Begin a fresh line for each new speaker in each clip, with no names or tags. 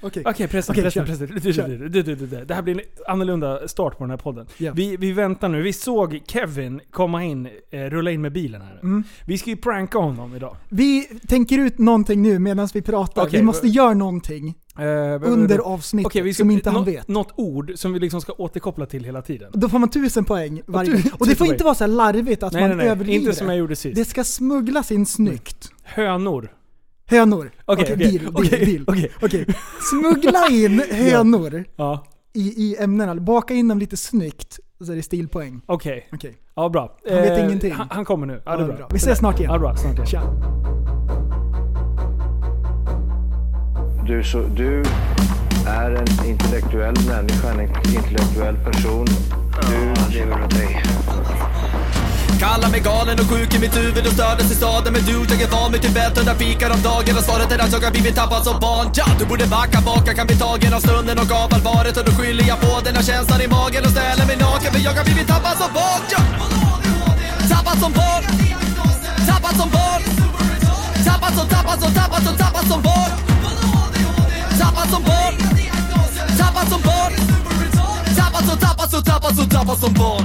Okej.
Okej, pressen,
Okej,
pressen,
kör.
pressen. Du, du,
Kör.
du, du, du, du, du. Det här blir en annorlunda start på den här podden.
Ja.
Vi, vi väntar nu. Vi såg Kevin komma in, eh, rulla in med bilen här nu.
Mm.
Vi ska ju pranka honom idag.
Vi tänker ut någonting nu medan vi pratar.
Okej.
vi måste göra någonting
Eh,
under avsnittet
Okej, vi ska-
som inte han
nå-
vet.
Något ord som vi liksom ska återkoppla till hela tiden.
Då får man tusen poäng varje
tu-
Och det
tusen
får inte
poäng.
vara så här larvigt att
nej,
man
nej, nej.
överdriver
Inte som jag gjorde sist.
Det ska smugglas in snyggt.
Hönor.
Hönor.
Okej, okej,
deal, deal,
okej,
deal.
okej.
Okej. Smuggla in hönor
Ja,
i, i ämnena. Baka in dem lite snyggt. Så är det stilpoäng.
okej.
Okej.
Ja, bra. Eh,
Han vet ingenting.
Han, han kommer nu. Ja, det
Ja,
är bra.
Vi ses snart igen.
Ja, bra. Snart igen.
Tja.
Du, så, du är en intellektuell människa, en intellektuell person. Du lever av dig.
Kallar mig galen och sjuk i mitt huvud och stördes i staden Men du, jag är van vid typ Tibet och där fikar om dagen Och svaret är att jag har blivit tappad som barn ja! Du borde backa bak, jag kan bli tagen av stunden och av allvaret Och då skyller jag på den här känslan i magen och ställer mig naken För jag har blivit tappad som barn ja! Tappad som barn Tappad som barn Tappad som, tappad som, tappad som, tappad som barn Tappad som barn Tappad som barn Tappad som, tappad som, tappad som, tappad som barn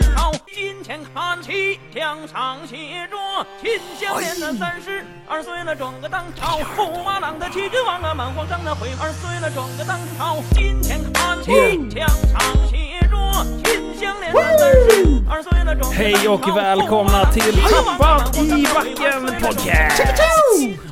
朝。今天他骑枪唱戏着，秦香莲的三十二岁了，转个当朝，驸马郎的齐君王啊，满皇上的回二岁了，转个当朝。今天他骑枪唱戏着，秦香莲的三十二岁了，转个当朝。
Hej och välkomna till Pappan i backen podcast!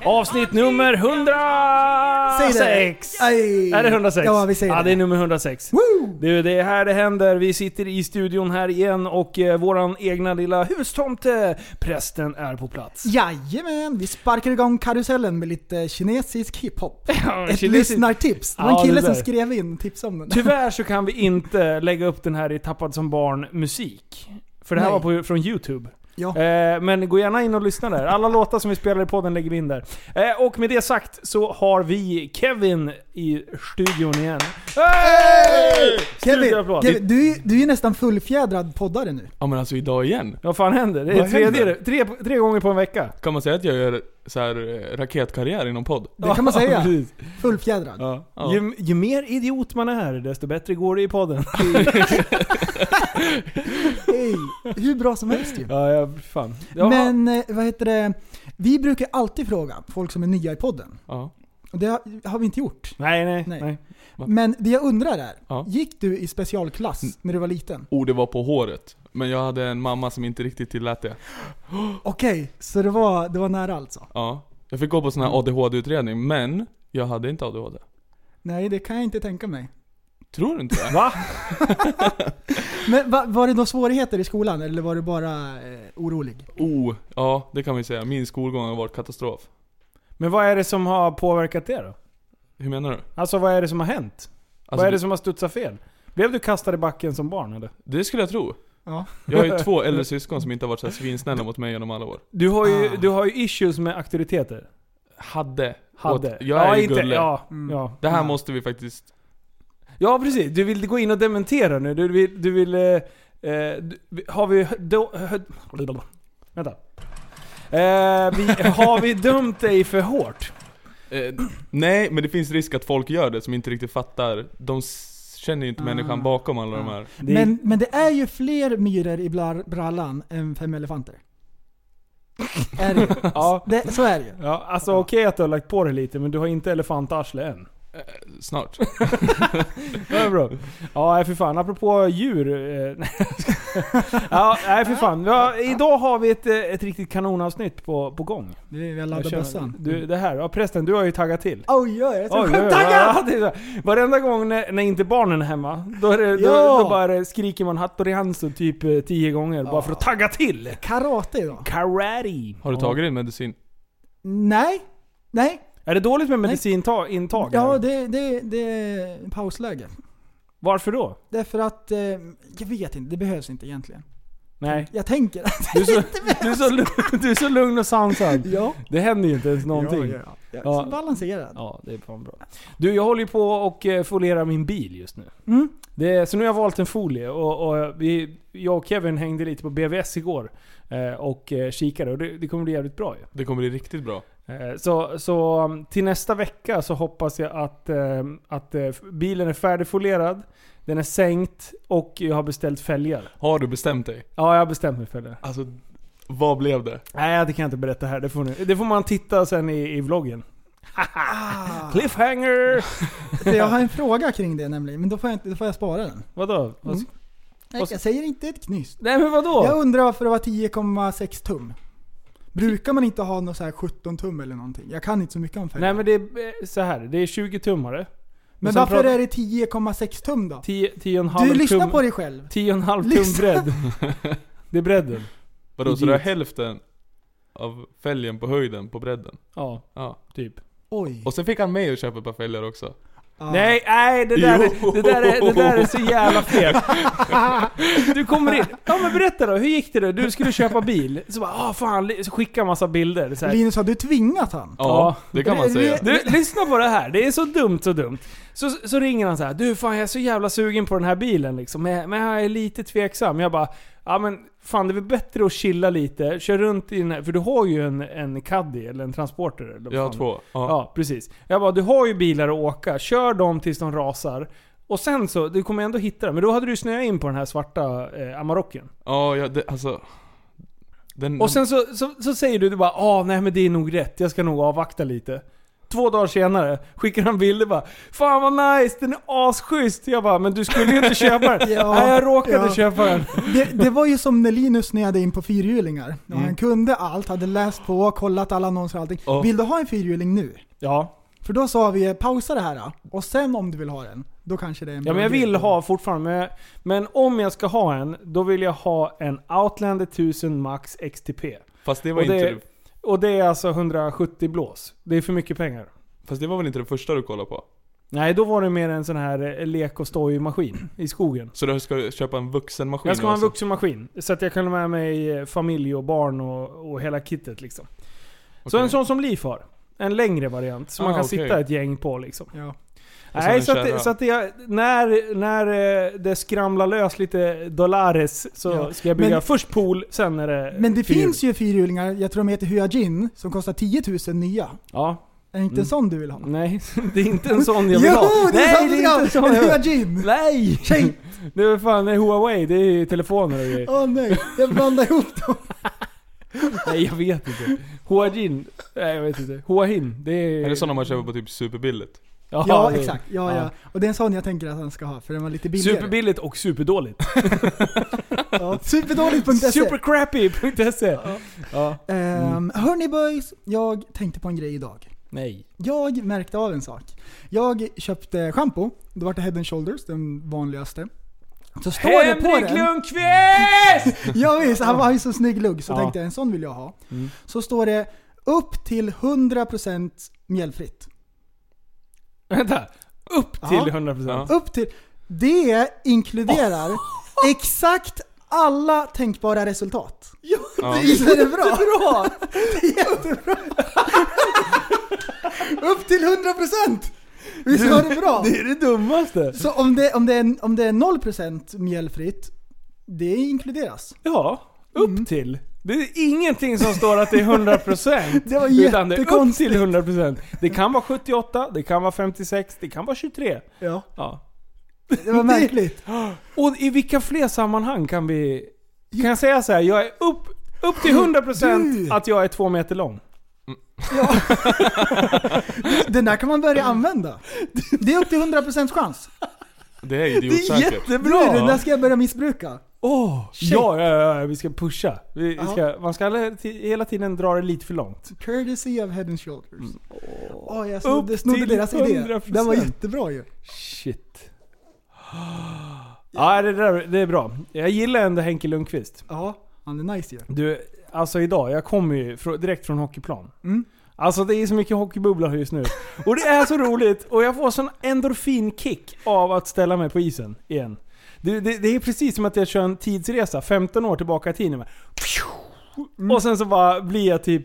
Avsnitt nummer 106!
Aj.
Är det 106?
Ja, vi säger
ja,
det.
det är nummer 106.
Woo!
Du, det är här det händer. Vi sitter i studion här igen och eh, våran egna lilla hustomte, prästen, är på plats.
Jajamän, vi sparkar igång karusellen med lite kinesisk hiphop.
Ja,
Ett
kinesisk-
lyssnartips. Det var
Ja,
en
det
kille som
där.
skrev in tips om den.
Tyvärr så kan vi inte lägga upp den här i Tappad som barn musik. För det här
Nej.
var på, från Youtube.
Ja.
Eh, men gå gärna in och lyssna där. Alla låtar som vi spelar i podden lägger vi in där. Eh, och med det sagt så har vi Kevin i studion igen. Hey!
Kevin,
Studioapplåd.
Kevin du, du är ju nästan fullfjädrad poddare nu.
Ja men alltså idag igen.
Vad fan händer? Det är
Vad
tredje,
händer?
tre, tre gånger på en vecka.
Kan man säga att jag gör så här eh, raketkarriär inom podd?
Det kan man säga.
precis.
Fullfjädrad.
Ja.
Ja.
Ju, ju mer idiot man är, desto bättre går det i podden.
Hej. Hur bra som helst ju.
ja, ja, fan. Ja.
Men eh, vad heter det? Vi brukar alltid fråga folk som är nya i podden.
Ja.
Och det har, har vi inte gjort.
nej, nej, nej.
Nej. Men det jag undrar är,
Ja.
gick du i specialklass
Mm.
när du var liten?
Oh, det var på håret. Men jag hade en mamma som inte riktigt tillät det.
Okej, så det var, det var nära alltså?
Ja. Jag fick gå på sån
Mm.
här ADHD-utredning, men jag hade inte ADHD.
Nej, det kan jag inte tänka mig.
Tror du inte det?
Va?
Men va, var det några svårigheter i skolan eller var du bara eh, orolig?
Oh, ja det kan vi säga. Min skolgång har varit katastrof.
Men vad är det som har påverkat det då?
Hur menar du?
Alltså vad är det som har hänt?
Alltså,
vad är det som har studsat fel? Blev du kastad i backen som barn eller?
det, det skulle jag tro.
Ja.
Jag har ju två äldre syskon som inte har varit så här svinsnälla mot mig genom alla år.
Du har ju,
Ah.
du har ju issues med auktoriteter.
Hade.
Hade.
Åt- Jag är ju
inte,
gulle.
ja,
Mm.
ja.
Det här måste vi faktiskt...
ja, precis. Du vill gå in och dementera nu. Du vill... Du vill eh, eh, du, har vi... hö- Då, hö, vänta. Eh, vi, har vi dömt dig för hårt?
Eh, nej, men det finns risk att folk gör det som inte riktigt fattar. De s- känner ju inte
Ah.
Mm.
människan bakom alla de
Ah.
här.
Det-
Men, men det är ju fler myror i blar- brallan än fem elefanter. Är det?
Ja.
Det, så är det ju.
Ja, alltså okej att du har lagt på dig lite, men du har inte elefantarsle än.
Snart.
Det är bra. Ja, nej, för fan. Apropå djur. eh, nej. ja, nej, för fan. Ja, idag har vi ett, eh, ett riktigt kanonavsnitt på, på gång.
Vi vi har
Jag
laddat
känner-
bössan.
Du, det här. Ja, prästen, du har ju taggat till.
Oj, oj, jag är
Oj,
så
oj, oj.
sjukt taggad!
Ja, det är så. Varenda gång när, när inte barnen är hemma, då, är det, då,
Ja.
då bara skriker man Hattori Hansen typ eh, tio gånger bara för att tagga till.
Karate idag?
Karate.
Har du tagit din medicin?
Nej. Nej.
Ja. Är det dåligt med medicinintag?
Ja, det, det, det är pausläge.
Varför då?
Därför att, eh, jag vet inte, det behövs inte egentligen.
Nej.
Jag tänker att...
Du är så, du är så, lugn, du är så lugn och sansad.
Ja.
Det händer ju inte ens någonting.
Ja, ja, ja.
Ja.
Så balanserad.
Ja, det är fan bra. Du, jag håller ju på och eh, folierar min bil just nu.
Mm.
Det, så nu har jag valt en folie och, och vi, jag och Kevin hängde lite på BVS igår eh, och eh, kikade och det, det kommer bli jävligt bra ju.
Det kommer bli riktigt bra.
Eh, Så, så um, till nästa vecka så hoppas jag att, eh, att eh, bilen är färdigfolierad, den är sänkt och jag har beställt fälgar.
Har du bestämt dig?
Ja, jag har bestämt mig för det.
Alltså, vad blev det?
Nej, det kan jag inte berätta här. Det får, ni, det får man titta sen i, i vloggen. Ah. Cliffhanger!
Så Jag har en fråga kring det nämligen, men då får jag, inte, då får jag spara den.
Vadå? Vad-
Mm. Nej,
Och så-
jag säger inte ett knyst.
Nej men
Jag
vadå?
undrar varför det var 10,6 tum. Brukar man inte ha något så här 17 tum eller någonting? Jag kan inte så mycket om färger.
Nej men det är eh, så här. det är 20 tummare.
men
sen
varför
pratar-
är det 10,6 tum då?
10, 10,5
Du lyssnar
tum,
på dig själv.
10,5 tum
Lyssna.
bredd. Det är bredden.
Vadå, så du har
Idiot.
hälften av fälgen på höjden, på bredden?
Ja,
Ja.
typ.
Oj.
Och sen fick han mig att köpa ett par fälgar också.
Ja.
Nej, nej det där, är, det, där är, det där är så jävla fel. Du kommer in. Ja men berätta då, hur gick det då? Du skulle köpa bil. Så bara, ah fan, li- så skickar en massa bilder. Så här.
Linus, har du tvingat han?
Ja,
Ja.
det kan man
Det- det-
säga.
Du, lyssna på det här. Det är så dumt, så dumt. Så, så ringer han så här. Du fan jag är så jävla sugen på den här bilen liksom. Men, men jag är lite tveksam. Jag bara, ja men fan det är väl bättre att chilla lite. Kör runt i den här, för du har ju en, en Caddy eller en transporter. Eller vad
Jag har
fan.
två. Ja.
Ja, precis. Jag bara, du har ju bilar att åka. Kör dem tills de rasar. Och sen så, du kommer ändå hitta dem. Men då hade du snöat in på den här svarta eh, Amarocken.
Ja, ja det, alltså...
Mm.
Den,
Och sen så, så, så säger du, du bara ah nej men det är nog rätt, jag ska nog avvakta lite. Två dagar senare skickar han bilder bara Fan vad nice, den är asschysst! Jag bara, men du skulle ju inte köpa den.
Ja,
nej jag råkade
ja.
köpa den.
Det, det var ju som när Linus snöade in på fyrhjulingar. Och
Mm.
Han kunde allt, hade läst på, kollat alla annonser och allting.
Ja.
Vill du ha en fyrhjuling nu?
Ja.
För då sa vi pausa det här då. och sen om du vill ha den, då kanske det är en
ja, men
bra
jag vill
grej.
ha fortfarande. Men, men om jag ska ha en, då vill jag ha en Outlander 1000 Max XTP.
fast det var
och det-
inte... Det,
Och det är alltså 170 blås. Det är för mycket pengar.
fast det var väl inte det första du kollade på?
Nej, då var det mer en sån här eh, lek och stoj-maskin i skogen.
Så du ska köpa en vuxenmaskin?
Jag ska ha en
också?
vuxenmaskin. Så att jag kan ha med mig eh, familj och barn och, och hela kittet liksom. Så
Okej.
en sån som Liv har. En längre variant som
Ah,
man kan
okej.
sitta ett gäng på liksom.
Ja.
Och sen
Nej,
en
så att, det-
kärra.
så att jag, när, när eh, det skramlar lös lite dollares så
Ja.
ska jag bygga
Men-
först pool, sen är det
Men det
fyrhjul.
finns ju fyrhjulingar, jag tror de heter Hyajin, som kostar 10 000 nya.
Ja,
Är det inte en sån du vill ha?
nej. Det är inte en sån jag vill
jo,
ha.
det är
nej,
sån du vill Mm. ha!
en sån
En
jag vill ha.
Hyajin!
Nej!
Tjej!
Det är fan det är Huawei, det är ju telefoner och grejer.
Åh nej, jag blandade ihop dem.
Nej jag vet inte. Huajin, nej jag vet inte. Huahin, det är...
Är det sådana man köper på typ superbilligt?
Ja,
Ja,
det är-
exakt. Ja,
Ja.
ja. Och det är en sån jag tänker att han ska ha, för den var lite billigare.
Superbilligt och superdåligt.
ja. Superdåligt.se.
Supercrappy.se. Ja.
E. Ehm, hörni boys, jag tänkte på en grej idag.
Nej.
Jag märkte av en sak. Jag köpte shampoo, det var det Head and Shoulders, den vanligaste. Så står det på
Henrik
den...
Lundqvist!
Ja, visst, han har ju så snygg lugg så
Ja.
tänkte jag en sån vill jag ha. Så står det upp till 100% mjällfritt.
Vänta. Upp till
Ja.
100%.
Ja.
Upp till... Det inkluderar exakt alla tänkbara resultat. Ja,
Ja.
Visst är det bra? Det är jättebra! upp till 100%! Visst var det bra?
Det är det dummaste.
Så om det, om det, är, om det är 0% mjällfritt, det inkluderas.
Ja, upp
Mm.
till. Det är ingenting som står att det är 100%.
Det var
Utan det är upp
jättekonstigt.
till 100%. Det kan vara 78, det kan vara 56, det kan vara 23.
Ja,
Ja.
det var märkligt.
Och i vilka fler sammanhang kan vi... Kan jag säga så här, jag är upp, upp till 100%
Du.
att jag är två meter lång.
Den där kan man börja använda. Det är upp till 100% chans.
Det är idiotsäkert.
Du, den där ska jag börja missbruka.
Åh!
Shit.
ja, ja, ja, ja, vi ska pusha. Vi, vi
Ja.
ska, man ska alla- ti- hela tiden dra det lite för långt.
Courtesy of head and shoulders. Åh, jag
Upp
snodde, snodde
till
deras idé.
100%.
Den var jättebra ju.
Shit. Ja, det, där, det är bra. Jag gillar ändå Henke Lundqvist.
Ja, han är nice ju.
Du, alltså idag, jag kommer ju frå- direkt från hockeyplan.
Mm.
Alltså det är så mycket hockeybubblor just nu. Och det är så roligt och jag får sån endorfinkick av att ställa mig på isen igen. Det, det, det är precis som att jag kör en tidsresa 15 år tillbaka i tiden. Bara,
Mm.
Och sen så bara blir jag typ...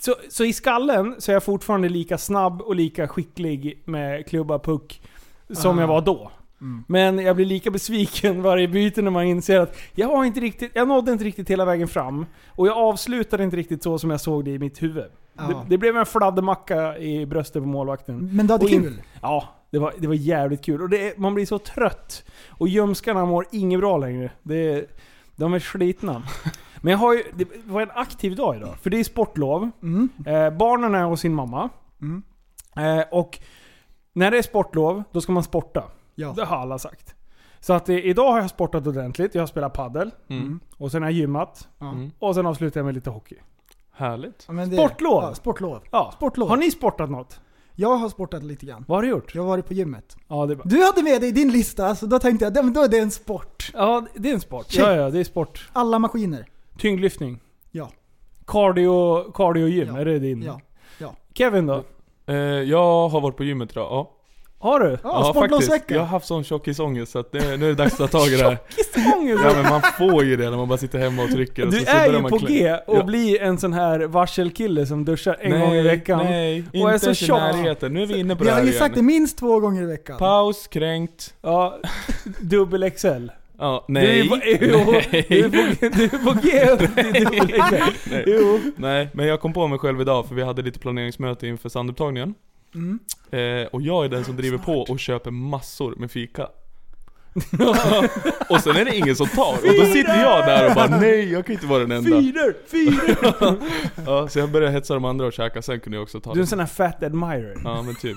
Så, så i skallen så är jag fortfarande lika snabb och lika skicklig med klubba puck som
Ah.
jag var då.
Mm.
Men jag blir lika besviken varje byte när man inser att jag, var inte riktigt, jag nådde inte riktigt hela vägen fram. Och jag avslutade inte riktigt så som jag såg det i mitt huvud.
Ja.
Det, det blev en fladdermacka i bröstet på målvakten.
Men du hade
Och in-
kul?
Ja, det var, det var jävligt kul. Och det är, man blir så trött. Och ljumskarna mår inget bra längre. Det, är- de är slitna. Men jag har ju, det var en aktiv dag idag. För det är sportlov.
Mm.
Eh, barnen är hos sin mamma.
Mm.
Eh, och när det är sportlov, då ska man sporta.
Ja.
Det har alla sagt. Så att eh, idag har jag sportat ordentligt. Jag har spelat paddel
Mm.
och sen har jag gymmat.
Ja.
Mm.
Och sen avslutar jag med lite hockey.
Härligt.
Ja, men det-
Sportlov.
Ja, sportlov.
Ja.
Sportlov.
Har ni sportat något?
Jag har sportat lite grann.
Vad har du gjort?
Jag har varit på gymmet.
Ja, det är bra.
Du hade med dig din lista, så då tänkte jag "Ja, men då är det en sport.
Ja, det är en sport.
Shit.
Ja, ja, det är sport.
Alla maskiner.
Tyngdlyftning.
Ja.
Cardio, cardio gym,
Ja.
är det din?
Ja.
Kevin då?
Eh, jag har varit på gymmet idag, ja.
Har du?
Ja, sportlovsvecka.
Jag har haft sån tjockisångest så att det, nu är det dags att ta tag i det här.
Kissångest!
Ja men man får ju det när man bara sitter hemma och trycker och
Du
så, så
är
börjar
ju
man
på
klä-
G och
Ja.
blir en sån här varselkille som duschar en gång i veckan.
Nej, inte
är så
ens i
tjock.
närheten. Nu är vi inne på det
Jag har
här
ju sagt det
igen.
minst två gånger i veckan.
Paus, kränkt.
Ja, dubbel XL.
Ja,
Du är
nej.
på, jo, du är på, du är på G och dubbel XL. Jo.
Nej, men jag kom på mig själv idag för vi hade lite planeringsmöte inför sandupptagningen.
Mm.
Eh, och jag är den som driver på och köper massor med fika. och sen är det ingen som tar. Och då sitter jag där och bara nej, jag kan inte vara den enda.
Fyror! Fyror!
Ja, så jag började hetsa de andra och käka, sen kunde jag också ta
Du är en
det.
sån här fat admirer.
Ja men typ.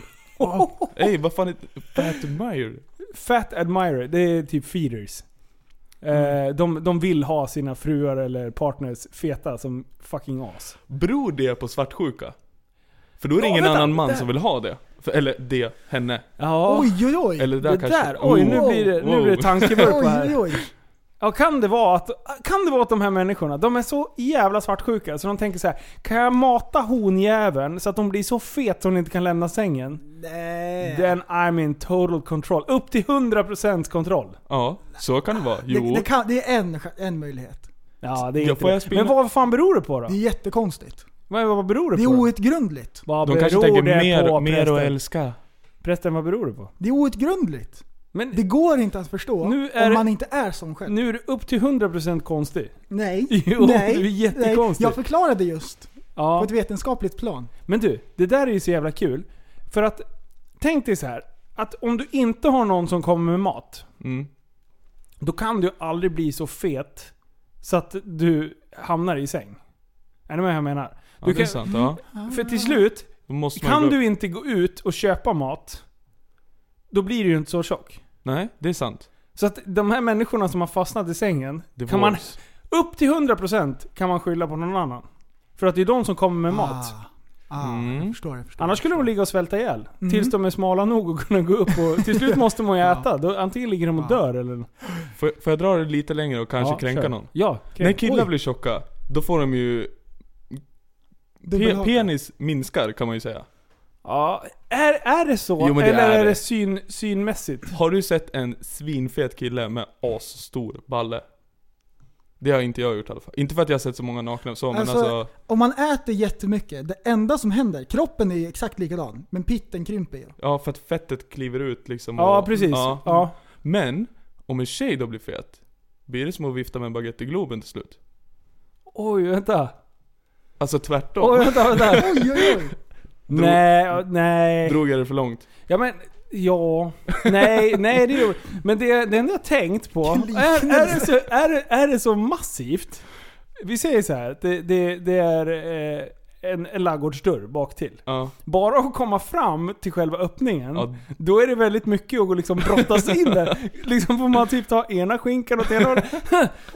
Ey, vad fan är Pat Meyer?
Fat admirer, det är typ feeders. Eh,
Mm.
de, de vill ha sina fruar eller partners feta som fucking as.
Beror det på svartsjuka? För då är det
Ja,
ingen
vänta,
annan man
där.
som vill ha det. För, eller det, henne.
Ja,
Oj, oj, oj.
Eller där
det
kanske.
där. Oj, nu
Oh,
blir det, nu
wow.
blir det tankevurpa
Oj, oj,
här.
oj.
Ja, kan det vara att, kan det vara att de här människorna, de är så jävla svartsjuka så de tänker så här: kan jag mata honjäveln så att hon blir så fet så hon inte kan lämna sängen?
Nej.
Then I'm in total control. Upp till 100% kontroll.
Oh. Ja, så kan det vara. Jo.
Det, det, kan, det är en, en möjlighet.
Ja, det är
Ja,
inte
får jag
det.
spinna-
Men vad fan beror det på då?
Det är jättekonstigt.
Vad, vad beror det
Det är
på? då?
outgrundligt.
Vad
De kanske
beror
tänker
det
mer,
på,
mer
prästen?
att älska.
Prästen, vad beror det på?
Det är outgrundligt.
Men
Mm.
Det går inte att förstå
Nu är
om
det-
man inte är som själv.
nu är du upp till 100% konstig.
Nej.
Jo,
nej.
det är jättekonstigt.
Nej. Jag förklarade just. På
Ja.
ett vetenskapligt plan.
Men du, det där är ju så jävla kul. För att, tänk dig så här. Att om du inte har någon som kommer med mat,
Mm.
då kan du aldrig bli så fet så att du hamnar i säng. Är ni med vad jag menar?
Ja,
Du
det är
kan-
sant. Ja.
För till slut,
Då måste man
kan
gå-
du inte gå ut och köpa mat, då blir du ju inte så tjock.
Nej, det är sant.
Så att de här människorna som har fastnat i sängen,
Det
kan man
vårds.
Upp till 100% kan man skylla på någon annan. För att det är de som kommer med mat.
Ah. Ah,
Mm.
jag förstår, jag förstår.
Annars skulle de ligga och svälta ihjäl.
Mm.
Tills de är smala nog och kunna gå upp och... Till slut måste man ju
Ja.
äta. Då, antingen ligger de och
Ja.
dör eller...
Får, får jag dra det lite längre och Ah. kanske
Ja,
kränka
kör.
någon?
Ja, kränk.
När killar
Oj.
blir tjocka, då får de ju... Pe-
Dubbelhaka.
penis minskar kan man ju säga.
Ja, är, är det så?
Jo, men det
eller
är
är det
det.
syn, synmässigt?
Har du sett en svinfet kille med asstor balle? Det har inte jag gjort i alla fall. Inte för att jag har sett så många nakna så, men
Alltså,
alltså...
Om man äter jättemycket, det enda som händer, kroppen är ju exakt likadan, men pitten krymper ju.
Ja, för att fettet kliver ut liksom.
Ja,
och-
precis. Ja.
Ja. Men, om en tjej då blir fet, blir det som att vifta med en baguette i Globen till slut.
Oj, vänta.
Alltså tvärtom.
Oj, vänta, vänta.
Oj, oj, oj.
nej, ja, nej.
Drog jag det för långt?
Ja men, ja. Nej, nej det är ju- Men det, det enda jag tänkt på, är, är, det så, är, det, är det så massivt? Vi säger så här, att det, det, det är eh, en, en laggårdsdörr bak till.
Ja.
Bara att komma fram till själva öppningen,
Ja.
då är det väldigt mycket att gå liksom brottas in där. Liksom får man typ ta ena skinkan åt ena hållet.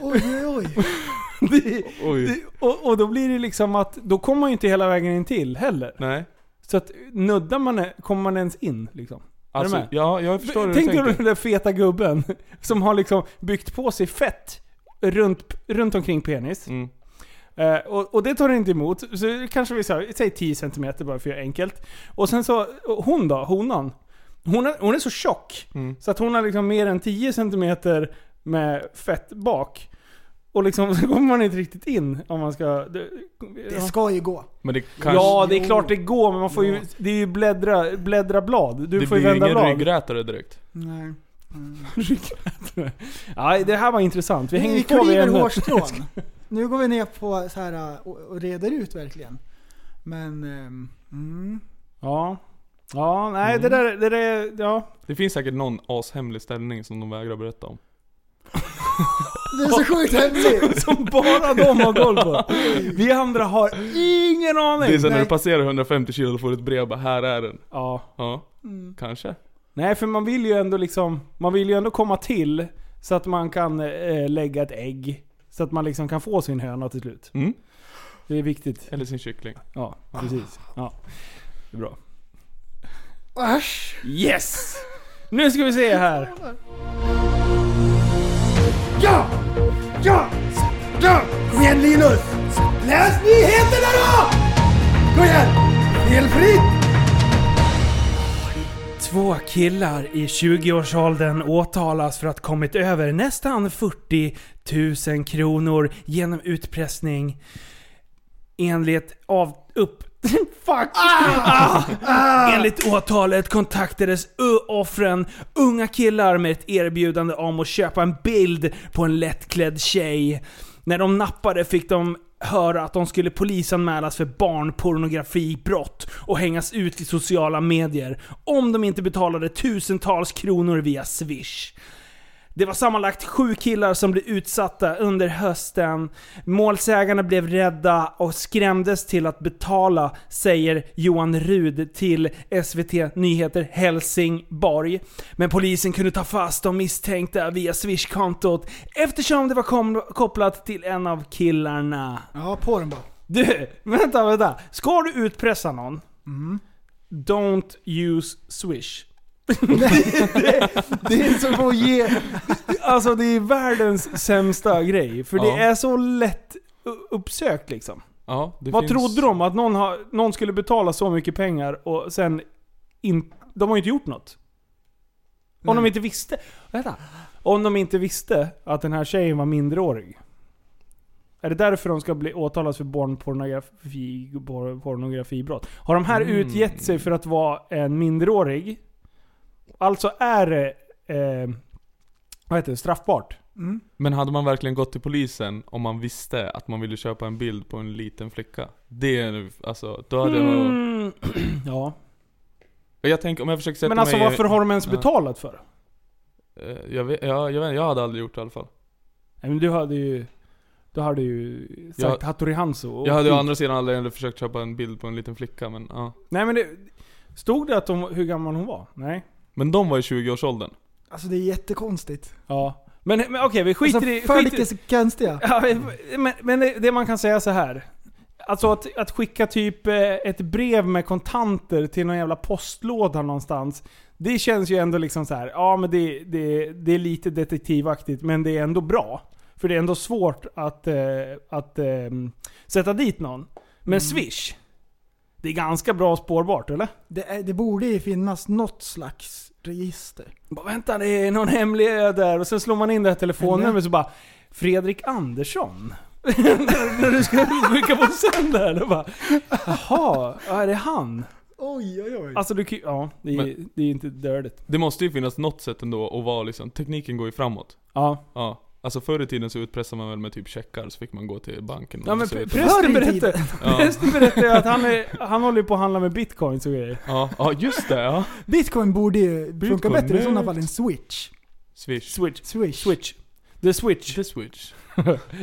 Oj, oj, oj.
Det-
Oj.
det- och, och då blir det liksom att, då kommer man ju inte hela vägen in till heller.
Nej.
Så att nuddar man, kommer man ens in liksom? med?
Alltså, ja, jag förstår hur du
Tänk dig
tänker.
den där feta gubben som har liksom byggt på sig fett runt, runt omkring penis.
Mm.
Eh, och, och det tar det inte emot. Så det kanske vi säger, säg 10 cm bara för att göra enkelt. Och sen så, och hon då, honan. Hon är, hon är så tjock.
Mm.
Så att hon har liksom mer än 10 cm med fett bak. Och liksom så kommer man inte riktigt in om man ska... Det,
Det ska ju gå.
Men det kanske...
ja, det är
Jo.
klart det går men man får ju...
Ja.
Det är ju bläddra, bläddra blad. Du
det
får ju
blir ju
vända
ingen
blad.
ryggrätare direkt.
Nej. Mm.
Ryggrätare. Nej, det här var intressant. Vi hänger
vi
kvar vid
kliver
ämnet.
hårstrån. Nu går vi ner på så här äh, och, och reder ut verkligen. Men... ehm, Mm,
Ja. Ja, nej det där,
Mm.
det där, ja.
Det finns säkert någon ashemlig ställning som de vägrar berätta om.
det är så sjukt hemligt!
Som bara de har koll på. Vi andra har ingen aning.
det är sen när
Nej.
du passerar 150 kilo och får ett brev bara 'Här är den'
Ja.
Ja,
Mm.
kanske.
Nej, för man vill ju ändå liksom, man vill ju ändå komma till så att man kan eh, lägga ett ägg. Så att man liksom kan få sin höna till slut.
Mm.
Det är viktigt.
Eller sin kyckling.
Ja, precis. Ja. Det är bra.
Äsch!
Yes! Nu ska vi se här.
Ja! Ja! Ja! Kom igen Linus! Läs nyheterna då! Kom igen! Felfritt!
Två killar i 20-årsåldern åtalas för att kommit över nästan 40 000 kronor genom utpressning. Enligt av... upp... Fuck! Enligt åtalet kontaktades ö- offren unga killar med ett erbjudande om att köpa en bild på en lättklädd tjej. När de nappade fick de höra att de skulle polisanmälas för barnpornografibrott och hängas ut i sociala medier om de inte betalade tusentals kronor via swish. Det var sammanlagt sju killar som blev utsatta under hösten. Målsägarna blev rädda och skrämdes till att betala, säger Johan Rud till SVT Nyheter Helsingborg. Men polisen kunde ta fast de misstänkta via Swish-kontot eftersom det var kom- kopplat till en av killarna.
Ja, på den bara.
Du, vänta, vänta. Ska du utpressa någon? Don't use Swish.
Det är som att ge...
Alltså det är världens sämsta grej, för
Ja.
det är så lätt u- uppsökt liksom.
Ja, det
Vad
finns...
trodde de? Att någon, har, någon skulle betala så mycket pengar och sen in, De har ju inte gjort något. Om de inte visste... Vänta. Om de inte visste att den här tjejen var minderårig. Är det därför de ska bli åtalas för barnpornografi, por- pornografibrott? Har de
Mm.
här utgett sig för att vara en minderårig? Alltså är det... Eh, vad heter det? Straffbart?
Mm.
Men hade man verkligen gått till polisen om man visste att man ville köpa en bild på en liten flicka? Det är nu- alltså, då hade jag...
Mm. ja.
Jag tänker om jag försöker sätta
Men alltså
mig i-
varför har de ens
Ja.
betalat för det?
Eh, Jag vet, jag, jag vet jag hade aldrig gjort det i alla fall.
Nej men du hade ju... Du hade ju sagt
Jag-
Hattori Hanzo och
Jag hade å
typ-
andra sidan aldrig heller försökt köpa en bild på en liten flicka men ja.
Nej men det... Stod det att de, hur gammal hon var? Nej?
Men de var i 20-årsåldern.
Alltså det är jättekonstigt.
Ja. Men, men okej, vi skiter
Alltså,
i...
fan
Skiter i
vilka så konstiga.
ja, men, men det, det man kan säga så här. Alltså att, att skicka typ eh, ett brev med kontanter till någon jävla postlåda någonstans. Det känns ju ändå liksom så här. ja men det, det, det är lite detektivaktigt men det är ändå bra. För det är ändå svårt att, eh, att eh, sätta dit någon. Men Swish, det är ganska bra spårbart eller?
Det, är, det borde ju finnas något slags register.
Bara, vänta, det är någon hemlig ö där. Och sen slår man in det här telefonnumret så bara Fredrik Andersson. när, när du ska skicka på sänd där. Då bara Jaha, ja, är det han?
Oj, oj, oj.
Alltså du kan ju- Ja, det är,
Men-
det är ju inte dörligt.
Det måste ju finnas något sätt ändå att vara liksom, tekniken går ju framåt.
Ja.
Ja. Alltså förr i tiden så utpressade man väl med typ checkar så fick man gå till banken och
ja men
så
pr-
ut-
prästen
Förr i tiden.
berättade, prästen berättade ju att han, är, han håller ju på att handla med bitcoins och grejer.
ja, ja, just det ja.
Bitcoin borde ju funka
Bitcoin,
bättre i sådana
nej.
fall än Switch.
Swish.
Switch.
Swish.
Switch. The switch.
The switch.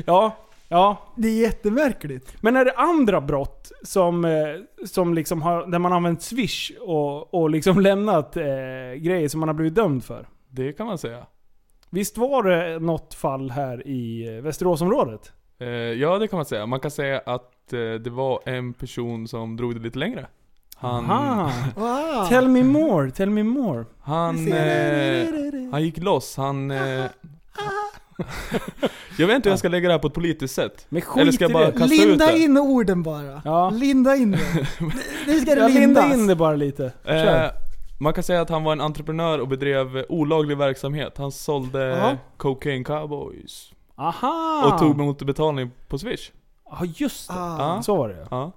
Ja. Ja,
Det är jättemärkligt.
Men är det andra brott som, eh, som liksom har, där man har använt swish och, och liksom lämnat eh, grejer som man har blivit dömd för?
Det kan man säga.
Visst var det något fall här i eh, Västeråsområdet?
Eh, ja det kan man säga. Man kan säga att eh, det var en person som drog det lite längre. Han...
Aha.
Ah.
Wow.
Tell me more, tell me more.
Han... Eh, han gick loss. Han... Eh, jag vet inte hur jag ska lägga det här på ett politiskt sätt.
Men skit
Eller ska jag
i
bara
det.
kasta ut
Linda
det?
in orden bara.
Ja.
Linda in det. Nu ska det
Jag
lindas.
lindade in det bara lite. Kör.
Eh, Man kan säga att han var en entreprenör och bedrev eh, olaglig verksamhet. Han sålde
Jaha. Ah.
cocaine cowboys.
Aha!
Och tog mot betalning på swish.
Ja just det.
Ah.
Så var det ja.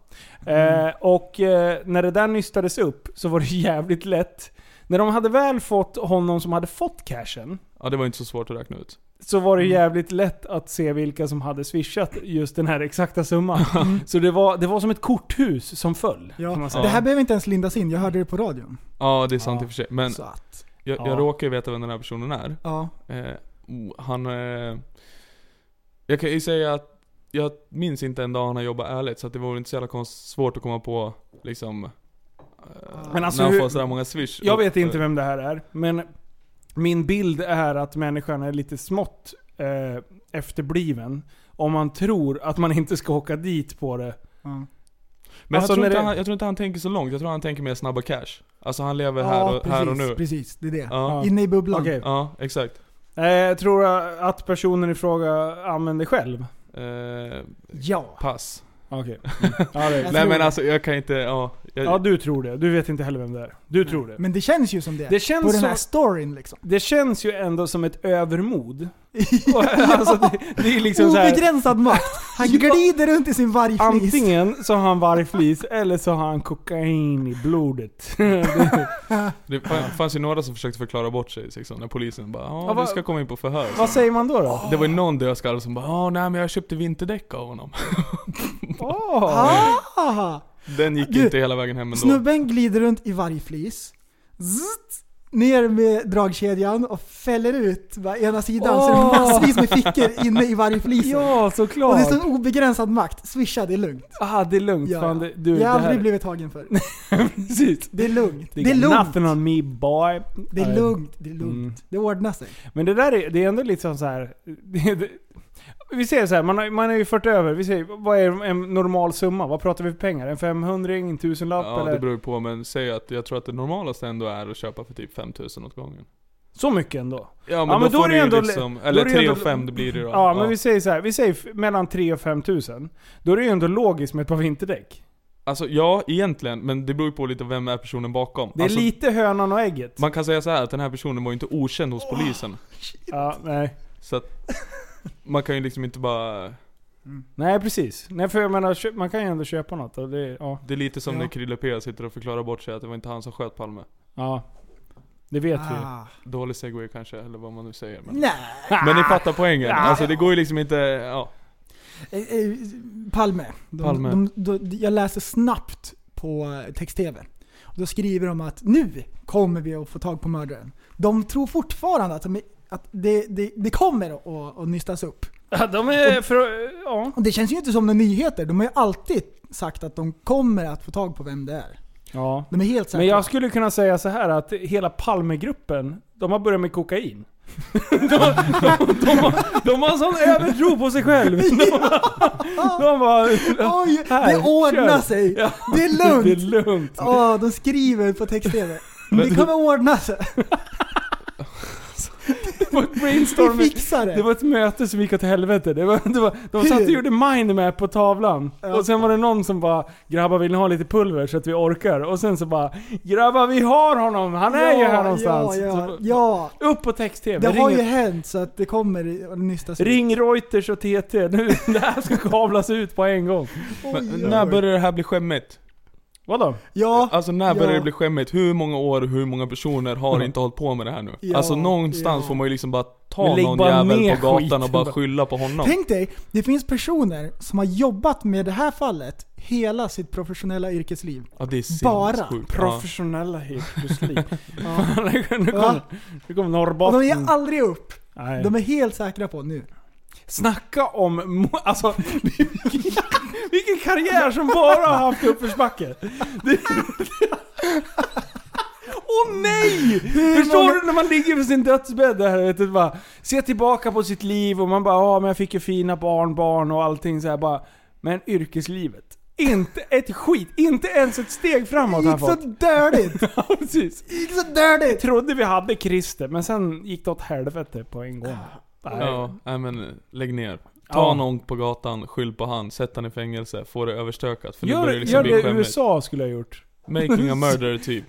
Ja.
Eh, och eh, när det där nystades upp så var det jävligt lätt. När de hade väl fått honom som hade fått cashen,
ja, det var inte så svårt att räkna ut.
så var det jävligt lätt att se vilka som hade swishat just den här exakta summan. Så det var, det var som ett korthus som föll.
Mm. Ja.
Kan man säga.
Det här behöver inte ens lindas in, jag hörde det på radion.
Ja, det är sant
Ja.
i och för sig. Men
Så att,
jag,
Ja.
jag råkar ju veta vem den här personen är.
ja.
Eh, oh, han... Eh, jag kan ju säga att jag minns inte en dag han har jobbat ärligt, så att det vore inte så jävla konst, svårt att komma på liksom... Eh,
Men alltså
när han
hur-
får sådär många swish.
Jag
Och-
vet inte vem det här är, men min bild är att människan är lite smått eh, efterbliven. Om man tror att man inte ska åka dit på det.
ja.
Men
Alltså,
jag, tror
när
inte
det-
han, jag tror inte han tänker så långt, jag tror han tänker mer snabba cash. Alltså han lever här,
ja
och,
precis,
här och nu.
precis. Det är det.
Ja,
Inne i bubblan.
Okej.
ja, exakt.
Eh, jag tror att personen i fråga använder själv.
Eh,
Ja.
pass.
Okej. Ja, det
Jag
är-
Nej
tror
men
det.
alltså jag kan inte, ja. Jag,
Mm. ja, du tror det. Du vet inte heller vem det är. Du tror det.
Men det känns ju som det.
Det
på den
känns,
här
som,
storyn liksom.
det känns ju ändå som ett övermod. Och, alltså, det, det är liksom så här,
Obegränsad makt. Han glider runt i sin vargflis.
Antingen så har han vargflis eller så har han kokain i blodet.
det fann- fanns ju några som försökte förklara bort sig liksom, när polisen bara
Ja,
ja,
vad-
du ska komma in på förhör.
Vad säger man då? då?
Det var ju någon dödskalle som bara ja nej men jag köpte vinterdäck av honom.
Åh!
Ah!
Den gick
Du-
inte hela vägen hem ändå.
Snubben glider runt i vargflis. Zzzt, ner med dragkedjan och fäller ut bara ena sidan så det
Åh!
är massvis med fickor inne i vargflisen.
Ja, såklart!
Och det är sån obegränsad makt. Swisha, det är lugnt.
Ah, det är lugnt.
Ja,
Fan,
ja.
det, du,
jag
det
har aldrig
här...
blivit tagen för.
Precis.
Det är lugnt. Det är
got
lugnt.
Nothing on me boy.
Det är
Nej.
lugnt. Det är
Mm.
lugnt. Det ordnar sig.
Men det där är, det är ändå liksom så här. Det, det, vi säger så här, man har, man har ju fört över, vi säger, vad är en normal summa? Vad pratar vi för pengar? En 500 en tusenlapp
ja
eller?
det beror ju på men säg att jag tror att det normalaste ändå är att köpa för typ 5000 åt gången.
Så mycket ändå?
Ja men, då,
men då är
får
det
ni ju
ändå-
liksom,
är det
eller 3
ändå-
och 5 det blir det ju då.
Ja, men vi säger så här, vi säger f- mellan 3 och 5 tusen. Då är det ju ändå logiskt med ett par vinterdäck.
Alltså ja, egentligen, men det beror ju på lite vem är personen bakom.
Det är
alltså,
lite hönan och ägget.
Man kan säga så här att den här personen var ju inte okänd hos polisen.
ja, nej.
Så att man kan ju liksom inte bara...
nej, precis. Nej, för jag menar, kö- man kan ju ändå köpa något. Och det, ja.
Det är lite som
Ja.
när Krille P sitter och förklarar bort sig att det var inte han som sköt Palme.
ja. Det vet vi.
Ah.
Dålig segway kanske, eller vad man nu säger. Men,
Nej.
men ni fattar poängen. Alltså det går ju liksom inte... Ja.
Eh, eh, Palme. De,
Palme.
De, de, jag läser snabbt på eh, text-tv. Och Då skriver de att nu kommer vi att få tag på mördaren. De tror fortfarande att, de, är- att det, det, det kommer att, att nystas upp.
Ja, de är för, ja.
Och det känns ju inte som några nyheter. De har ju alltid sagt att de kommer att få tag på vem det är.
ja.
De är helt säkra.
Men jag skulle kunna säga så här att hela Palmegruppen, de har börjat med kokain. De, de, de, har, de har sån övertro på sig själv. De, de bara...
Ah, Oj,
Här,
det ordnar
kör.
sig!
Ja,
Det är lugnt!
Det är lugnt.
Ja, de skriver på text-tv. Det kommer ordna sig.
Det var ett
Vi
brainstorming.
fixar
Det
det.
var ett möte som gick åt helvete. Det var, det var, de
Hur?
satt och gjorde mindmap på tavlan.
Ja.
Och sen var det någon som bara 'Grabbar vill ni ha lite pulver så att vi orkar?' Och sen så bara 'Grabbar vi har honom! Han är ju här någonstans!'
Ja, ja,
Så,
ja.
upp på text-tv.
Det har
Ring-
ju hänt så att det kommer att nystas ut.
Ring Reuters och TT nu. Det här ska kablas ut på en gång.
Oj,
Men
oj,
när
oj.
börjar det här bli skämmigt?
Vadå?
Ja,
Alltså när börjar
Ja.
det bli skämmigt? Hur många år och hur många personer har inte hållit på med det här nu?
Ja,
Alltså någonstans
ja.
får man ju liksom bara
Men
ta
lägg
någon
bara ner
jävel på gatan
skiten
och bara
bara.
skylla på honom.
Alltså-
tänk dig. Det finns personer som har jobbat med det här fallet hela sitt professionella yrkesliv.
Ja det är
Bara.
sinnessjukt. Ja.
Professionella hipstersliv.
Ja.
nu kommer
Va?
kom
Och de
Norrbotten.
ger aldrig upp.
Mm. Nej.
De är helt säkra på nu.
Snacka om... mo- Alltså, vilken, vilken karriär som bara har haft uppförsbacke. Det- Åh nej! Förstår
många-
du när man ligger på sin dödsbädd där vet du, bara ser tillbaka på sitt liv och man bara ja men jag fick ju fina barn, barn och allting så här bara. Men yrkeslivet. Inte ett skit, inte ens ett steg framåt
Det
har han
gick så
fått.
dördigt.
Ja, precis.
Det gick så dördigt.
Trodde vi hade Christer, men sen gick det åt helvete på en gång. Nej.
Ja, nej men lägg ner. Ta
Ja.
någon på gatan, skyll på han, sätt han i fängelse, få det överstökat. För nu
Gör,
börjar det liksom
gör
bli
det
skämmigt.
USA skulle jag ha gjort.
Making a murder typ.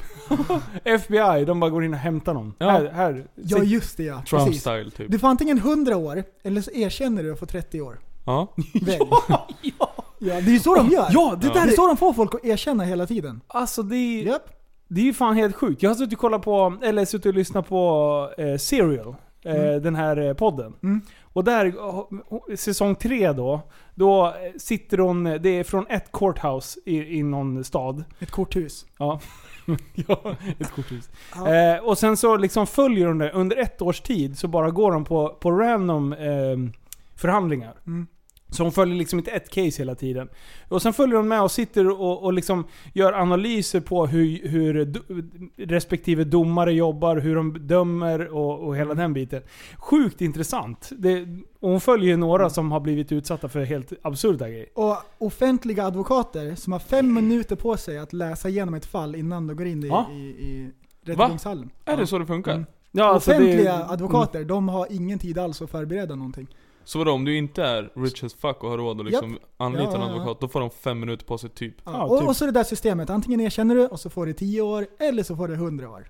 FBI, de bara går in och hämtar någon.
Ja.
Här, här.
Ja just det ja,
Trump
precis.
style typ.
Du får antingen 100 år, eller så erkänner du och får 30 år.
Ja.
Väg. ja, det är ju så de gör.
Ja, det
Det
där
är
är...
så de får folk att erkänna hela tiden.
Alltså det är,
Japp.
det är ju fan helt sjukt. Jag har suttit och kollat på, eller suttit och lyssnat på eh, Serial. Eh, Den här eh, podden.
Mm.
Och där, oh, säsong tre då. Då eh, sitter hon, det är från ett courthouse i, i någon stad.
Ett korthus.
Ja. ja, ett korthus.
Ja.
Eh, och sen så liksom följer de det. Under ett års tid så bara går de på, på random ehm, förhandlingar.
Mm.
Så hon följer liksom inte ett case hela tiden. Och sen följer hon med och sitter och, och liksom gör analyser på hur, hur do, respektive domare jobbar, hur de dömer och, och hela den biten. Sjukt intressant. Det, och hon följer ju några som har blivit utsatta för helt absurda grejer.
Och offentliga advokater som har fem minuter på sig att läsa igenom ett fall innan de går in i,
Ja.
i, i rättegångshallen.
Är det så det funkar?
Mm.
Ja, alltså det-
offentliga advokater, de har ingen tid alls att förbereda någonting.
Så vadå, om du inte är rich as fuck och har råd att liksom anlita
Ja,
en
ja, ja.
advokat, då får de fem minuter på sig typ.
Ja.
Ja,
och,
typ.
och så det där systemet, antingen erkänner du och så får du 10 år, eller så får du 100 år.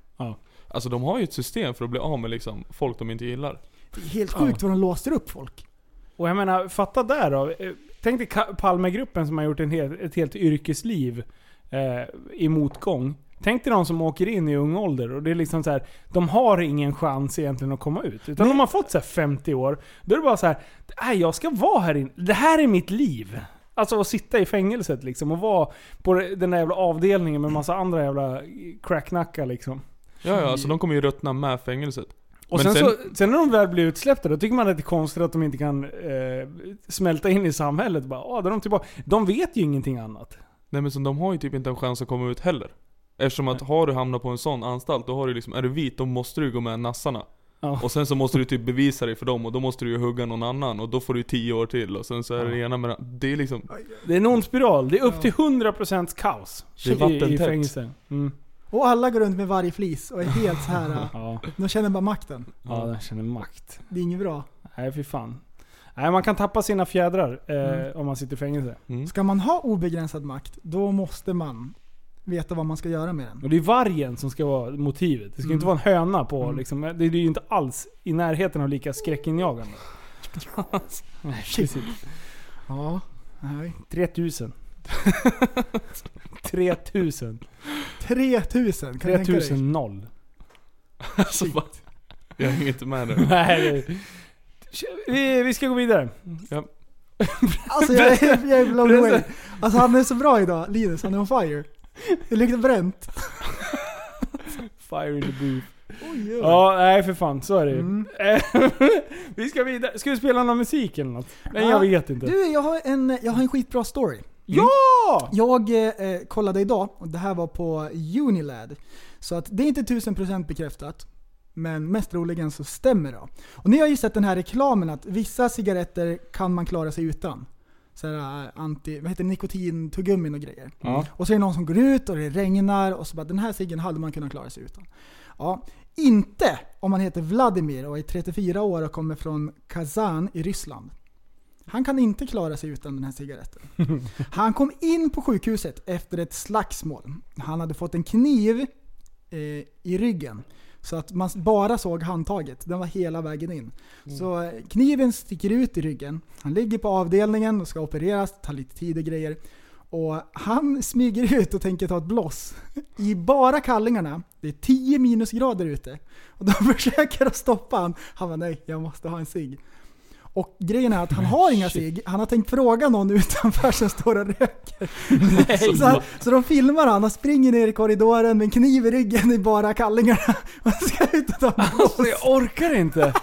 Alltså de har ju ett system för att bli av med liksom folk de inte gillar.
Det är helt sjukt vad de låser upp folk.
Och jag menar, fatta där då. Eh, Tänk dig Ka- Palmegruppen som har gjort en hel, ett helt yrkesliv eh, i motgång. Tänk dig de som åker in i ung ålder och det är liksom så här, de har ingen chans egentligen att komma ut. Utan de har fått så här 50 år, då är det bara så här, nej jag ska vara här inne. Det här är mitt liv. Alltså att sitta i fängelset liksom och vara på den där jävla avdelningen med massa andra jävla cracknackar liksom.
Ja, ja, alltså de kommer ju ruttna med fängelset.
Och
Men
sen,
sen-
så, sen när de väl blir utsläppta, då tycker man att det är konstigt att de inte kan eh, smälta in i samhället. Bara, ah, då är de, tillbaka. de vet ju ingenting annat.
Nej men så de har ju typ inte en chans att komma ut heller. Eftersom att har du hamnat på en sån anstalt, då har du liksom, är du vit, då måste du gå med nassarna.
Ja.
Och sen så måste du typ bevisa dig för dem och då måste du ju hugga någon annan och då får du tio år till och sen så är det ena med den- Det är liksom,
Det är en ond spiral. Det är upp till 100% kaos
Det är
i, i
vattentätt.
fängelse. Mm.
Och alla går runt med varje flis och är helt så här.
Ja,
de känner bara makten.
ja, den känner makt.
Det är inget bra.
Nej fy fan. Nej, man kan tappa sina fjädrar eh, om man sitter i fängelse.
Ska man ha obegränsad makt, då måste man veta vad man ska göra med den.
Och det är vargen som ska vara motivet. Det ska ju inte vara en höna på liksom. Det det är ju inte alls i närheten av lika skräckinjagande. Nej, precis.
Ja, nej.
3000. 3000.
3000, kan du tänka dig?
3000 noll.
alltså va? Jag hänger inte med där.
Nej. Vi, vi ska gå vidare.
Alltså jag är, jag är blown away. Alltså han är så bra idag, Linus. Han är on fire. Det luktar bränt.
Fire in the booth.
Oj, oj.
Ja, nej för fan. Så är det ju.
Mm.
Vi ska vidare. Ska vi spela någon musik eller något? Nej jag
Ja.
vet inte. Mm.
Du, jag har, en, jag har en skitbra story.
Ja!
Jag eh, kollade idag, och det här var på Unilad. Så att det är inte 1000% bekräftat. Men mest troligen så stämmer det. Och ni har ju sett den här reklamen att vissa cigaretter kan man klara sig utan. Så här, eh, anti, vad heter det, nikotintuggummin och grejer.
Ja.
Och så är det någon som går ut och det regnar och så bara den här ciggen hade man kunnat klara sig utan. Ja, inte om man heter Vladimir och är 34 år och kommer från Kazan i Ryssland. Han kan inte klara sig utan den här cigaretten. Han kom in på sjukhuset efter ett slagsmål. Han hade fått en kniv eh, i ryggen. Så att man bara såg handtaget. Den var hela vägen in. Så eh, kniven sticker ut i ryggen. Han ligger på avdelningen och ska opereras. Det tar lite tid och grejer. Och han smyger ut och tänker ta ett bloss. I bara kallingarna. Det är 10 minusgrader ute. Och de försöker att stoppa han. Han bara nej, jag måste ha en cigg. Och grejen är att han har inga cigg. Han har tänkt fråga någon utanför som står och röker. Så, han, så de filmar han. Han springer ner i korridoren med en kniv i ryggen i bara kallingarna. Han ska ut och ta en bloss.
Alltså jag orkar inte.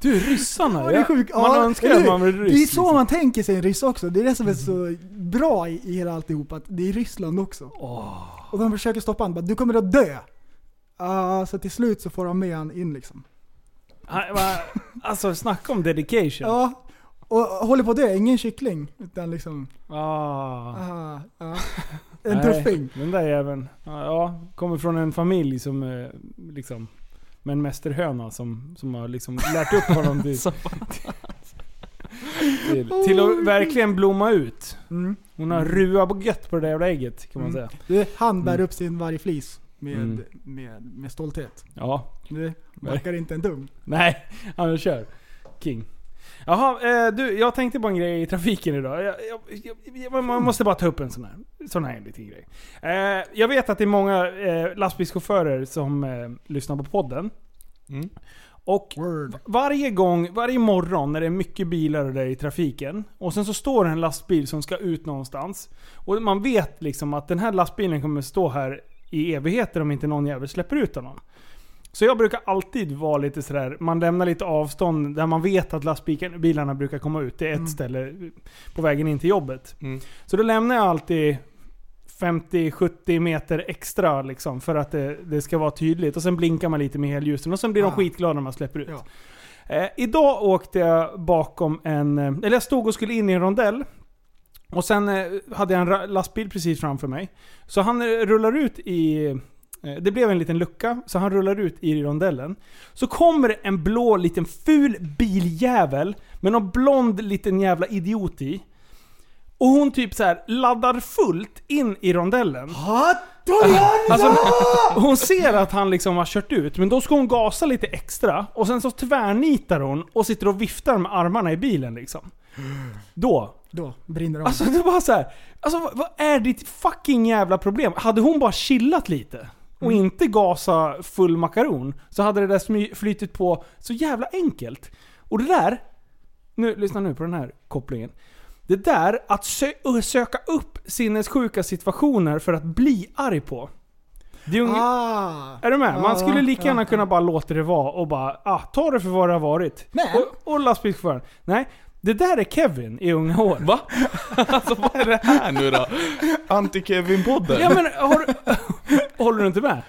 Du ryssarna.
Ja, det är
jag-
sjukt.
Man
Ja,
önskar
eller
att
hur?
man var ryss.
Det är så
liksom.
man tänker sig en ryss också. Det är det som är så bra i, i hela alltihop, att det är Ryssland också. Och de försöker stoppa honom. Bara, Du kommer att dö! Ah, så till slut så får de med han in liksom.
Han- va- Alltså snacka om dedication.
Ja. Och håller på att dö, ingen kyckling. Utan liksom,
Ah.
ah, ah. En
Nej,
tuffing.
Den där jäveln. Ja, Ja, kommer från en familj som eh, liksom... Med en mästerhöna som, som har liksom lärt upp honom till... till. Till att verkligen blomma ut.
Mm.
Hon har ruat på gött på det där jävla ägget kan man
Mm.
säga.
Det- Han bär
Mm.
upp sin vargflis med,
Mm.
med, med stolthet.
Ja.
Det backar inte en dum.
Nej, han kör. King. Jaha, eh, du, jag tänkte på en grej i trafiken idag. Jag, jag, jag, jag, man måste bara ta upp en sån här, sån här liten grej. Eh, jag vet att det är många eh, lastbilschaufförer som eh, lyssnar på podden.
Mm.
Och
Word.
varje gång, varje morgon när det är mycket bilar och det är i trafiken. Och sen så står det en lastbil som ska ut någonstans. Och man vet liksom att den här lastbilen kommer stå här i evigheter om inte någon jävel släpper ut honom. Så jag brukar alltid vara lite sådär, man lämnar lite avstånd där man vet att lastbilarna brukar komma ut. Det är ett
Mm.
ställe på vägen in till jobbet.
Mm.
Så då lämnar jag alltid 50-70 meter extra liksom för att det, det ska vara tydligt. Och sen blinkar man lite med helljusen och sen blir de
Ah.
skitglada när man släpper ut.
Ja.
Eh, idag åkte jag bakom en... eh, Eller jag stod och skulle in i en rondell. Och sen eh, hade jag en ra- lastbil precis framför mig. Så han eh, rullar ut i... eh, Det blev en liten lucka, så han rullar ut i rondellen. Så kommer det en blå liten ful biljävel med någon blond liten jävla idiot i. Och hon typ så här laddar fullt in i rondellen. Alltså, hon ser att han liksom har kört ut, men då ska hon gasa lite extra. Och sen så tvärnitar hon och sitter och viftar med armarna i bilen liksom. Då.
Då brinner de.
Alltså det var så här. Alltså vad, vad är ditt fucking jävla problem? Hade hon bara chillat lite och inte gasa full makaron så hade det där smy- flytit på så jävla enkelt. Och det där. Nu, lyssna nu på den här kopplingen. Det där att sö- ö- söka upp sinnessjuka situationer för att bli arg på. Det är unge-
ah.
är du med? Man
Ja,
skulle lika
ja,
gärna
ja.
kunna bara låta det vara och bara ah, ta det för vad det har varit.
Nej.
Och, och lastbilschauffören. Nej, det där är Kevin i unga år. Va?
Alltså vad är det här nu då? Anti-Kevin-podden?
Ja men har, håller du inte med?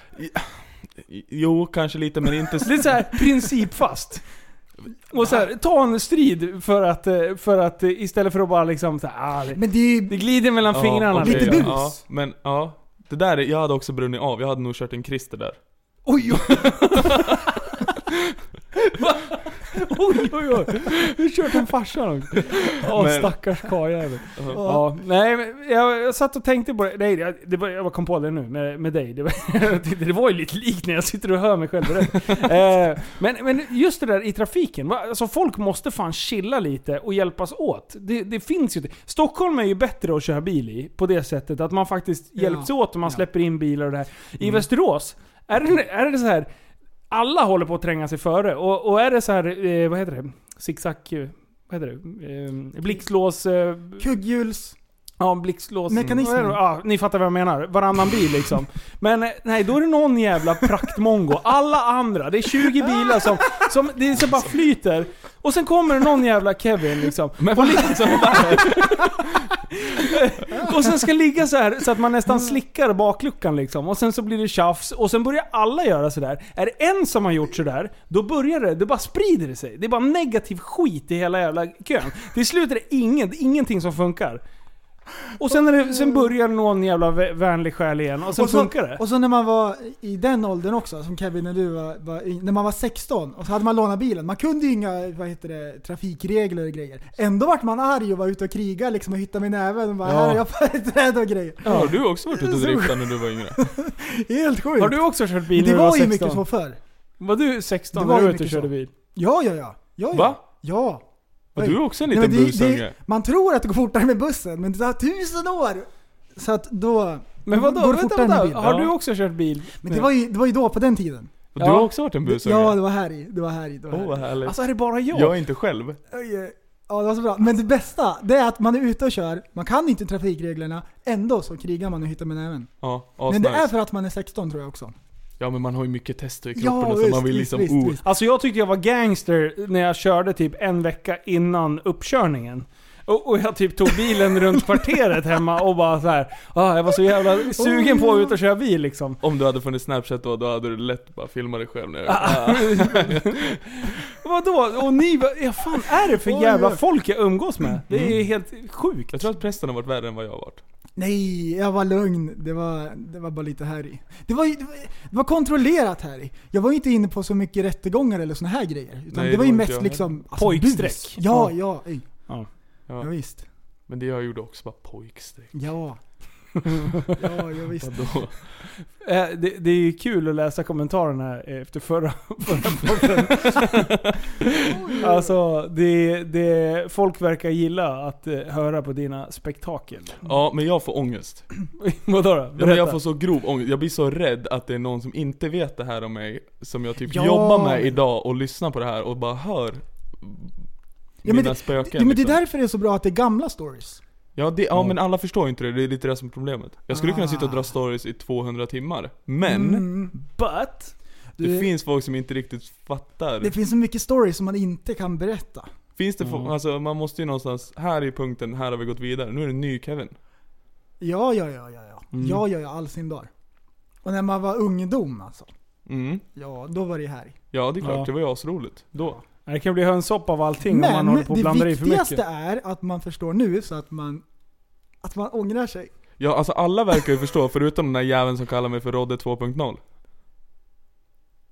Jo, kanske lite men inte... s-
Det är så här principfast. Och så här, ta en strid för att, eh, för att eh, istället för att bara liksom så här, ah, det,
Men det är ju...
det glider mellan fingrarna.
okej,
lite
ja,
bus.
Ja, men ja. Det där, är- jag hade också brunnit av. Jag hade nog kört en Christer där.
Oj, oj. Va? oj, oj, oj. Du har kört en farsa någon Åh,
Men-
stackars karljävel. Ja, nej, men jag, jag satt och tänkte på det. Nej, jag, det var, jag kom på det nu med, med dig. Det var, jag tyckte det var ju lite likt när jag sitter och hör mig själv berätta. eh, men, men just det där i trafiken. Va? Alltså, folk måste fan chilla lite och hjälpas åt. Det, det finns ju inte. Stockholm är ju bättre att köra bil i på det sättet att man faktiskt
Ja.
hjälps åt och man
Ja.
släpper in bilar och det här. I Västerås, är det, är det så här alla håller på att tränga sig före. Och, och är det så här, eh, vad heter det? Zigzag... eh, Vad heter det? Eh, blixtlås... Eh,
Kugghjuls...
ja, blixtlås...
Mekanismen.
Mm. Ja, ni fattar vad jag menar. Varannan bil liksom. Men eh, nej, då är det någon jävla praktmongo. Alla andra, det är 20 bilar som... som det är så bara flyter. Och sen kommer det någon jävla Kevin liksom.
Men vad liksom,
Och sen ska ligga så här så att man nästan
Mm.
slickar bakluckan liksom. Och sen så blir det tjafs. Och sen börjar alla göra sådär. Är det en som har gjort sådär, då börjar det, det bara sprider det sig. Det är bara negativ skit i hela jävla kön. Till slut är det inget, ingenting som funkar. Och sen, är det, sen börjar någon jävla vä- vänlig själ igen och sen
och så,
funkar det.
Och så när man var i den åldern också, som Kevin när du var, var i- när man var 16 och så hade man lånat bilen. Man kunde ju inga vad heter det, trafikregler och grejer. Ändå vart man arg och var ute och kriga liksom och hittade med näven och bara
Ja.
här har jag företräde och grejer.
har du också varit ute och driftat när du var yngre?
Helt sjukt.
Har du också kört bil
Men det
när du
var ju
16?
mycket så förr.
Var du 16
Det
när
var
du
ju
var ute och
mycket
körde
så.
bil?
Ja, ja, ja. ja, ja.
Va?
Ja.
Var
Oj.
du också en
Nej,
liten
men det,
busunge?
det, man tror att det går fortare med bussen, men det tar tusen år! Så att då...
Men vadå?
går det
Vänta,
fortare med
vänta.
bilen?
Har du
Ja.
också kört bil?
Men det var, ju, det var ju då, på den tiden.
Och
Ja.
Du har också varit en busunge?
Ja, det var här i. Det var här i. Det var
Åh
här i.
vad härligt.
Alltså är det bara jag?
jag är inte själv.
Oj, eh, Ja, det var så bra. Men det bästa, det är att man är ute och kör, man kan inte trafikreglerna, ändå så krigar man och hittar med näven.
Ja,
Men det
asnice.
är för att man är 16 tror jag också.
Ja men man har ju mycket tester i
Ja,
kroppen och så
visst,
man vill
visst,
liksom
visst,
oh.
visst.
Alltså jag tyckte jag var gangster när jag körde typ en vecka innan uppkörningen. Och, och jag typ tog bilen runt kvarteret hemma och bara så här. Ah, jag var så jävla sugen på att ut och köra bil liksom.
Om du hade funnits snapchat då, då hade du lätt bara filmat dig själv när
Ah,
jag
Vadå? Och ni, vad ja, fan är det för
Oj,
jävla
oj.
folk jag umgås med? Det är ju helt sjukt.
Mm. Jag tror att prästen har varit värre än vad jag har varit.
Nej, jag var lugn. Det var, det var bara lite här i. Det var, ju- det var, det var kontrollerat här i. Jag var ju inte inne på så mycket rättegångar eller såna här grejer. Utan
Nej,
det var ju
det var inte
mest
jag
liksom...
Pojkstreck.
bus. Ja, ja.
Ja.
ej.
Ja.
Ja,
Ja.
visst.
Men det jag gjorde också var pojkstreck.
Ja. ja, ja visst.
Vadå?
Eh, det, det är ju kul att läsa kommentarerna efter förra, förra podden. alltså, det, det, folk verkar gilla att eh, höra på dina spektakel.
Ja, men jag får ångest.
Vadå då?
Ja, men jag
Berätta.
får så grov ångest. Jag blir så rädd att det är någon som inte vet det här om mig, som jag typ
Ja.
jobbar med idag och lyssnar på det här och bara hör
Ja,
mina
men det,
spöken.
det, men det är
liksom.
därför det är så bra att det är gamla stories.
Ja, det, ja men alla förstår ju inte det, det är lite det som är problemet. Jag skulle kunna sitta och dra stories i 200 timmar, men
Mm.
But,
det
Du-
finns folk som inte riktigt fattar.
Typ.
Det finns så mycket stories som man inte kan berätta.
finns det folk, alltså man måste ju någonstans, här är punkten, här har vi gått vidare, nu är det en ny Kevin.
Ja, ja, ja, ja, ja.
Mm.
Ja, ja, ja, all sin dag. Och när man var ungdom alltså.
Mm.
Ja, då var det här.
Ja det är klart,
Ja.
det var ju asroligt. Då.
det kan bli hönsopp av allting om man
Men
håller på och blandar
det
i för mycket.
viktigaste är att man förstår nu så att man, att man ångrar sig.
Ja alltså alla verkar ju förstå, förutom den där jäveln som kallar mig för Rodde 2.0.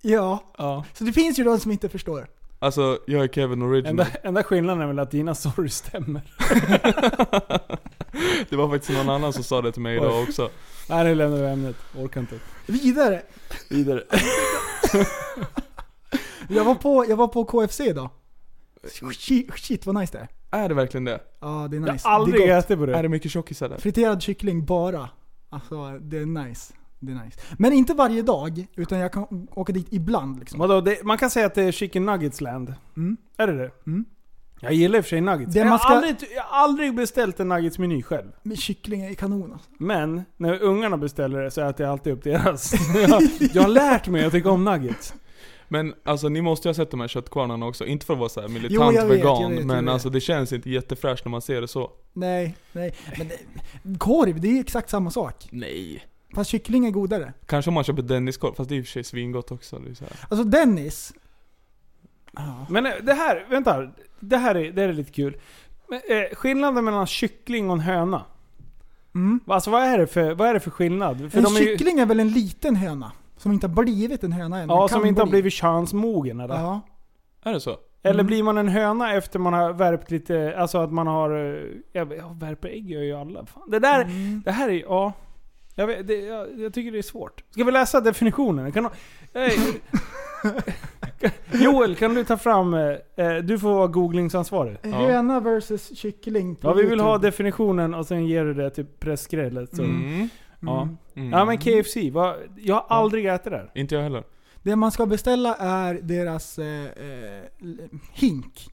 Ja,
Ja.
så det finns ju de som inte förstår.
Alltså, jag är Kevin
Enda,
Original.
enda skillnaden är väl att dina stories stämmer.
det var faktiskt någon annan som sa det till mig idag också.
Nej, nu lämnar vi ämnet. Orkar inte.
Vidare.
Vidare.
Jag var på, jag var på KFC idag. Shit, shit vad nice det är.
Är det verkligen det?
Ja, det är
Jag
nice.
har aldrig
det är gott.
ätit på det.
Är det mycket tjockisar där?
Friterad kyckling bara. Alltså, det är nice. Det är nice. Men inte varje dag, utan jag kan åka dit ibland liksom.
Vadå, det, man kan säga att det är chicken nuggets land.
Mm.
Är det det?
Mm.
Jag gillar i och för sig nuggets.
Det
jag,
man ska-
har aldrig, jag har aldrig beställt en nuggetsmeny själv.
Men kyckling är kanon alltså.
Men när ungarna beställer det så äter jag alltid upp deras. jag, jag har lärt mig att tycka om nuggets.
Men alltså ni måste ju ha sett de här köttkvarnarna också, inte för att vara så här militant
Jo, jag vet,
vegan,
jag vet, jag
men
vet.
alltså det känns inte jättefräscht när man ser det så.
Nej, nej. Men det, korv, det är exakt samma sak.
Nej.
Fast kyckling är godare.
Kanske om man köper Dennis-korv, fast det är i och för sig svingott också. Det är så här.
Alltså Dennis.
Men eh, det här, vänta. Det här är, det här är lite kul. Men, eh, skillnaden mellan kyckling och en höna.
Mm.
Alltså vad är det för, vad är det för skillnad? För
en
de är ju-
kyckling är väl en liten höna? Som inte har blivit en höna än. men
Ja,
kan
som inte har
bli.
blivit könsmogen eller?
Ja. Mm.
Är det så?
Eller blir man en höna efter man har värpt lite, alltså att man har... eh, Jag, vet- jag värper ägg gör ju alla. Fan. Det där,
Mm.
det här är ja. Jag, vet, det, jag, jag tycker det är svårt. Ska vi läsa definitionen? Kan, nå- eh, Joel, kan du ta fram... eh, eh, Du får vara googlingsansvarig.
En Höna versus kyckling på
Ja, vi vill ha
YouTube.
definitionen och sen ger du det till pressgrället. Så.
Mm.
Ja.
Mm.
ja men KFC, vad, jag har aldrig ätit där.
Inte jag heller.
Det man ska beställa är deras eh, eh, l- hink.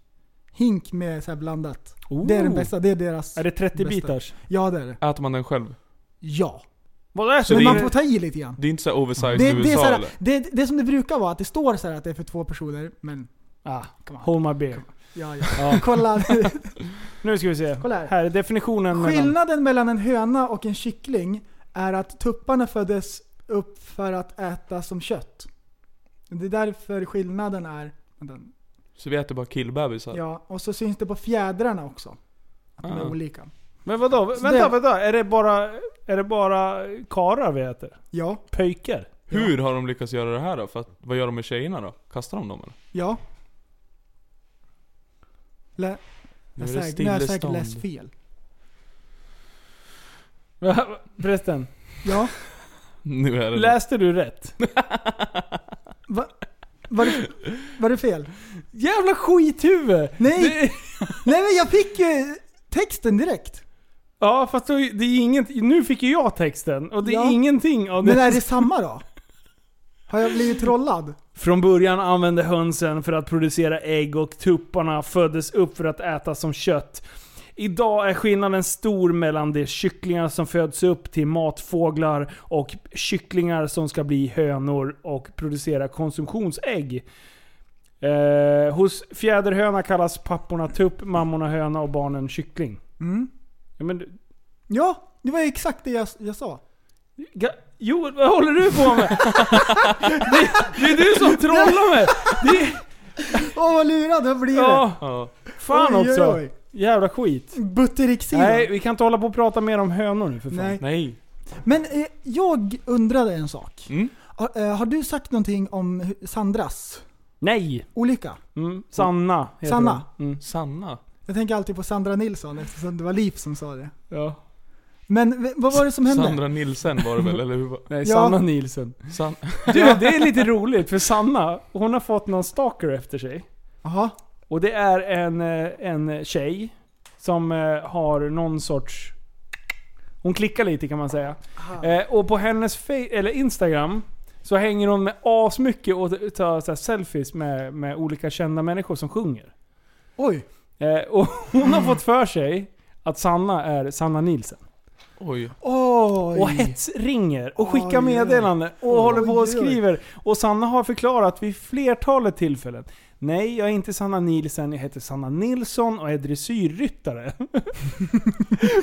Hink med så här blandat. Det är den bästa, det är deras...
Oh. Är det 30
bästa.
bitars?
Ja det är det.
Äter man den själv?
Ja.
Vad är
Så
Men
det är-
man får ta i lite grann.
Det är inte så här oversized
Det,
USA
det, är så här,
eller?
det, det är som det brukar vara, att det står så här att det är för två personer, men...
Ah,
Come on.
hold my beer.
Ja, ja. Kolla.
Nu ska vi se.
Kolla här.
här. är definitionen mellan...
Skillnaden mellan en höna och en kyckling är att tupparna föddes upp för att äta som kött. Det är därför skillnaden är... vänta,
Så vi äter bara killbebisar?
Ja, och så syns det på fjädrarna också. Att de är
Ah.
olika.
Men vadå?
Så
vänta,
det-
vänta. Är det bara, är det bara karar vi äter?
Ja,
Pöjkar?
Hur har de lyckats göra det här då? För att, vad gör de med tjejerna då? Kastar de dem eller?
ja. Lä-
Nu
jag
är det
säkert- nu har jag säkert
stillestånd.
läst fel.
Förresten,
Ja.
Nu är det
läste du rätt?
Va, var, det, var det fel?
Jävla skithuvud!
Nej!
Det,
Nej men jag fick ju texten direkt.
ja, fast då, det är inget, nu fick ju jag texten och det är
Ja.
ingenting av det.
Men är det samma då? Har jag blivit trollad?
Från början använde hönsen för att producera ägg och tupparna föddes upp för att ätas som kött. Idag är skillnaden stor mellan de kycklingar som föds upp till matfåglar och kycklingar som ska bli hönor och producera konsumtionsägg. Eh, hos fjäderhöna kallas papporna tupp, mammorna höna och barnen kyckling.
Mm.
Ja, men, du-
Ja, det var ju exakt det jag, jag sa.
Ga- Joel, vad håller du på med? Det, det är du som trollar mig! Det,
Åh vad lurad jag blev.
ja,
Ja.
fan
Oj, oj,
också!
oj.
Jävla skit.
Butteriksidan.
Nej, vi kan inte hålla på och prata mer om hönor nu för fan.
Nej.
Nej.
Men eh, jag undrade en sak.
Mm.
Har, eh, har du sagt någonting om hu- Sandras
Nej.
olycka?
Mm. Sanna heter
Sanna.
hon. Mm.
Sanna?
Jag tänker alltid på Sandra Nilsson eftersom det var Liv som sa det.
Ja.
Men v- vad var det som hände?
Sandra Nilsen var det väl, eller hur var
Nej,
Ja.
Sanna Nielsen.
San...
Du, det är lite roligt för Sanna, hon har fått någon stalker efter sig.
Jaha.
Och det är en, eh, en tjej som eh, har någon sorts... Hon klickar lite kan man säga. Eh, och på hennes fe- eller Instagram så hänger hon med asmycket och tar så här selfies med, med olika kända människor som sjunger.
Oj.
Eh, och hon har fått för sig att Sanna är Sanna Nielsen.
Oj.
Oj.
Och hetsringer och skickar
Oj, oj.
meddelanden och håller på och
Oj, oj.
skriver. Och Sanna har förklarat vid flertalet tillfällen. Nej, jag är inte Sanna Nilsen, jag heter Sanna Nilsson och är dressyrryttare.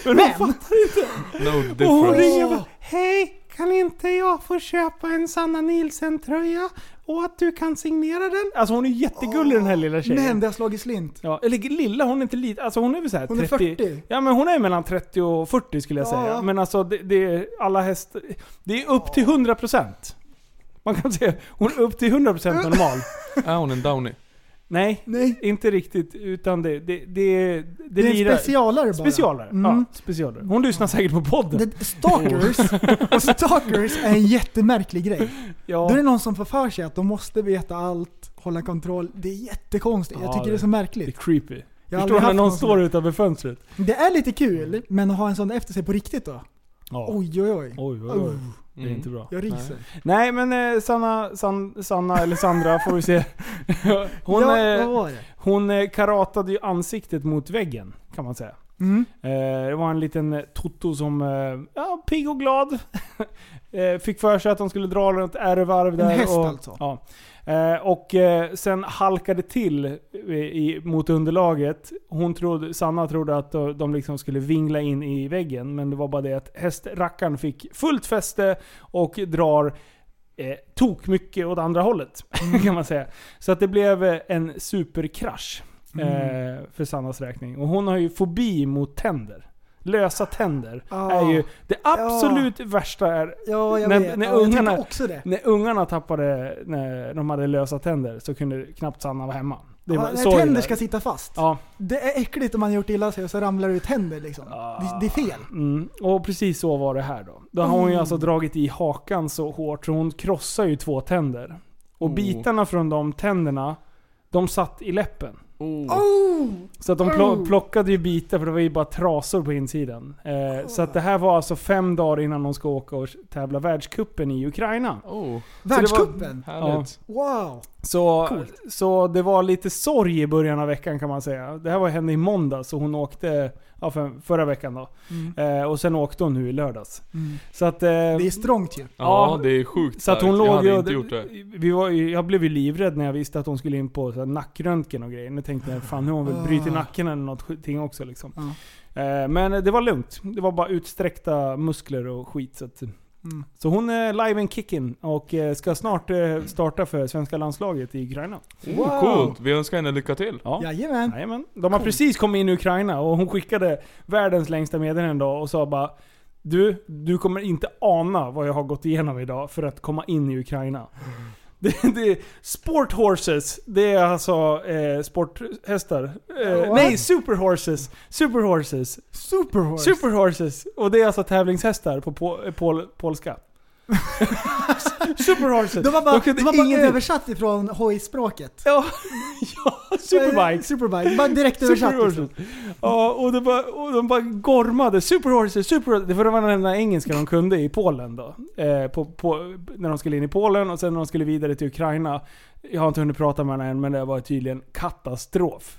Men hon fattar inte.
No
Och hon
difference.
ringer och bara, Hej, kan inte jag få köpa en Sanna Nilsen-tröja? Och att du kan signera den? Alltså hon är jättegullig den här lilla tjejen.
Men det har slagit slint.
Ja, eller lilla, hon är inte liten. Alltså hon är väl såhär
Hon är
30.
40.
Ja men hon är mellan 30 och 40 skulle jag
Ja.
säga. Men alltså det, det är alla hästar. Det är upp till 100%. Man kan säga hon är upp till 100% normal.
Är Ah, hon en downy?
Nej,
Nej.
inte riktigt. Utan det... Det, det, det,
Det är en
lirar-
specialare bara.
Specialare. Ja,
Mm.
specialare. Hon lyssnar säkert på podden.
Det, stalkers, och stalkers är en jättemärklig grej.
ja.
Då är det någon som får för sig att de måste veta allt, hålla kontroll. Det är jättekonstigt. Jag
Ja,
tycker det är
det-
så
det är
märkligt.
creepy.
Jag har
Förstår
aldrig
du när
haft
någon
någon
står
sån.
utanför fönstret?
Det är lite kul, men att ha en sån efter sig på riktigt då?
Ja.
Oj
Oj,
oj oj.
oj, oj.
Oh,
Det är
Mm.
inte bra.
jag ryser.
Nej men eh, Sanna, San, Sanna eller Sandra får vi se. Hon,
ja,
eh,
vad var det?
Hon eh, karatade ju ansiktet mot väggen, kan man säga.
Mm.
Eh, Det var en liten eh, Toto som, eh, ja, pigg och glad. Eh, Fick för sig att de skulle dra runt ärevarv där.
häst
och,
alltså.
Ja. Eh, Och eh, sen halkade till i- i, mot underlaget. Hon trodde, Sanna trodde att eh, de liksom skulle vingla in i väggen. Men det var bara det att hästrackaren fick fullt fäste och drar eh, tok mycket åt andra hållet.
Mm.
kan man säga. Så att det blev eh, en superkrasch
Mm.
eh, för Sannas räkning. Och hon har ju fobi mot tänder. Lösa tänder
Ja.
är ju det absolut värsta är
Ja, jag
När-
vet.
när
ja, jag
ungarna-
tycker också det.
när ungarna tappade, när de hade lösa tänder så kunde knappt Sanna vara hemma. Det var,
ja,
så
när tänder
illa.
ska sitta fast.
Ja,
Det är äckligt om man har gjort illa sig och så ramlar det ut tänder liksom.
Ah.
Det, det är fel.
mm. och precis så var det här då. Då har hon ju alltså
Mm.
dragit i hakan så hårt så hon krossar ju två tänder. Och
Oh.
bitarna från de tänderna, de satt i läppen.
Oh.
Så att de plo-
Oh.
plockade ju bitar för det var ju bara trasor på insidan. Eh, så att det här var alltså fem dagar innan de ska åka och tävla världskuppen i Ukraina.
Oh.
Världscupen?
Härligt.
Wow!
Så, så det var lite sorg i början av veckan kan man säga. Det här var hände i måndag så hon åkte ja, för, förra veckan då. Eh, och sen åkte hon nu i lördags. Så att, eh,
Det är strångt ju.
Ja,
Ja.
det är sjukt
så att hon
starkt. Jag
låg
hade
ju...
inte gjort det.
Vi var, ju- jag blev ju livrädd när jag visste att hon skulle in på så här, nackröntgen och grejer. Nu tänkte jag fan nu har hon väl brutit nacken eller någonting också liksom. Eh, men det var lugnt. Det var bara utsträckta muskler och skit. Så, att,
Mm.
så hon är live and kicking och eh, ska snart eh, starta för svenska landslaget i Ukraina.
Oh, coolt. Vi önskar henne lycka till.
Ja.
Jajamän.
Jajamän. De har precis kommit in i Ukraina och hon skickade världens längsta meddelande en dag och sa bara Du, du kommer inte ana vad jag har gått igenom idag för att komma in i Ukraina. Det, det är sport horses, det är alltså eh, sporthästar. Eh,
What?
nej, super horses. Super horses.
Superhorse.
Super horses. Och det är alltså tävlingshästar på, på, pol, polska. super horses.
De har bara, de
kunde
har bara
ingenting.
översatt ifrån hojspråket. Eh,
Ja, ja, superbikes.
Superbike. Bara direkt översatt. liksom.
Superhorses. Ja, och, det bara, och de bara gormade. Superhorses, superhorses. Det var den enda engelska de kunde i Polen då. Eh, på, på, när de skulle in i Polen och sen när de skulle vidare till Ukraina. Jag har inte hunnit prata med henne än, men det var tydligen katastrof.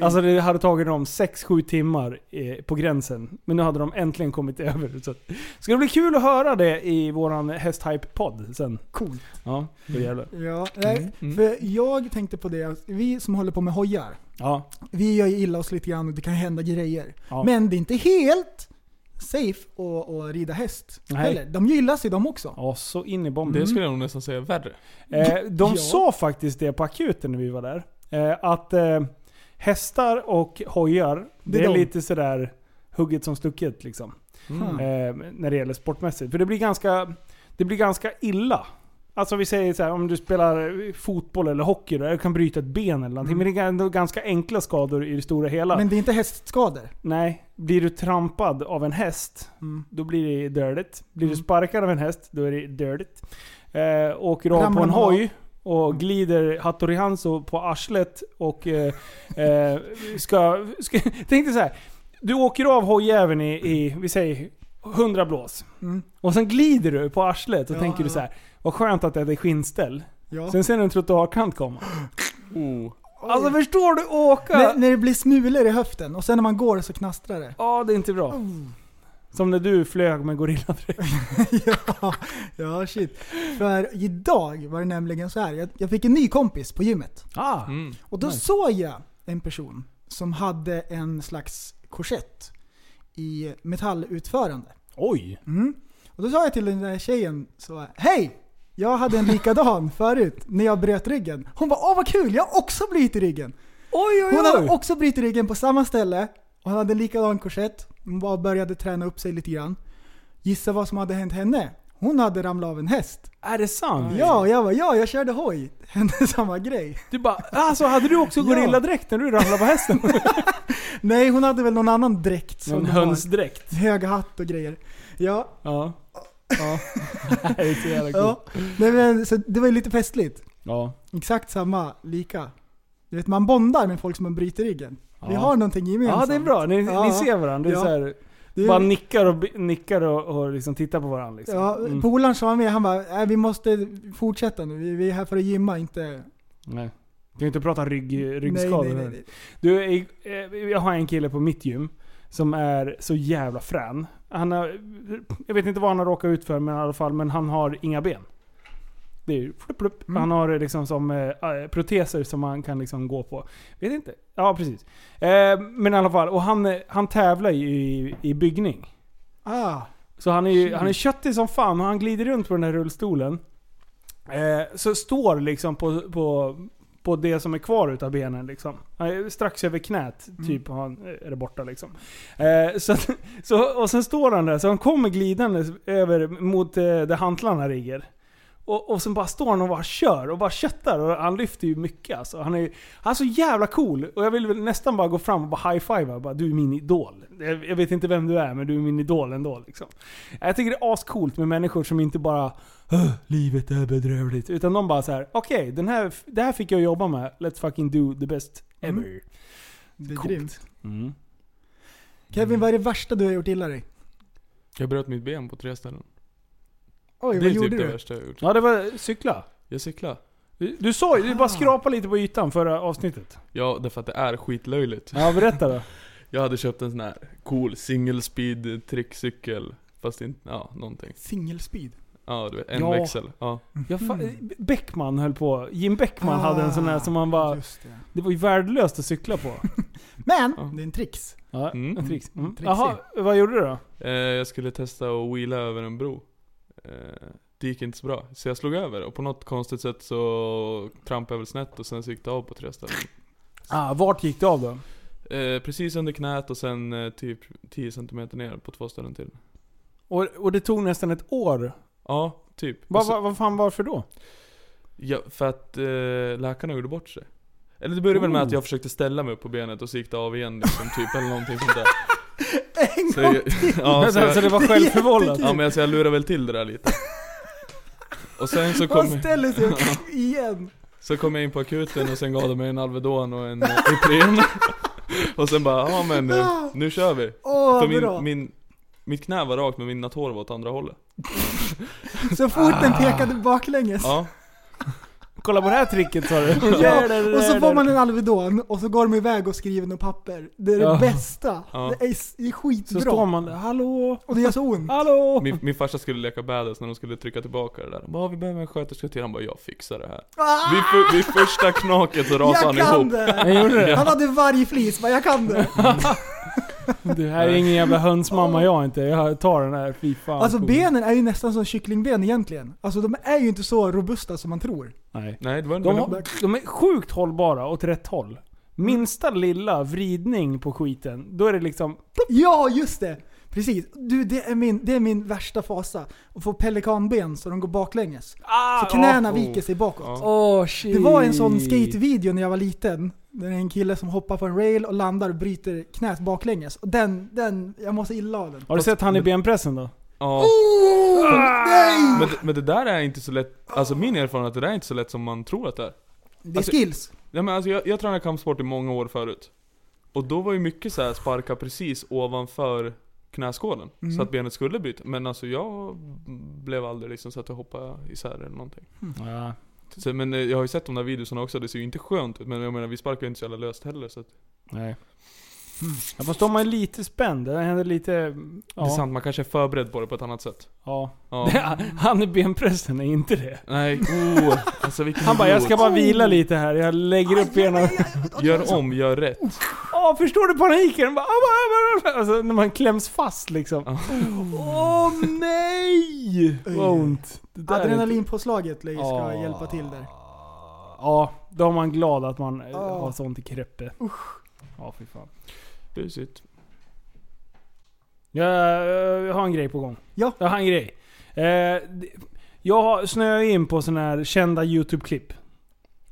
Alltså det hade tagit dem 6-7 timmar eh, på gränsen. Men nu hade de äntligen kommit över. Så att, ska det bli kul att höra det i våran hästhype-podd sen.
Coolt.
Ja, då jävlar.
Ja, nej.
Mm.
För jag tänkte på det, att vi som håller på med hojar,
Ja,
vi gör ju illa oss lite grann och det kan hända grejer.
Ja.
Men det är inte helt safe att, att rida häst
Nej.
heller. De gillas ju de också.
ja så in i bomben.
Det skulle jag nog nästan säga är värre.
Eh, de
Ja.
sa faktiskt det på akuten när vi var där. Eh, att eh, hästar och hojar, det,
Det är
är
de.
lite sådär hugget som stucket liksom.
Mm.
Eh, när det gäller sportmässigt. För det blir ganska, det blir ganska illa. Alltså vi säger så här, om du spelar fotboll eller hockey, då, du kan bryta ett ben eller någonting.
Mm.
Men det är ändå ganska enkla skador i det stora hela.
Men det är inte hästskador.
Nej, blir du trampad av en häst,
Mm.
då blir det dörligt. Blir du
Mm.
sparkad av en häst, då är det dörligt. Eh, åker av på
Ramlar
en
man Mm.
hoj och glider Hattori Hanso på arslet och eh, eh, ska, ska... Tänk dig så här. Du åker av hojjäveln i, i, vi säger, 100 blås.
Mm.
Och sen glider du på arslet och
Ja,
tänker du
ja.
så här. Vad skönt att det är skinnställ.
Ja.
Sen ser du en trottoarkant komma.
Oh.
Alltså förstår du åka?
när, när det blir smulor i höften och sen när man går så knastrar det.
Ja, det är inte bra. Som när du flög med gorilladräkt.
ja, ja, shit. För idag var det nämligen så här. Jag, jag fick en ny kompis på gymmet.
Ah.
Mm.
Och då
Nice.
såg jag en person som hade en slags korsett i metallutförande.
Oj!
Mm. Och då sa jag till den där tjejen så här, Hej! Jag hade en likadan förut när jag bröt ryggen. Hon bara åh vad kul, jag har också brutit ryggen.
Oj, oj,
Hon hade
oj!
också brutit ryggen på samma ställe. Hon hade en likadan korsett. Hon bara började träna upp sig lite grann. Gissa vad som hade hänt henne? Hon hade ramlat av en häst.
Är det sant?
Ja, och jag bara ja, jag körde hoj. Hände samma grej.
Du bara, alltså hade du också
Ja.
gorilladräkt när du ramlade på hästen?
Nej, hon hade väl någon annan dräkt. som
en
hon har.
hönsdräkt.
Hög hatt och grejer. Ja,
Ja. Ja. det är så jävla coolt.
ja. Nej, men, så det var ju lite festligt.
Ja.
Exakt samma, lika. Du vet, man bondar med folk som man bryter ryggen. Vi
Ja.
har någonting gemensamt.
Ja, det är bra. Ni,
Ja.
ni ser varandra. Det är
Ja.
så här,
Det är-
bara nickar och, bi- nickar och, och liksom tittar på varandra. Liksom.
Ja,
Mm.
polaren som var med, han bara "Nej, vi måste fortsätta nu, vi, vi är här för att gymma, inte...
Nej. Du kan ju inte prata rygg,
Nej,
ryggskador.
nej, nej,
här.
nej.
Du, eh, eh, jag har en kille på mitt gym som är så jävla frän. Han har, jag vet inte vad han har råkat ut för men i alla fall, men han har inga ben. Det är ju flupp, flupp.
Mm.
Han har eh, liksom som eh, eh, proteser som man kan liksom gå på. Vet inte. Ja, precis. Eh, men i alla fall, och han, eh, han tävlar ju i, i byggning.
Ah,
Så han är ju han är köttig som fan och han glider runt på den här rullstolen. Eh, så står liksom på, på, på det som är kvar utav benen liksom. Han är strax över knät typ har han, är det borta liksom. Eh, så, att- så, och sen står han där, så han kommer glidandes över mot eh, där hantlarna ligger. Och, och sen bara står han och bara kör och bara köttar och han lyfter ju mycket alltså. Han är, ju- han är så jävla cool och jag vill väl nästan bara gå fram och bara high-fiva. Bara, du är min idol. Jag, jag vet inte vem du är men du är min idol ändå liksom. Jag tycker det är ascoolt med människor som inte bara "Åh, livet är bedrövligt. Utan de bara så här: okej den här, det här fick jag jobba med. Let's fucking do the best ever.
Mm. det är
Coolt.
grymt.
Mm.
Kevin, vad är det värsta du har gjort illa dig?
Jag bröt mitt ben på tre ställen.
Oj,
det
vad
är
gjorde
typ det
du?
värsta jag gjort.
Ja det var cykla.
Jag cyklar.
Du, du sa ju, du
Ah.
bara skrapade lite på ytan förra avsnittet.
Ja, därför att det är skitlöjligt.
Ja berätta då.
Jag hade köpt en sån här cool single speed trickcykel. Fast inte, ja, någonting.
Singelspeed.
Ja, du vet, en
Ja.
växel. Ja.
Jag fa-
Mm.
Beckman höll på. Jim Beckman hade en sån här som man bara...
Just det.
Det var ju värdelöst att cykla på.
Men,
Ja.
det är en trix.
Ja,
Mm.
en trix. Mm.
Trixig.
Jaha, vad gjorde du då?
Eh, jag skulle testa att wheela över en bro. Eh, det gick inte så bra, så jag slog över och på något konstigt sätt så trampade jag väl snett och sen så gick det av på tre ställen.
Ah, vart gick du av då?
Eh, precis under knät och sen eh, typ 10 cm ner på två ställen till.
Och, och det tog nästan ett år.
Ja, typ.
Vad
Och så-
va, vad fan varför då?
Ja, för att eh, läkarna gjorde bort sig. Eller det började väl med
Oh.
att jag försökte ställa mig upp på benet och så gick det av igen liksom, typ eller någonting sånt där.
En
Så
gång!
jag, ja, så
så,
jag,
det var självförvållat?
ja men alltså, jag lurade väl till det där lite. Och sen så kom...
Han ställer sig upp igen.
Så kom jag in på akuten och sen gav de mig en Alvedon och en eh, Ipren. och sen bara, ja men eh, nu kör vi.
Åh,
För
Ah, vad bra.
min, min, mitt knä var rakt men min nattår var åt andra hållet.
Så
Ah.
foten pekade baklänges.
Ja,
Kolla på det här tricket sa du.
Ja, och så får man en Alvedon och så går de iväg och skriver något papper. Det är det
Ja.
bästa.
Ja.
Det är, s- det är
Så står
skitbra.
man Ah. där, hallå?
Och det gör så ont.
Hallå?
min, min farsa skulle leka badass när de skulle trycka tillbaka det där. De bara, "Ja, vi behöver en sköterska till. Han bara, jag fixar det här.
Ah!
Vid, för, vid första knaket så rasade
Jag
han ihop.
kan det!
Jag gjorde det.
Han hade varje flis, bara jag kan det.
Det här är ingen jävla hönsmamma jag inte. Jag tar den här, fy fan.
Alltså
cool.
benen är ju nästan som kycklingben egentligen. Alltså de är ju inte så robusta som man tror.
Nej.
Nej, det var inte
De,
de...
har, de är sjukt hållbara åt rätt håll. Minsta lilla vridning på skiten, då är det liksom...
Ja, just det! Precis. Du, det är min, det är min värsta fasa. Att få pelikanben så de går baklänges.
Ah,
Så knäna
ja.
viker sig bakåt.
Ja.
Åh, shit.
Det var en sån skatevideo när jag var liten. Där det är en kille som hoppar på en rail och landar och bryter knät baklänges. Och den, den, jag måste illa av den.
Har du sett han i benpressen då?
Ja.
Nej!
Men, det- men det där är inte så lätt, alltså min erfarenhet, det där är inte så lätt som man tror att det är.
Det är
Alltså-
skills.
Nej, men alltså, jag, jag tränade kampsport i många år förut. Och då var ju mycket så här sparka precis ovanför knäskålen.
Mm.
Så att benet skulle byta. Men alltså jag blev aldrig liksom så att jag hoppade isär eller någonting.
Mm.
Ja.
Så, men eh, jag har ju sett de där videorna också, det ser ju inte skönt ut. Men jag menar vi sparkar ju inte så jävla löst heller så att,
Nej. Ja, fast om man är lite spänd. Det händer lite... Ja.
Det är sant, man kanske är förberedd på det på ett annat sätt.
Ja.
Ja.
Han i benpressen är inte det.
Nej, oh, alltså vilken
Han bara, jag ska
idiot.
bara vila lite här. Jag lägger upp benen.
Gör om, gör rätt.
Åh, förstår du paniken? Bara, ah, ah, ah, ah. Alltså när man kläms fast liksom.
Ja.
Åh nej! Vad ont. Det där är inte-
Adrenalinpåslaget Leif, ska
Ah.
hjälpa till där.
Ja, då är man glad att man eh,
Ja.
har sånt i kreppe. Usch. Ja, fy fan.
Busigt.
Jag, eh, jag har en grej på gång.
Ja.
Jag har en grej. Eh, det- jag har- snöar in på sådana här kända YouTube-klipp.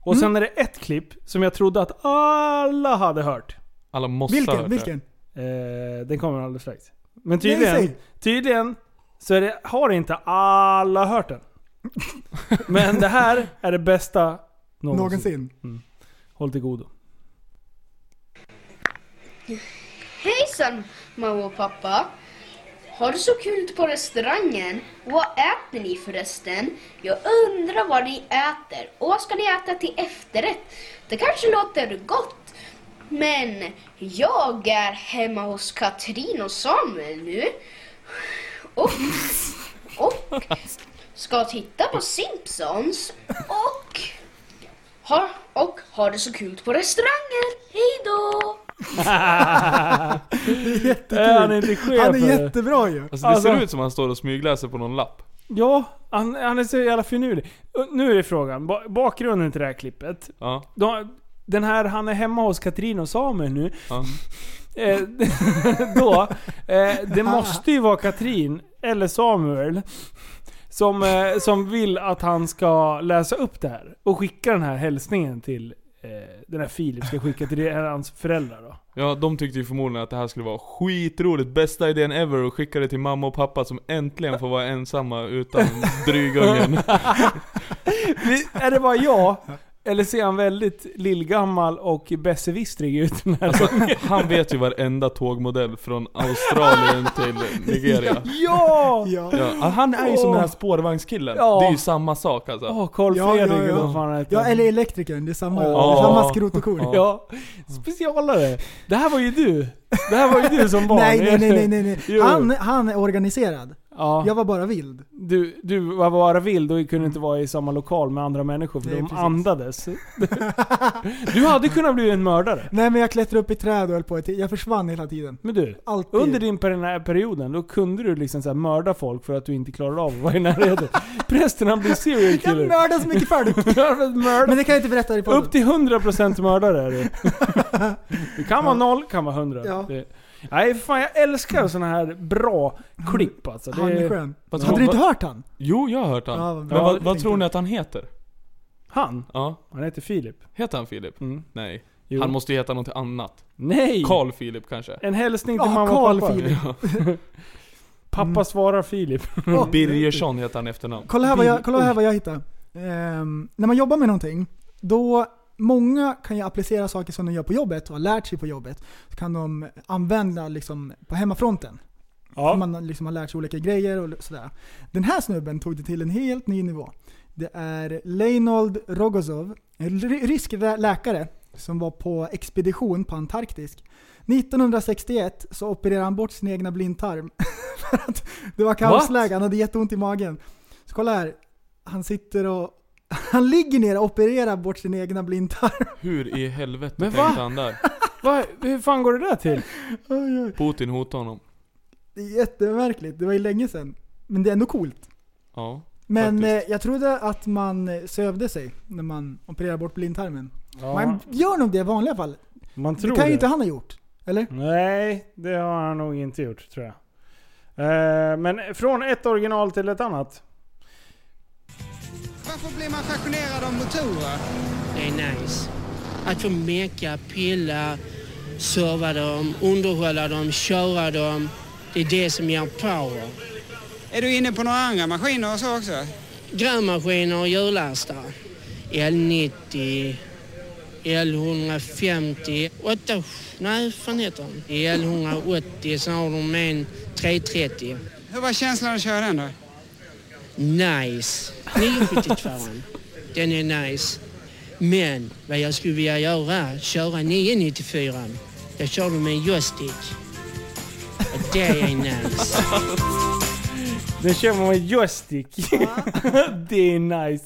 Och
Mm.
sen är det ett klipp som jag trodde att alla hade hört.
Alla måste ha
Vilken?
hört
Vilken?
Eh, den kommer alldeles strax. Men
Nej,
tydligen,
säg.
tydligen så är det, har inte alla hört den. Men det här är det bästa någonsin.
Någonsin.
Håll till godo.
Hejsan mamma och pappa! Har du så kul på restaurangen? Vad äter ni förresten? Jag undrar vad ni äter och vad ska ni äta till efterrätt? Det kanske låter gott, men jag är hemma hos Katrin och Samuel nu och, och ska titta på Simpsons och ha, och ha det så kul på restaurangen. Hej då!
Mm. Är han inte chef
Han är
eller?
jättebra ju.
Alltså det
Alltså-
ser ut som han står och smygläser på någon lapp.
Ja, han, han är så jävla finurlig. Och Nu är frågan, ba- bakgrunden till det här klippet.
Ja.
Då, den här, han är hemma hos Katrin och Samuel nu.
ja.
Eh, då, eh, det måste ju vara Katrin eller Samuel som, eh, som vill att han ska läsa upp det här och skicka den här hälsningen till eh, den här Filip ska skicka till det, eller hans föräldrar då.
Ja, de tyckte ju förmodligen att det här skulle vara skitroligt, bästa idén ever och skickade till mamma och pappa som äntligen får vara ensamma utan drygungen.
Vi- Är det bara jag? Eller ser han väldigt lillgammal och besserwissrig ut? Den här gången?
Alltså, Han vet ju varenda tågmodell från Australien till Nigeria.
ja!
Ja.
Ja, ah, han är ju som den här spårvagnskillen.
Ja.
Det är ju samma sak alltså.
Åh, Carl
Ja,
Fredrik
ja,
eller
ja.
vad fan han heter.
Ja, eller elektrikern. Det är samma, det
Åh.
är samma skrot och korn.
Ja, specialare. Det här var ju du. Det här var ju du som barn.
Nej, nej, nej, nej, nej.
Jo.
nej. Han, han är organiserad.
Ja.
Jag var bara vild.
Du, du var bara vild och kunde inte vara i samma lokal med andra människor för
Mm. Nej,
de
precis.
andades. Du hade kunnat bli en mördare.
Nej men jag klättrade upp i träd och höll på. Jag försvann hela tiden.
Men du,
Alltid.
under din per- den här perioden då kunde du liksom så här mörda folk för att du inte klarade av att vara i närheten. Prästen han blir serial
Jag
killer.
mördade så mycket folk. Men
Mörda.
det kan jag inte berätta i podden.
Upp till 100% mördare är du. Det kan vara noll, kan vara 100.
Ja.
Det, nej fan jag älskar sådana här bra klipp alltså. Det,
Mm. Han är skön.
Fast
Hade du
vad-
inte hört han?
Jo, jag har hört
Ja,
han.
vad bra.
Men vad,
Jag
vad
tänkte-
tror ni att han heter?
Han?
Ja,
Han heter Filip.
heter han Filip?
Mm.
Nej.
Jo.
Han måste ju heta något annat.
Nej!
Carl Filip kanske?
En hälsning till
Ja,
mamma
Carl
och pappa.
Philip. Mm.
Pappa svarar Filip.
Åh,
Birgersson heter han i efternamn.
Kolla här vad jag, kolla här vad jag hittade. Ehm, när man jobbar med någonting, då många kan ju applicera saker som de gör på jobbet och har lärt sig på jobbet. Så kan de använda liksom på hemmafronten. För
Ja.
Man liksom har lärt sig olika grejer och sådär. Den här snubben tog det till en helt ny nivå. Det är Leinold Rogozov, en ry- rysk lä- läkare som var på expedition på Antarktis. 1961 så opererade han bort sin egna blindtarm. för att det var kaosläge, han hade jätteont i magen. Så kolla här, han sitter och... Han ligger ner och opererar bort sin egna blindtarm.
Hur i helvete
Men
tänkte
va?
han där?
Va? Hur fan går det där till?
Oj, oj.
Putin hotade honom.
Det är jättemärkligt, det var ju länge sedan. Men det är ändå coolt.
Ja.
Men eh,
Faktiskt.
jag trodde att man eh, sövde sig när man opererar bort blindtarmen.
Ja,
Man gör nog det i vanliga fall.
man Mm.
det kan ju inte han ha gjort. Eller?
Nej, det har han nog inte gjort tror jag. Eh, men från ett original till ett annat.
Varför blir man fashionerad av motorer?
Det är nice. Att få meka, pilla, serva dem, underhålla dem, köra dem. Det är det som ger power.
Är du inne på några andra maskiner och så också?
Grävmaskiner och hjullastare. L90, L150, 8, nej fan heter den? L180, sen har de en 330.
Hur var känslan att köra den då?
Nice. 972 Den är nice. Men vad jag skulle vilja göra, köra 994 Jag kör den med en joystick. Och det är nice.
Den kör man med joystick. det är nice.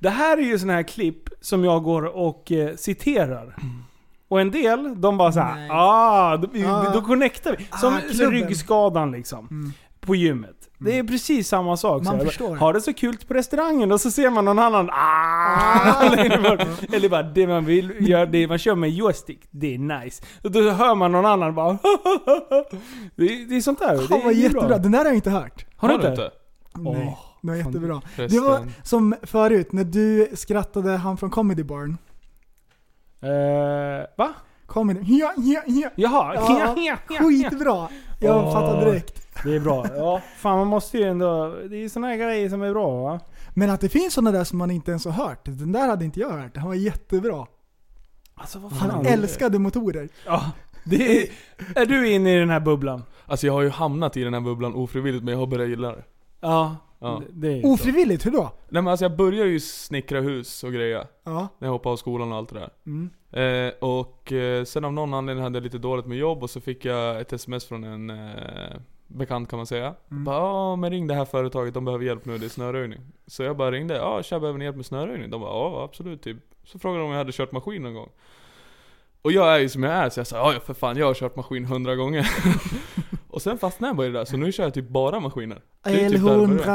Det här är ju såna här klipp som jag går och eh, citerar. Och en del, de bara såhär
Nice.
ah, då, vi-
Ah.
då connectar vi. Som
Ah,
så
klubben.
ryggskadan liksom.
Mm.
På gymmet. Det är precis samma sak.
Man
så här.
förstår.
Har det så kul på restaurangen och så ser man någon annan ah, längre bort. Eller bara det man vill göra, det man kör med joystick, det är nice. Och då hör man någon annan bara det, är- det är sånt där.
Fan
det
Ah, vad
är ju
jättebra,
bra.
den där har jag inte hört.
Har du inte?
Nej,
Åh,
den var
fan.
jättebra. Det
Förresten.
var som förut när du skrattade han från Comedy Barn.
Eh, va?
Comedy, ja, ja, ja.
Jaha.
Ja, Skitbra! Jag
Åh.
fattar direkt.
Det är bra. Ja, fan man måste ju ändå... Det är ju såna här grejer som är bra va?
Men att det finns sådana där som man inte ens har hört. Den där hade inte jag hört. Han var jättebra.
Alltså vad
Han älskade motorer.
Ja, det är, är du inne i den här bubblan?
Alltså jag har ju hamnat i den här bubblan ofrivilligt men jag har börjat gilla det.
Ja.
Ja.
Det är ju så.
Ofrivilligt, hur då?
Nej men alltså jag börjar ju snickra hus och grejer.
Ja.
När jag hoppade av skolan och allt det där.
Mm.
Eh, och eh, sen av någon anledning hade jag lite dåligt med jobb och så fick jag ett sms från en eh, bekant kan man säga.
Mm.
Bara, ja men ring det här företaget, de behöver hjälp nu, det är snöröjning. Så jag bara ringde, ja tja behöver ni hjälp med snöröjning? De bara, ja absolut typ. Så frågade de om jag hade kört maskin någon gång. Och jag är ju som jag är så jag sa, ja ja, för fan jag har kört maskin hundra gånger. och sen fastnade jag bara i det där, så nu kör jag typ bara maskiner. Det är typ där det börjar.
L100,
L180.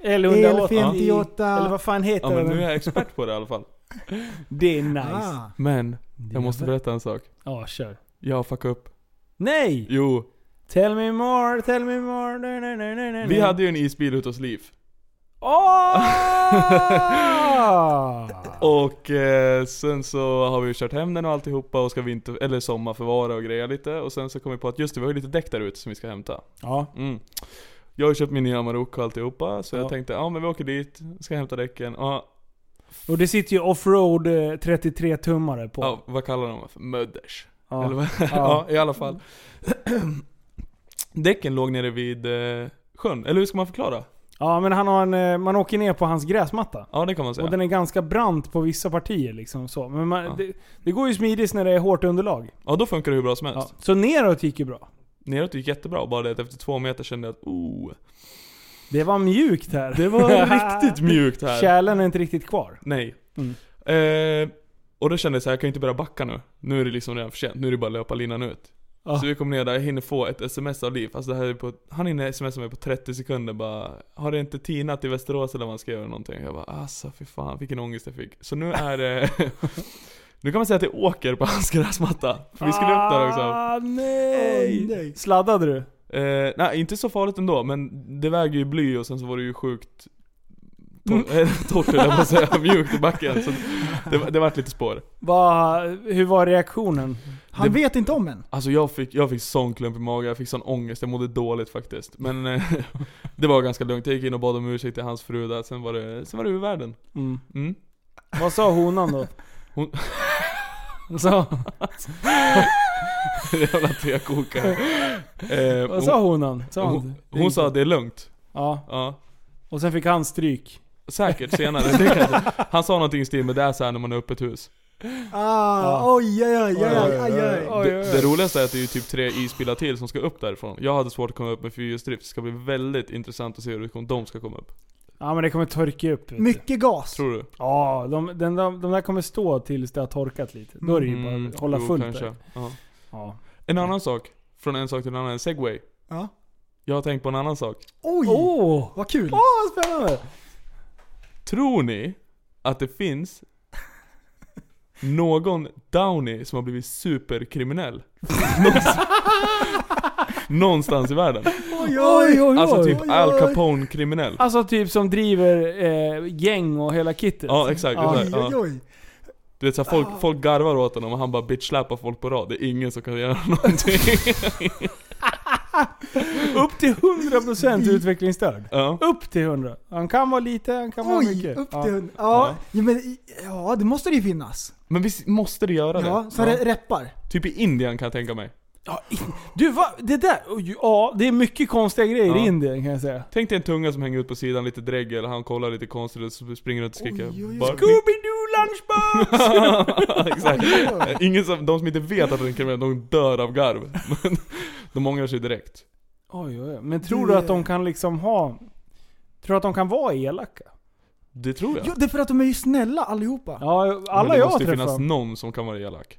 Eller
L58.
vad fan heter
Ja men
den?
nu är jag expert på det i alla fall.
Det är nice.
Ah.
Men, jag måste berätta en sak.
Ja, kör.
Jag har fuckat upp.
Nej!
Jo,
Tell me more, tell me more. Nej, nej, nej, nej, nej. Ah!
vi hade ju en isbil ute hos Liv.
Åh!
Och eh, sen så har vi ju kört hem den och alltihopa och ska vinter, eller sommarförvara och greja lite. Och sen så kom vi på att just det, vi har ju lite däck där ute som vi ska hämta.
ja.
Mm. Jag har ju köpt min nya Maroc och alltihopa, så
Ja.
jag tänkte ja men vi åker dit, ska hämta däcken. Ja,
Och det sitter ju offroad eh, 33 tummare på.
ja vad kallar de för? Mödders.
Ja.
Eller vad? Ja. i alla fall. Däcken låg nere vid eh, sjön, eller hur ska man förklara?
Ja, men han har en, eh, man åker ner på hans gräsmatta.
Ja det kan man säga.
Och den är ganska brant på vissa partier liksom så. Men man,
Ja.
det, det går ju smidigt när det är hårt underlag.
Ja då funkar det hur bra som
Ja.
helst.
Så neråt gick ju bra.
Neråt gick jättebra, bara det att efter två meter kände jag att oh,
Det var mjukt här.
det var riktigt mjukt här.
Kärlen är inte riktigt kvar.
Nej.
Mm.
Eh, och då kände jag så här, jag kan ju inte börja backa nu. Nu är det liksom redan för sent. Nu är det bara att löpa linan ut.
Ja.
Så vi kom ner där, jag hinner få ett sms av Liv. Alltså det här är på, han hinner smsa mig på 30 sekunder bara Har det inte tinat i Västerås eller vad man ska göra någonting? Jag bara alltså fy fan vilken ångest jag fick. Så nu är det... nu kan man säga att det åker på hans gräsmatta. För vi skulle upp där också.
Ah, nej.
Åh, nej.
Sladdade du?
Eh, nej, inte så farligt ändå men det väger ju bly och sen så var det ju sjukt tor-
Mm.
eh, torrt höll jag på att säga, mjukt i backen. Så det, det vart lite spår.
Va, hur var reaktionen?
Han
Det-
vet inte om än.
Alltså jag fick, jag fick sån klump i magen, jag fick sån ångest, jag mådde dåligt faktiskt. Men eh, det var ganska lugnt, jag gick in och bad om ursäkt till hans fru där, sen var det, sen var det ur världen.
Mm.
Mm.
Vad sa honan då?
Hon-
Vad sa,
Jävla tekokare. Eh,
vad sa honan? Sa
hon,
hon,
hon, hon sa att det är lugnt.
Ja,
Ja.
och sen fick han stryk.
Säkert senare, det kan jag inte. Han sa någonting i stil med det är såhär när man är öppet hus.
Ah, oj, oj, oj, oj, oj, oj.
Oj, oj,
Det,
oj.
det roligaste är att det är ju typ tre isbilar till som ska upp därifrån. Jag hade svårt att komma upp med fyrhjulsdrift, det ska bli väldigt intressant att se hur de ska komma upp.
Ja men det kommer torka upp. vet du.
Mycket gas.
Tror du?
Ja, de, den, de, de där kommer stå tills det har torkat lite. Då är det ju bara att hålla
Mm, jo,
fullt
kanske.
där.
Ja.
Ja.
En annan sak, från en sak till en annan, en segway.
Ja.
Jag har tänkt på en annan sak.
Oj,
Åh!
vad kul.
Åh vad spännande!
Tror ni att det finns någon Downey som har blivit superkriminell? Någon som- någonstans i världen.
Oj, oj, oj,
Alltså
oj,
typ
oj, oj.
Al Capone-kriminell.
Alltså typ som driver eh, gäng och hela kittet.
Ja, exakt,
Ja.
exakt.
Oj, oj, oj.
Du vet, så här,
Ah.
folk, folk garvar åt honom och han bara bitch-slappar folk på rad. Det är ingen som kan göra någonting.
Upp till 100%
Mm.
utvecklingsstörd.
Ja.
Upp till 100. Han kan vara lite, han kan vara
Oj,
mycket.
upp
Ja.
till hund. Ja, ja. men, ja, det måste det ju finnas.
Men visst måste det göra det?
Ja, så
Ja.
det reppar.
Typ i Indien kan jag tänka mig.
Ja, in- du va, det där, oj, ja det är mycket konstiga grejer
Ja.
i Indien kan jag säga.
Tänk dig en tunga som hänger ut på sidan, lite dregel, han kollar lite konstigt och så springer runt och skriker
Oj, oj, oj.
Bark.
Scooby-Doo lunchbox!
Exakt. Ingen som, de som inte vet att det är en kriminell, de dör av garv. Men de ångrar sig direkt.
oj, oj, oj. Men tror du att de kan liksom ha... Tror du att de kan vara elaka?
Det tror jag.
Jo, det är för att de är ju snälla allihopa.
Ja,
Men
alla
det
jag
måste ju finnas
träffar.
någon som kan vara elak.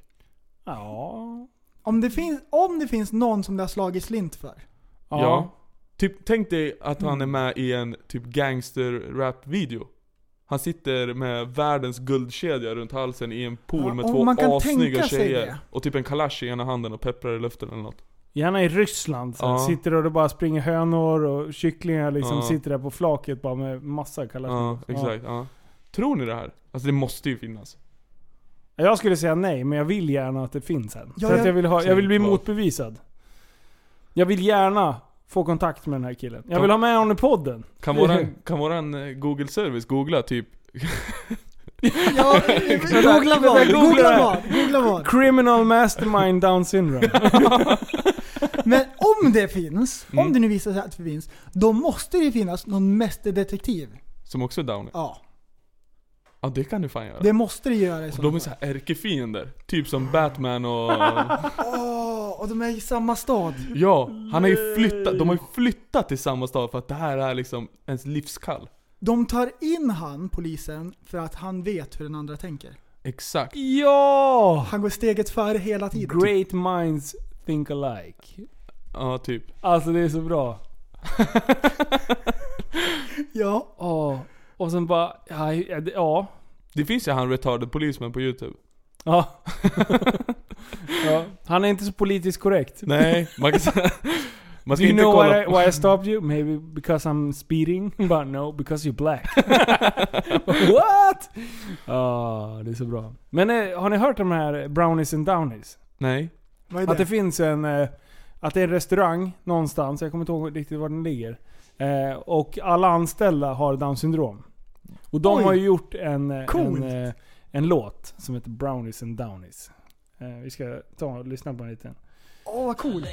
Ja.
Om, det finns, om det finns någon som det har slagit slint för.
Ja.
Ja.
Typ, tänk dig att han är med i en typ gangster-rap-video. Han sitter med världens guldkedja runt halsen i en pool
Ja,
med
om
två
man kan
assnygga
tänka sig
tjejer.
det.
Och typ en kalasch i ena handen och pepprar i luften eller något.
Gärna i Ryssland. Så
Ja.
Sitter och det bara springer hönor och kycklingar liksom
Ja.
sitter där på flaket bara med massa
Ja,
kalasjnikov.
exakt. Ja. Tror ni det här? Alltså det måste ju finnas.
Ja. Jag skulle säga nej, men jag vill gärna att det finns en.
Ja,
För att
jag-
jag vill, ha, jag vill bli
Tänk på-
motbevisad. Jag vill gärna få kontakt med den här killen. Jag vill ha med honom i podden.
Kan våran, kan våran eh, google-service googla typ
Ja, googla vad, googla vad, googla vad.
Criminal Mastermind Down Syndrome.
Men om det finns,
Mm.
om det nu visar sig att det finns, då måste det finnas någon mästerdetektiv.
som också är downy?
Ja,
Ja det kan du fan göra.
det måste det göra i
Och
så
de är
fall.
såhär ärkefiender. Typ som Batman och...
Åh, och de är i samma stad.
Ja, han har ju flyttat, de har ju flyttat till samma stad för att det här är liksom ens livskall.
De tar in han, polisen, för att han vet hur den andra tänker.
Exakt.
ja!
Han går steget före hela tiden.
Great minds think alike.
Ja, typ.
Alltså det är så bra.
Ja.
Åh. Och sen bara, ja. ja, det- ja.
Det finns ju han retarded policeman på youtube.
ja. ja. Han är inte så politiskt korrekt.
Nej, man kan säga... Man
Do
ska
you
inte
know
kolla...
why I, why I stopped you? Maybe because I'm speeding? But no, because you're black. What? Ja, det är så bra. Men eh, har ni hört om de här brownies and downies?
Nej.
Vad är
Att det
det?
finns en... eh, Att det är en restaurang någonstans, jag kommer inte ihåg riktigt var den ligger. Eh, Och alla anställda har Downs syndrom. Och de
Oj.
har ju gjort en, eh,
Coolt.
en, eh, en låt som heter Brownies and Downies. Eh, Vi ska ta och lyssna på den lite.
Åh, vad coolt.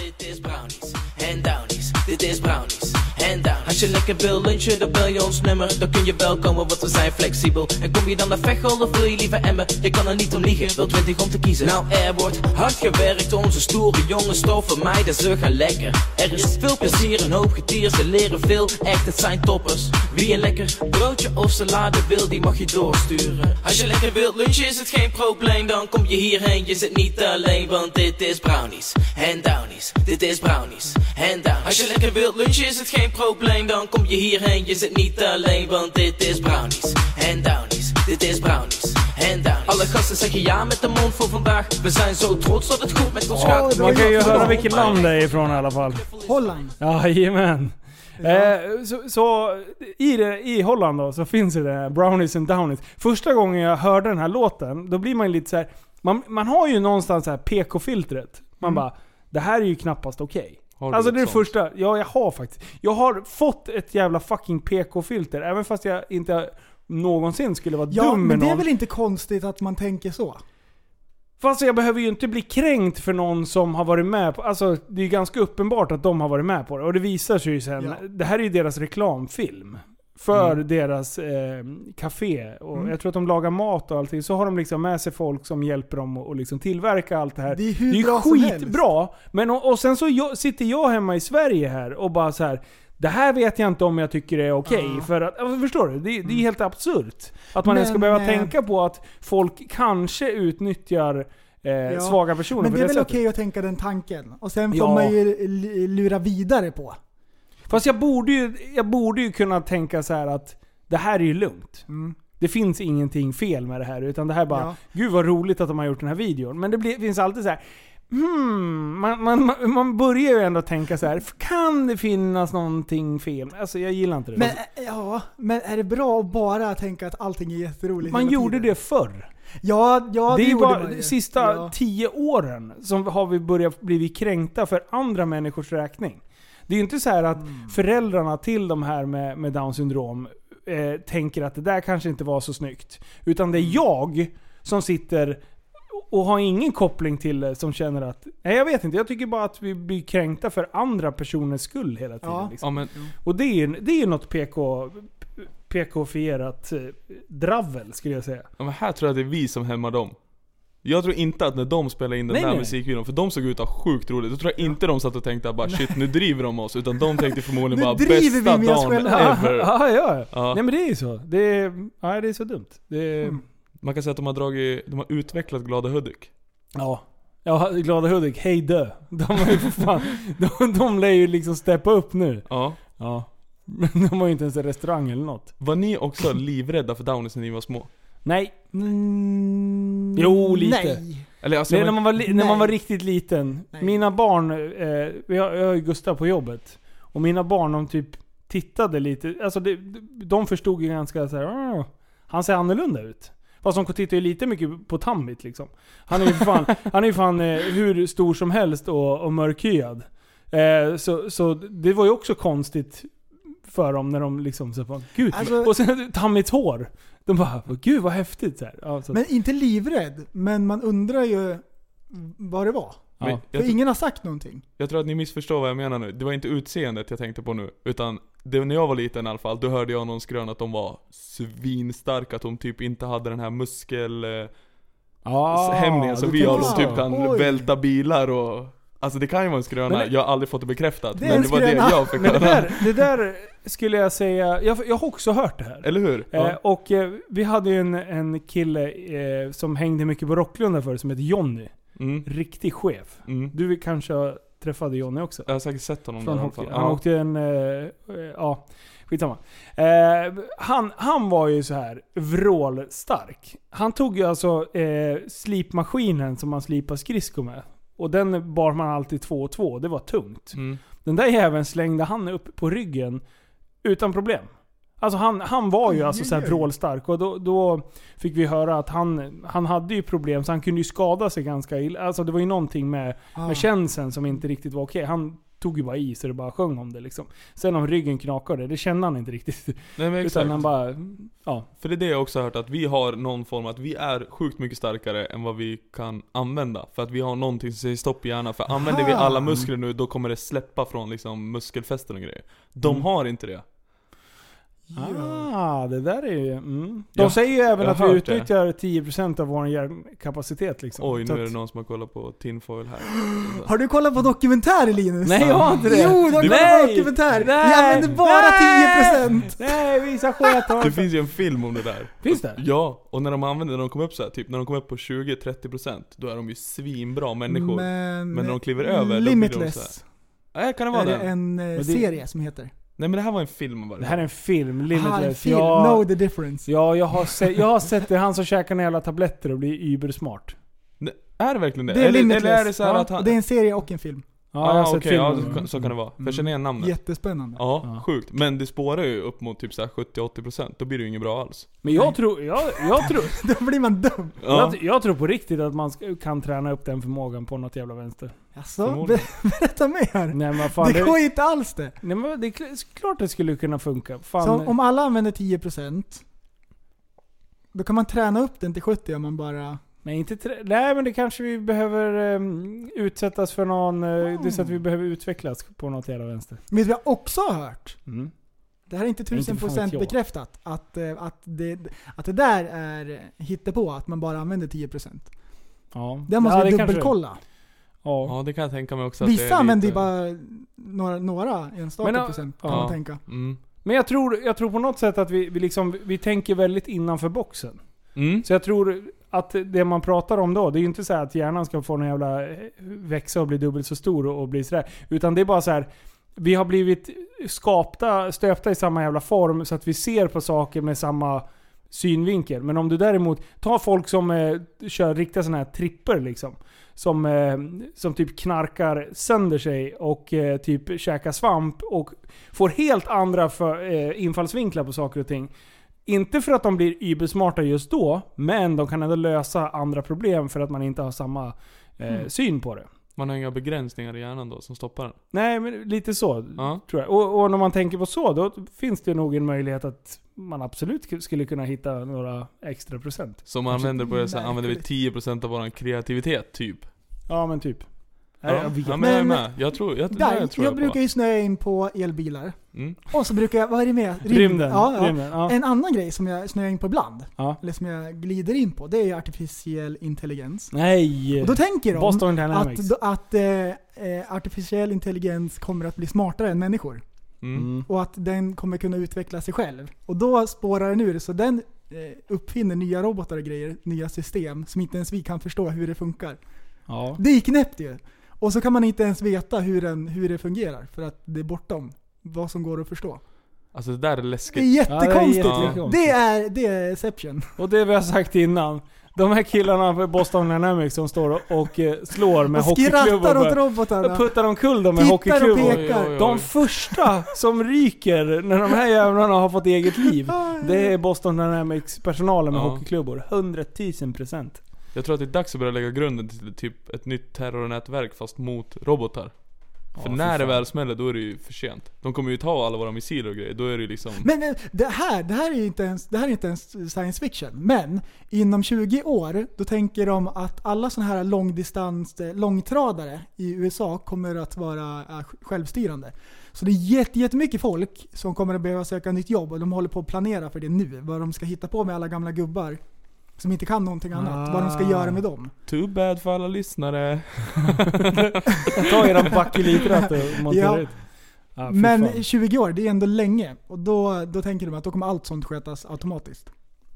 Dit is brownies en downies. Dit is brownies en downies. Als je lekker wil lunchen, dan bel je ons nummer. Dan kun je wel komen, want we zijn flexibel. En kom je dan naar Veghel of wil je liever Emmen? Je kan er niet om liegen, wel twintig om te kiezen. Nou, er wordt hard gewerkt, onze stoere jongens, toffe meiden, ze gaan lekker. Er is veel plezier, een hoop getier, ze leren veel. Echt, het zijn toppers. Wie een lekker broodje of salade wil, die mag je doorsturen. Als je lekker wilt lunchen, is het geen probleem. Dan kom je hierheen, je zit niet alleen, want dit is brownies en downies. Dit is brownies en downies. Als je lekker wilt lunchen, is het geen probleem. Dan kom je hierheen, je zit niet alleen, want dit is brownies en downies. Dit is brownies en downies. Alle gasten zeggen ja met de mond voor vandaag. We zijn zo trots dat het goed met ons gaat.
Man kan ju höra vilket land det är ifrån i alla fall.
Holland.
Jajamän. Eh, så så i, det, i Holland då, så finns det, det här Brownies and Downies. Första gången jag hörde den här låten, då blir man ju lite så här. Man, man har ju någonstans så här PK-filtret.
Mm.
Man bara, det här är ju knappast okej.
Har du
Alltså det är det
ett sånt?
första. Ja, jag har faktiskt. Jag har fått ett jävla fucking PK-filter. Även fast jag inte någonsin skulle vara
Ja,
dum med
men det är
någon.
väl inte konstigt att man tänker så?
Fast jag behöver ju inte bli kränkt för någon som har varit med på Alltså det är ju ganska uppenbart att de har varit med på det. Och det visar sig ju sen.
Ja.
Det här är ju deras reklamfilm. För deras eh, café. Och
Mm.
jag tror att de lagar mat och allting. Så har de liksom med sig folk som hjälper dem att och liksom tillverka allt det här.
Det är hur
ju
bra som helst.
skitbra. Men och, och sen så jag, sitter jag hemma i Sverige här och bara så här. Det här vet jag inte om jag tycker är okej.
Ja. Mm.
För att, ja, förstår du? Det, det är helt absurt. Att man ens ska
Men,
behöva
eh,
tänka på att folk kanske utnyttjar eh, svaga personer
Men
på
det är väl
sättet.
okej att tänka den tanken? Och sen får
Ja.
man ju l- lura vidare på.
Fast jag borde, ju, jag borde ju kunna tänka så här att det här är ju lugnt. Det finns ingenting fel med det här. Utan det här bara,
Mm. Ja.
gud vad roligt att de har gjort den här videon. Men det blir, finns alltid så här. Hmm, man, man, man- man börjar ju ändå tänka så här. kan det finnas någonting fel? Alltså jag gillar inte det.
Men, eh, ja, men är det bra att bara tänka att allting är jätteroligt
man
hela tiden?
gjorde det förr.
Ja, ja det,
det är
gjorde
bara
man
de
ju.
sista
Ja.
tio åren som har vi börjat bli kränkta för andra människors räkning. Det är ju inte så här att
Mm.
föräldrarna till de här med, med down syndrom eh, tänker att det där kanske inte var så snyggt. Utan
Mm.
det är jag som sitter och har ingen koppling till det som känner att... Nej jag vet inte, jag tycker bara att vi blir kränkta för andra personers skull hela tiden.
Ja.
liksom.
Ja, men-
och det är ju det är ju något PK, PK-fierat eh, dravel skulle jag säga.
Ja, men här tror jag att det är vi som hämmar dem. Jag tror inte att när de spelade in den
Nej,
där
nej.
musikvideon, för de såg ut att ha sjukt roligt. Då tror jag inte de satt och tänkte att bara shit nu driver de oss. Utan de tänkte förmodligen bara bästa dagen ever.
Ja, ja,
Ja.
ja. Nej men det är ju så. Det är, ja, det är så dumt. Det är,
Man kan säga att de har dragit, de har utvecklat Glada Hudik.
Ja. Ja, Glada Hudik, hej dö. De har ju för fan, de, de lär ju liksom steppa upp nu.
Ja.
Ja. Men de har ju inte ens en restaurang eller något.
Var ni också livrädda för Downies när ni var små?
Nej. jo, lite.
nej. Eller, alltså,
Nej, när,
men-
man var li- när
Nej.
man var riktigt liten. Mina barn, eh, vi har- jag har ju Gustav på jobbet. Och mina barn de typ tittade lite, alltså det, de förstod ju ganska så här. "Åh, han ser annorlunda ut. Fast de tittar ju lite mycket på Tambit liksom. Han är ju fan, han är ju fan eh, hur stor som helst och, och mörkhyad. Eh, så, så det var ju också konstigt för dem när de liksom så här, bara, gud.
Alltså-
och sen Tammits hår. De bara, gud vad häftigt. Så här. Ja, så att-
Men inte livrädd, men man undrar ju vad det var.
Men jag
För
tror-
ingen har sagt någonting.
Jag tror att ni missförstår vad jag menar nu. Det var inte utseendet jag tänkte på nu, utan det, när jag var liten i alla fall, då hörde jag någon skröna att de var svinstarka, att de typ inte hade den här muskel... eh,
Ah,
hämningen som
du
vi har,
tänker
de typ
så.
kan
Oj.
välta bilar och... Alltså det kan ju vara en skröna,
Men det-
jag har aldrig fått det bekräftat.
Det är
men
en
det var det
skröna.
jag fick
Men det
höra.
där, det där skulle jag säga, jag, jag har också hört det här.
Eller hur?
Eh,
Ja.
och eh, vi hade ju en, en kille eh, som hängde mycket på Rocklunda förr som hette Jonny.
Mm,
Riktig chef. Du kanske träffade Jonny också?
Jag har säkert sett honom
Från
där i alla
hockey.
fall.
Han
Ja.
åkte en... eh, eh, Ja, skitsamma. Eh, han, han var ju så här vrålstark. Han tog ju alltså eh, slipmaskinen som man slipar skridskor med. Och den bar man alltid två och två. Det var tungt.
Mm.
Den där jäveln slängde han upp på ryggen utan problem. Alltså han, han var ju alltså så här vrålstark och då, då fick vi höra att han, han hade ju problem så han kunde ju skada sig ganska illa. Alltså det var ju någonting med,
Ah.
med känseln som inte riktigt var okej. Han tog ju bara i så det bara sjöng om det liksom. Sen om ryggen knakade, det kände han inte riktigt.
Nej, men exakt.
Utan han bara, ja.
För det är det jag också har hört, att vi har någon form att vi är sjukt mycket starkare än vad vi kan använda. För att vi har någonting som säger stopp i hjärnan. För använder vi
Aha.
alla muskler nu, då kommer det släppa från liksom muskelfästen och grejer. De
Mm.
har inte det.
Ah, det där är ju... Mm. De
Ja,
säger ju även
jag
att
har
vi
hört det.
utnyttjar 10% av vår hjärnkapacitet liksom.
Oj,
Så
nu är
att-
det någon som har kollat på tinfoil här.
Har du kollat på dokumentärer Linus?
Nej jag har inte det.
Jo, du har kollat på dokumentärer. Vi använder bara
nej,
10%.
Nej, visa skötar.
Det finns ju en film om det där.
Finns det?
Ja, och när de använder, när de kommer upp så här, typ när de kommer upp på 20-30% Då är de ju svinbra människor.
Men-
när de kliver över, då blir de så här.
Limitless.
Nej, kan det vara
är det
den?
en eh,
Men det-
serie som heter?
Nej men det här var en film bara.
Det här är en film,
Ah, en
Limitless.
film.
Ja,
Know the difference.
ja jag, har se, jag har sett det. Han som käkar några jävla tabletter och blir ybersmart.
Är det verkligen det?
Det är
eller,
Limitless.
eller är det så här
ja,
att han...
det är en serie och en film.
Ja,
jag har sett
Ah, okej, ja,
filmen.
så- så kan det vara. För jag känner igen namnet.
Jättespännande.
Ja, sjukt. Men det spårar ju upp mot typ så här 70-80%, då blir det ju inget bra alls.
Men jag tror... Jag, jag tror
Då blir man dum.
Ja.
Jag, jag tror på riktigt att man ska, kan träna upp den förmågan på något jävla vänster.
Jaså? Be- berätta mer.
Nej, men fan,
det går inte alls det.
Nej men det är kl- klart det skulle kunna funka. Fan.
Så om alla använder 10% då kan man träna upp den till 70 om man bara...
Nej, inte trä- Nej men det kanske vi behöver ehm, utsättas för någon... eh, Det är så att vi behöver utvecklas på något jävla vänster.
Vet du vad jag också har hört?
Mm.
Det här är inte
Inte fan
tusen
vet
procent
jag.
bekräftat. Att, eh, att, det, att det där är hittepå, att man bara använder 10%.
Ja.
Det måste
ja,
vi
kanske det är.
dubbelkolla.
Ja.
Ja, det kan jag tänka mig också att det
Vissa
är
använder ju
lite-
bara några, några enstaka
Men, ja,
procent kan
ja.
man tänka.
Mm.
Men jag tror, jag tror på något sätt att vi, vi, liksom, vi tänker väldigt innanför boxen.
Mm.
Så jag tror att det man pratar om då, det är ju inte så här att hjärnan ska få någon jävla eh, växa och bli dubbelt så stor och, och bli sådär. Utan det är bara så här. vi har blivit skapta, stöpta i samma jävla form så att vi ser på saker med samma synvinkel. Men om du däremot tar folk som eh, kör riktiga sådana här tripper liksom. Som, eh, som typ knarkar sönder sig och eh, typ käkar svamp och får helt andra för, eh, infallsvinklar på saker och ting. Inte för att de blir ybersmarta just då, men de kan ändå lösa andra problem för att man inte har samma eh,
Mm.
syn på det.
Man har inga begränsningar i hjärnan då som stoppar den.
Nej, men lite så tror jag. Och, och när man tänker på så, då finns det nog en möjlighet att man absolut k- skulle kunna hitta några extra procent.
Som man använder på det så här, använder vi 10% av vår kreativitet, typ.
Ja, men typ.
Ja,
jag vet
ja men,
inte.
jag är med. Jag tror, jag,
Där,
jag
jag,
tror jag,
brukar
på.
ju snöa in på elbilar.
Mm.
Och så brukar jag, vad är det med?
Rymden,
Ja, ja.
rymden, ja.
En annan grej som jag snöar in på ibland,
Ja.
eller som jag glider in på, det är ju artificiell intelligens.
Nej!
Och då tänker de
Boston Dynamics.
att, att eh, eh, artificiell intelligens kommer att bli smartare än människor.
Mm.
Och att den kommer kunna utveckla sig själv. Och då spårar den ur, så den eh, uppfinner nya robotar och grejer, nya system som inte ens vi kan förstå hur det funkar.
Ja.
Det är knäppt ju. Och så kan man inte ens veta hur, den, hur det fungerar, för att det är bortom vad som går att förstå.
Alltså det där är läskigt.
Det är jättekonstigt
Ja, det är
ju.
jättekonstigt.
det, är, det är Exception.
Och det vi har sagt innan. De här killarna på Boston Dynamics som står och- och eh, slår med
Och skrattar
hockeyklubbor.
åt robotarna.
Och puttar omkull dem med
Tittar och
hockeyklubbor.
pekar. Oj, oj, oj.
De första som ryker när de här jävlarna har fått eget liv. Det är Boston Dynamics personalen med
Ja.
hockeyklubbor. 100 000 procent.
Jag tror att det är dags att börja lägga grunden till typ ett nytt terrornätverk fast mot robotar. för
fy
när det
fan.
väl smäller då är det ju för sent. De kommer ju ta alla våra missiler och grejer, då är det liksom...
Men eh, det här, det här är ju inte ens, det här är inte ens science fiction. Men inom 20 år, då tänker de att alla sådana här långdistans, eh, långtradare i USA kommer att vara eh, sj- självstyrande. Så det är jätte- jättemycket folk som kommer att behöva söka nytt jobb och de håller på att planera för det nu. Vad de ska hitta på med alla gamla gubbar som inte kan någonting annat. Vad de ska göra med dem.
Ah.
Too bad för alla lyssnare.
Ta eran bakelitratt och montera
Ja.
ut. Ja, fy
Men
fan.
20 år, det är ändå länge. Och då, då tänker de att då kommer allt sånt skötas automatiskt.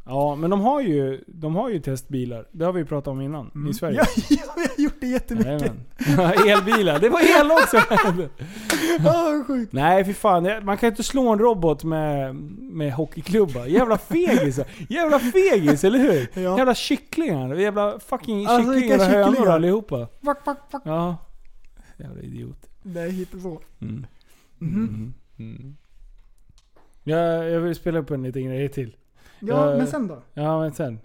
Ja, men de har, ju, de har ju testbilar. Det har vi ju pratat om innan. I Sverige.
Mm. Ja, ja, vi har gjort det jättemycket.
Jajamän. Elbilar. Det var el också.
oh, sjukt.
Nej för fan, Jag- man kan inte slå en robot med, med hockeyklubba. Jävla fegis. Jävla fegis, eller hur? Jävla kycklingar. Jävla fucking
Alltså,
kycklingar och
vilka
hönor
kycklingar.
allihopa.
Fuck, fuck, fuck.
Ja. Jävla idiot.
Nej, hittar så.
Mm.
Mhm.
Jag, jag vill spela upp en liten grej till.
Ja,
Eh.
Jag-
men sen då?
Ja, men sen.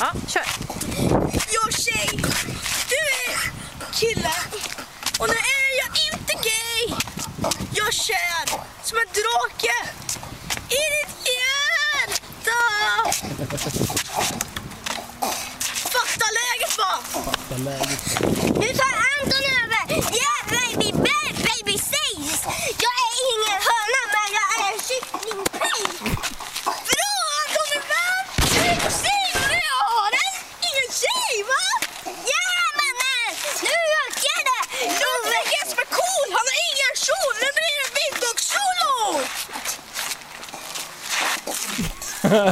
Ja, kör. Jag är tjej, du är kille. Och nu är jag inte gay. Jag är kär som en drake i ditt hjärta. Fatta läget va?
Nu tar Anton över! Yeah baby, bad baby says! Jag är ingen höna men jag är en kycklingpig! Bra Anton min vän! Säg vad du har! En ingen tjej va? Jajamenän! Nu ökar det! Love Jesper Cool, han har ingen kjol! Nu blir det vintdagskjolo!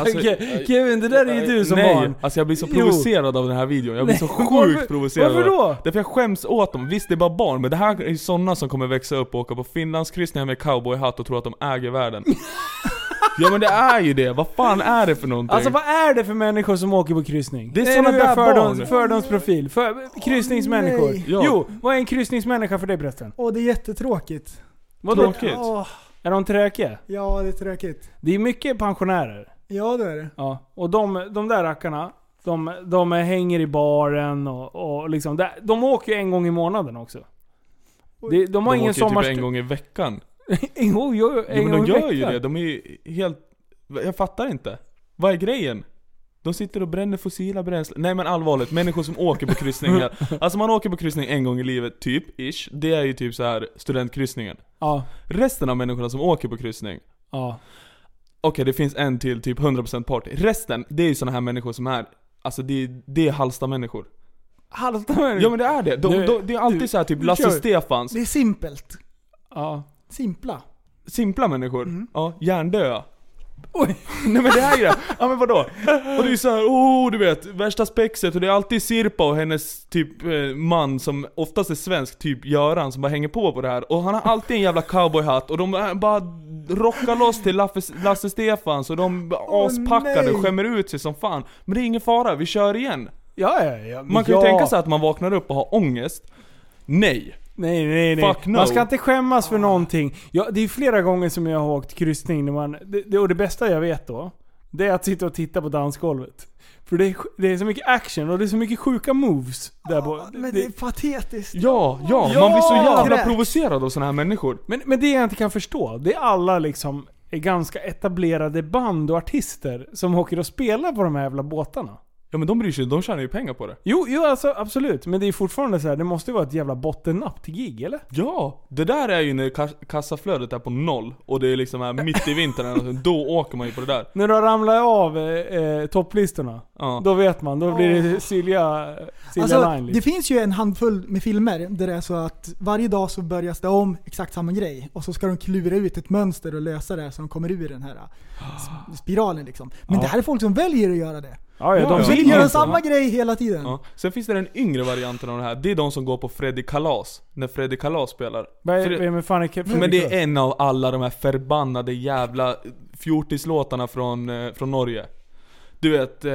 Alltså,
Ke- Kevin, det där är ju du som
Nej,
barn.
alltså jag blir så
Jo.
provocerad av den här videon. Jag blir så
Nej,
sjukt
varför-
provocerad.
varför då?
Därför jag skäms åt dem. Visst, det är bara barn, men det här är ju sådana som kommer växa upp och åka på finlandskryssningar med cowboyhatt och tro att de äger världen. ja men det är ju det. Vad fan är det för någonting?
Alltså vad är det för människor som åker på kryssning?
Det är
Nej,
såna
nu jag
där
fördoms,
barn.
Fördomsprofil. För, kryssningsmänniskor.
nej.
Ja.
Jo, vad är en kryssningsmänniska för dig förresten?
Åh, det är jättetråkigt.
Vadå?
Åh,
Är de trökiga?
ja, det är tråkigt.
Det är mycket pensionärer.
Ja, det är det.
Ja. Och de, de där rackarna, de, de hänger i baren och, och liksom. där- De åker ju en gång i månaden också. De, de har
de
ingen
åker ju
sommar...
typ en gång i veckan.
jo, jo, en
Jo, men
gång
de
i
gör ju
veckan.
det. De är ju helt... Jag fattar inte. Vad är grejen? De sitter och bränner fossila bränslen. Nej men allvarligt, människor som åker på kryssningar. Alltså man åker på kryssning en gång i livet, typ, ish. Det är ju typ så här studentkryssningen.
Ja.
Resten av människorna som åker på kryssning.
Ja.
Okej, det finns en till typ 100% party. Resten, det är ju såna här människor som är... Alltså det, är- det är Halsta-människor.
Halvdammar.
Ja men det är det. De,
Nu-
de, det är alltid så här typ
nu
Lasse
kör vi.
Stefans
Det är simpelt.
Ja.
Simpla.
simpla människor.
Mm.
Ja, hjärndöda. Oj. Nej men det här är det. Ja men vadå? Och det är ju såhär, oh du vet, värsta spexet och det är alltid Sirpa och hennes typ eh, man som oftast är svensk, typ Göran, som bara hänger på på det här. Och han har alltid en jävla cowboyhatt och de är bara rockar loss till Laffe, Lasse Stefans och de aspackade
nej.
skämmer ut sig som fan. Men det är ingen fara, vi kör igen.
Ja, ja, ja. men
Man kan ju
ja.
tänka sig att man vaknar upp och har ångest. Nej.
Nej, nej, nej.
Fuck no.
Man ska inte skämmas för någonting. Ja, det är flera gånger som jag har åkt kryssning. När man, det, det, och det bästa jag vet då, det är att sitta och titta på dansgolvet. För det är, sj- det är så mycket action och det är så mycket sjuka moves där på.
Men det är patetiskt.
Ja, ja,
Ja!
man blir så jävla
Direkt.
provocerad av såna här människor.
Men, men det jag inte kan förstå, det är alla liksom är ganska etablerade band och artister som åker och spelar på de här jävla båtarna.
Ja men de bryr sig, de tjänar ju pengar på det.
Jo, jo alltså absolut. Men det är fortfarande så här, det måste ju vara ett jävla bottennapp till gig, eller?
Ja, det där är ju när kas- kassaflödet är på noll och det är liksom här mitt i vintern eller någonting, då åker man ju på det där.
När du har ramlat av eh, eh, topplistorna, då vet man. Då blir det Silja, Silja
Alltså,
Line. liksom.
liksom.
det finns ju en handfull med filmer där det är så att varje dag så börjas det om exakt samma grej och så ska de klura ut ett mönster och lösa det här så de kommer ur den här s- spiralen liksom. Men
Ja.
det här är folk som väljer att göra det.
Ja, ja, de
de
vill
vill göra
inte.
samma grej hela tiden.
Ja. Sen finns det den yngre varianten av det här, det är de som går på Freddy Kalas, när Freddy Kalas spelar.
Vad är-
Fre-
vem fan är Ke- Freddy
Men det
Kalas?
är en av alla de här förbannade jävla fjortislåtarna från, eh, från Norge. Du vet, eh,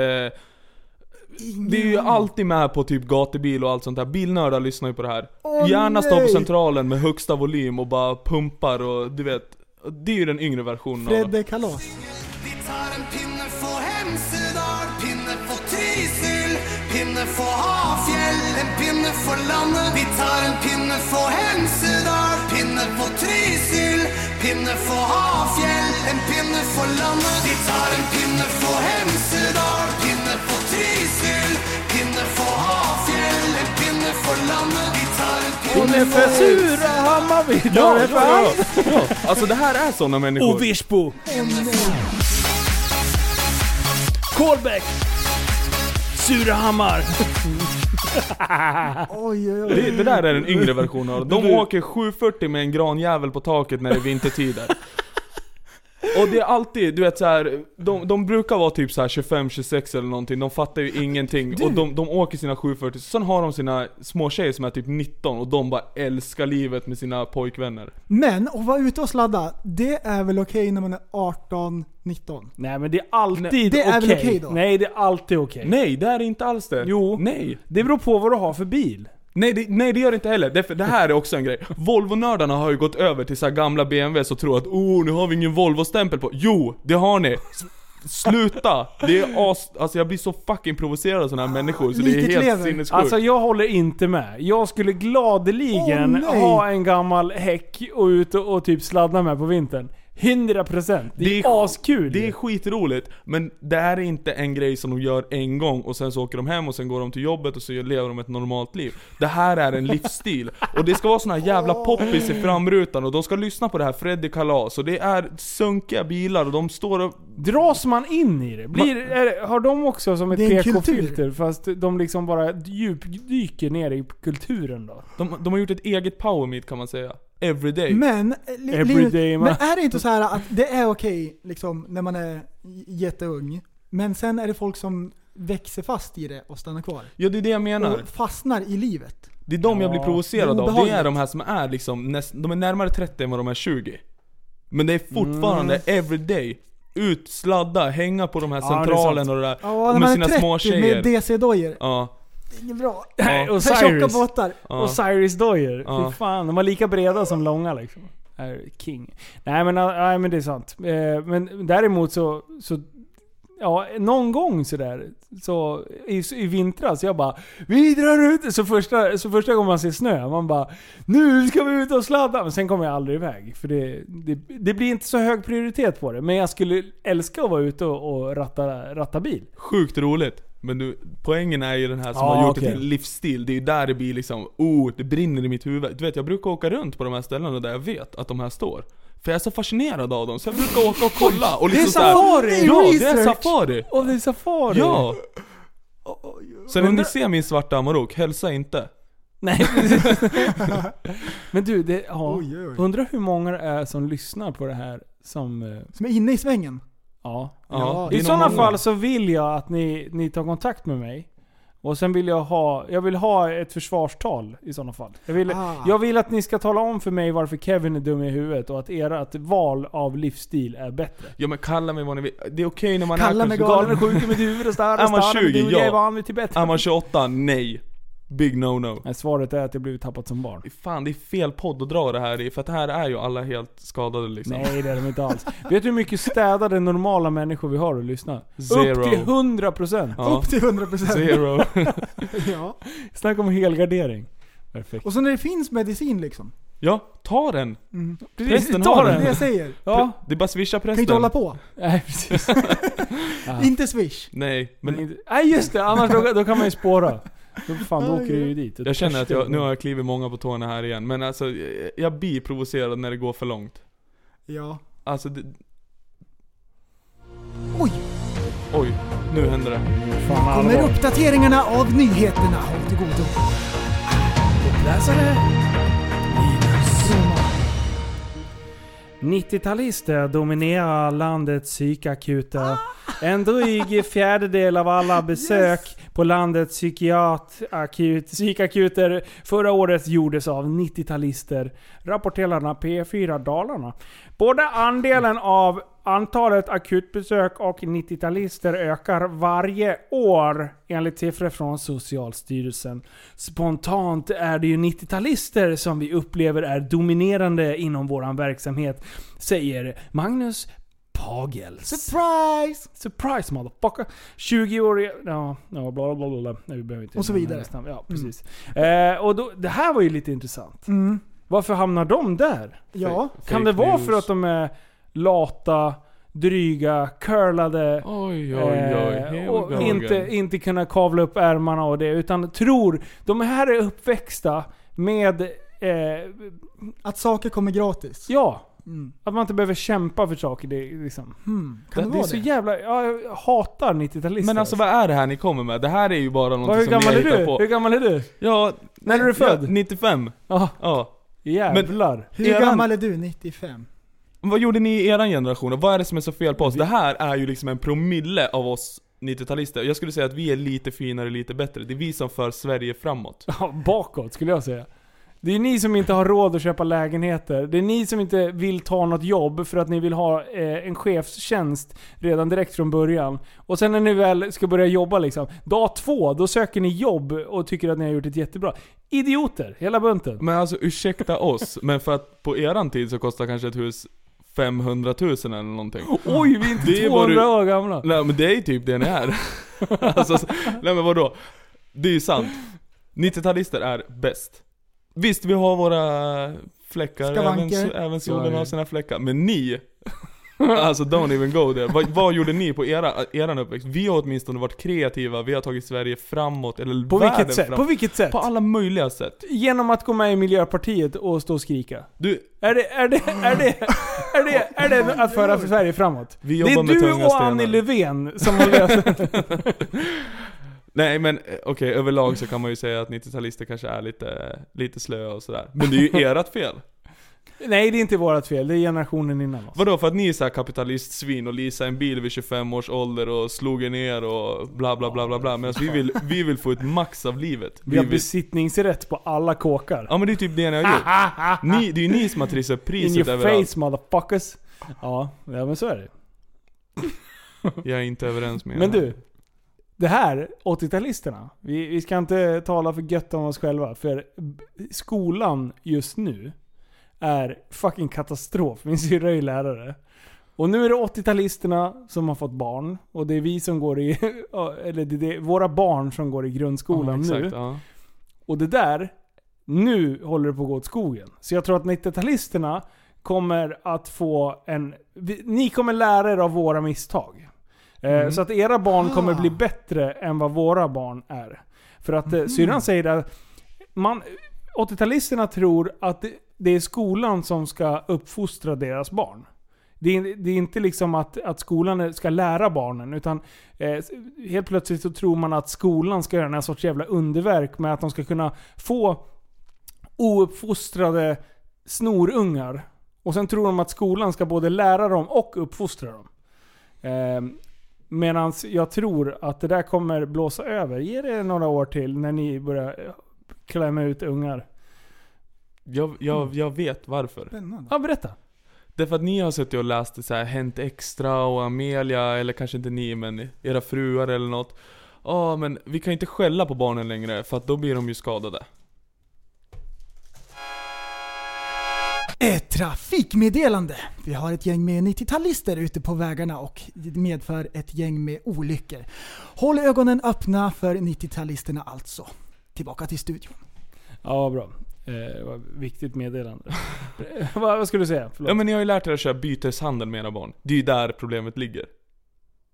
det är ju alltid med på typ gatubil och allt sånt där. Bilnördar lyssnar ju på det här.
Åh,
Gärna står på
nej!
centralen med högsta volym och bara pumpar och du vet. Det är ju den yngre versionen av det.
Fredde Kalas.
Vi tar en pinne for Hemsedal, pinne for Trysil, pinne for Hafjell, en pinne for landet. Vi tar en pinne for Hemsedal, pinne for Trysil, pinne for Hafjell, en pinne for landet. Vi tar en pinne for Hemsedal, pinne for Trysil, pinne for Hafjell, en pinne for landet. Vi tar en pinne for
Surahammar
Ja, ja, ja, ja. Alltså det här är såna människor.
Och Virsbo. Kolbäck! Surahammar!
Oj, oj, oj.
Det, det där är den yngre versionen av det. De
Du-
åker 740 med en granjävel på taket när det är vintertider. Och det är alltid, du vet så här, de, de brukar vara typ så här 25-26 eller någonting, de fattar ju ingenting. Och de, de åker sina 740, sen har de sina småtjejer som är typ 19 och de bara älskar livet med sina pojkvänner.
Men att vara ute och sladda, det är väl okej när man är 18, 19?
Nej men det är alltid
Det är väl okej då?
Nej det är alltid okej.
Nej det är inte alls det.
Jo.
Nej.
Det beror på vad du har för bil.
Nej det, nej, det gör det inte heller. Det, det här är också en grej. Volvo-nördarna har ju gått över till så här gamla BMWs och tror att oh, nu har vi ingen Volvo-stämpel på. Jo, det har ni! S- Sluta! Det är as... Alltså jag blir så fucking provocerad av såna här människor så det är helt sinnessjukt.
Alltså jag håller inte med. Jag skulle gladeligen
Åh, nej.
ha en gammal häck och ut och, och typ sladda med på vintern. 100%. Det, är askul
Det är skitroligt, men det här är inte en grej som de gör en gång och sen så åker de hem och sen går de till jobbet och så lever de ett normalt liv. Det här är en livsstil. Och det ska vara såna här jävla poppis i framrutan och de ska lyssna på det här Freddy Kalas och det är sunkiga bilar och de står och...
Dras man in i det? Blir, är, det- har de också som ett
Det är en
PK-filter fast de liksom bara djupdyker ner i kulturen då?
De, de har gjort ett eget power meet kan man säga. Everyday.
Men, eh, Li- Linus, men är det inte så här att det är okej liksom, när man är j- jätteung, men sen är det folk som växer fast i det och stannar kvar?
Ja det är det jag menar.
Och fastnar i livet.
Det är de jag blir
Ja.
provocerad
Det är
av. Det
obehagligt.
är de här som är liksom, näst, de är närmare 30 än vad de är 20. Men det är fortfarande everyday. Ut, sladda, hänga på de här
Mm. Ja, det är
centralen
sant.
och det där.
Ja, när
med
man
sina
är 30
småtjejer.
med DC-dojor.
Ja.
Det är inget bra.
Ja.
Och tjocka båtar.
Ja.
Osiris Dojer.
Ja.
Fy fan, de var lika breda som långa liksom. Är King. Nej men, ah, nej men det är sant. Eh, Men däremot så, så ja, någon gång sådär, så i, i vintras, jag bara Vi drar ut! Så första, så första gången man ser snö, man bara Nu ska vi ut och sladda! Men sen kommer jag aldrig iväg. För det, det, det blir inte så hög prioritet på det. Men jag skulle älska att vara ute och, och ratta, ratta bil.
Sjukt roligt. Men du, poängen är ju den här som
Ja,
har gjort det
okej.
till en livsstil. Det är ju där det blir liksom, oh, det brinner i mitt huvud. Du vet, jag brukar åka runt på de här ställena där jag vet att de här står. För jag är så fascinerad av dem, så jag brukar åka och kolla. Och liksom
det är
så här-
safari!
Ja, det är safari!
Och det är safari!
Ja! Så när ni
Undrar-
ser min svarta Amarok, hälsa inte.
Nej. Men du, det, ja.
Oj, oj, oj.
undrar hur många det är som lyssnar på det här som... eh,
Som är inne i svängen.
Ja.
Ja, det är
I
nog
sådana
många.
fall så vill jag att ni, ni tar kontakt med mig. Och sen vill jag ha, jag vill ha ett försvarstal i sådana fall. Jag vill,
Ah.
jag vill att ni ska tala om för mig varför Kevin är dum i huvudet och att ert val av livsstil är bättre.
Ja men kalla mig vad ni vill. Det är okej när man
Kalla
är
mig
kunskap-
galen och sjuk i mitt huvud och starr
Är
och
man
starr och
20?
duger, jag är
Ja.
van vid Tibet.
Är man 28? Nej. Big no no.
Nej, svaret är att jag blivit tappad som barn.
Fan det är fel podd att dra det här i, för att här är ju alla helt skadade liksom.
Nej det är de inte alls. Vet du hur mycket städade normala människor vi har och lyssnar?
Zero.
Upp till 100%.
Ja. Upp till 100%. Zero.
ja.
Snacka om helgardering. Perfekt.
Och så när det finns medicin liksom.
Ja, ta den!
Mm.
Prästen
Ta
har
den,
den.
det jag säger.
Ja. Det är bara swisha prästen.
Kan inte hålla på.
Nej, precis.
Ja.
Inte swish.
Nej, men...
Nej just det, annars då, då kan man ju spåra. Då, fan, då åker du ju dit.
Jag känner att jag, nu har jag klivit många på tårna här igen, men alltså jag- jag blir provocerad när det går för långt.
Ja.
Alltså det...
Oj.
Oj, nu händer det.
Kommer uppdateringarna av nyheterna. Håll till godo. Läsare.
90-talister dominerar landets psykakuter. En dryg fjärdedel av alla besök på landets psykiatrakut, psykakuter förra året gjordes av 90-talister, rapporterarna P4 Dalarna. Både andelen av antalet akutbesök och 90-talister ökar varje år enligt siffror från Socialstyrelsen. Spontant är det ju 90-talister som vi upplever är dominerande inom våran verksamhet, säger Magnus Pagels.
Surprise!
Surprise motherfucker! 20-åriga... Ja, ja, bla bla bla. bla. Nej, vi behöver inte
Och så
nämna
vidare.
hennes namn. Ja, precis. Eh, och då, det här var ju lite intressant.
Mm.
Varför hamnar de där?
Ja.
Kan det vara för att de är lata, dryga, curlade
Oj, oj, oj.
eh,
Here we
och
go
inte,
again.
inte kunna kavla upp ärmarna och det. Utan tror, de här är uppväxta med... Eh,
att saker kommer gratis?
Ja.
Mm.
Att man inte behöver kämpa för saker. Det, är liksom.
Hmm,
det,
kan det
är
vara
så
det?
jävla... Ja, jag hatar 90-talister.
Men alltså vad är det här ni kommer med? Det här är ju bara
Vad,
någonting
hur
som ni
gammal
har
är du?
hittat på.
Hur gammal är du?
Ja,
när är du född?
95.
Ja.
ja.
Jävlar.
Men
Hur
eran-
gammal är du? 95?
Vad gjorde ni i eran generation och vad är det som är så fel på oss? Det här är ju liksom en promille av oss 90-talister. Jag skulle säga att vi är lite finare, lite bättre. Det är vi som för Sverige framåt.
Ja, bakåt skulle jag säga. Det är ni som inte har råd att köpa lägenheter. Det är ni som inte vill ta något jobb för att ni vill ha eh, en chefstjänst redan direkt från början. Och sen när ni väl ska börja jobba liksom. Dag två, då söker ni jobb och tycker att ni har gjort ett jättebra. Idioter, hela bunten.
Men alltså ursäkta oss, men för att på eran tid så kostar kanske ett hus 500 000 eller någonting.
Oj, vi är inte
Det är
200
vad du-
år gamla.
Nej men det är ju typ det ni är. alltså, så- nej men vadå? Det är ju sant. 90-talister är bäst. Visst, vi har våra fläckar, även,
Skavanker.
so- även solen
Skavanker.
har sina fläckar. Men ni, alltså don't even go there. Vad, vad gjorde ni på era, eran uppväxt? Vi har åtminstone varit kreativa, vi har tagit Sverige framåt, eller
På
världen
vilket sätt?
framåt.
På vilket sätt? På
alla möjliga sätt.
Genom att gå med i Miljöpartiet och stå och skrika.
Du...
Är det, är det, är det, är det, är det att föra för Sverige framåt?
Vi
det
jobbar
är
med
du
tunga
och
stenar.
Annie Löfven som har löst
Nej men eh, okej, överlag så kan man ju säga att 90-talister kanske är lite, lite slöa och sådär. Men det är ju ert fel.
Nej, det är inte vårt fel. Det är generationen innan oss.
Vadå för att ni är så här kapitalistsvin och leasade en bil vid 25 års ålder och slog er ner och bla bla bla bla bla. Medan vi vill, vi vill få ett max av livet.
Vi har
vill...
besittningsrätt på alla kåkar.
Ja men det är typ det ni har gjort. Ni, det är ju ni som har trissat upp
In
priset
your
överallt.
face motherfuckers. Ja, ja men så är det.
Jag är inte överens med er.
Men du. Det här, 80-talisterna. Vi, vi ska inte tala för gött om oss själva. För b- skolan just nu är fucking katastrof. Min syrra är ju lärare. Och nu är det 80-talisterna som har fått barn. Och det är vi som går i... Eller det är det, våra barn som går i grundskolan
Ja,
nu.
exakt, ja.
Och det där, nu håller det på att gå åt skogen. Så jag tror att 90-talisterna kommer att få en... vi- Ni kommer lära er av våra misstag. Eh,
Mm.
Så att era barn kommer bli bättre än vad våra barn är. För att eh, syrran säger att man- 80-talisterna tror att det- det är skolan som ska uppfostra deras barn. Det är, det är inte liksom att, att skolan ska lära barnen, utan eh, helt plötsligt så tror man att skolan ska göra någon sorts jävla underverk med att de ska kunna få ouppfostrade snorungar. Och sen tror de att skolan ska både lära dem och uppfostra dem. Ehm, Medan jag tror att det där kommer blåsa över. Ge det några år till när ni börjar eh, klämma ut ungar.
Jag, jag, jag vet varför.
Spännande. Ja, berätta.
Därför att ni har suttit och läst det så här Hänt Extra och Amelia, eller kanske inte ni men era fruar eller något. Ja men vi kan inte skälla på barnen längre för att då blir de ju skadade.
Ett trafikmeddelande. Vi har ett gäng med 90-talister ute på vägarna och det medför ett gäng med olyckor. Håll ögonen öppna för 90-talisterna alltså. Tillbaka till studion.
Ja, bra. Eh, vad viktigt meddelande. vad, vad skulle du säga? Förlåt.
Ja men ni har ju lärt er att köra byteshandel med era barn. Det är ju där problemet ligger.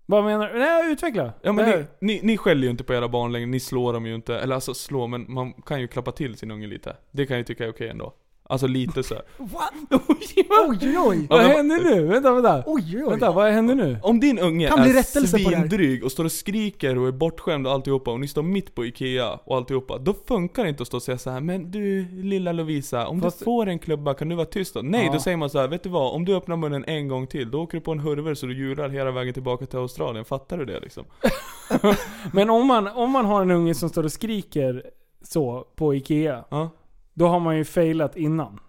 Vad menar du? Nej, utveckla.
Ja men
Det
ni,
här-
ni, ni skäller ju inte på era barn längre, ni slår dem ju inte. Eller alltså slå, men man kan ju klappa till sin unge lite. Det kan jag ju tycka är okej ändå. Alltså lite så. här.
What?
oj,
oj, oj.
Vad händer nu? Vänta, vänta.
Oj, oj.
Vänta, vad händer nu?
Om din unge
Kan bli
är
rättelse på det här.
svindryg och står och skriker och är bortskämd och alltihopa och ni står mitt på Ikea och alltihopa. Då funkar det inte att stå och säga så här. men du lilla Lovisa, om
Fast-
du får en klubba kan du vara tyst då? Nej,
Ja.
då säger man så här, vet du vad? Om du öppnar munnen en gång till, då åker du på en hurver så du jular hela vägen tillbaka till Australien. Fattar du det liksom?
Men om man, om man har en unge som står och skriker så på Ikea. Då har man ju failat innan.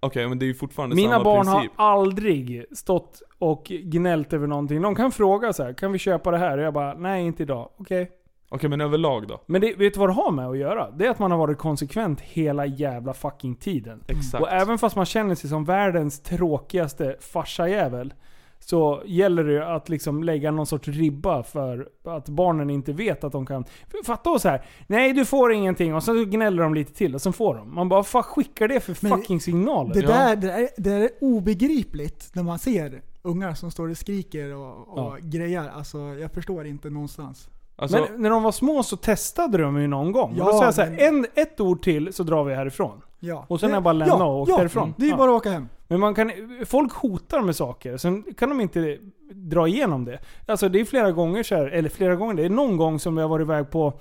Okej, men det är ju fortfarande
Mina
samma
barn
princip.
har aldrig stått och gnällt över någonting. De kan fråga så här, kan vi köpa det här? Och jag bara, nej inte idag. Okej.
Okej, men överlag då?
Men det, vet du vad det har med att göra? Det är att man har varit konsekvent hela jävla fucking tiden.
Exakt.
Och även fast man känner sig som världens tråkigaste farsajävel. Så gäller det ju att liksom lägga någon sorts ribba för att barnen inte vet att de kan... Fatta oss här. Nej du får ingenting och så gnäller de lite till och sen får de. Man bara, vad fan skickar det för
Men
fucking signaler?
Det där, det, där, det där är obegripligt när man ser ungar som står och skriker och, och grejar. Alltså, jag förstår inte någonstans.
Alltså,
men när de var små så testade de ju någon gång.
Ja,
Ja, då sa jag såhär,
men-
en, ett ord till så drar vi härifrån.
Ja.
Och sen är
Det-
jag bara lämna
ja,
och åka
ja,
därifrån.
det är ju bara att åka hem.
Men man kan, folk hotar med saker, sen kan de inte dra igenom det. Alltså det är flera gånger så här, eller flera gånger, det är någon gång som jag har varit iväg på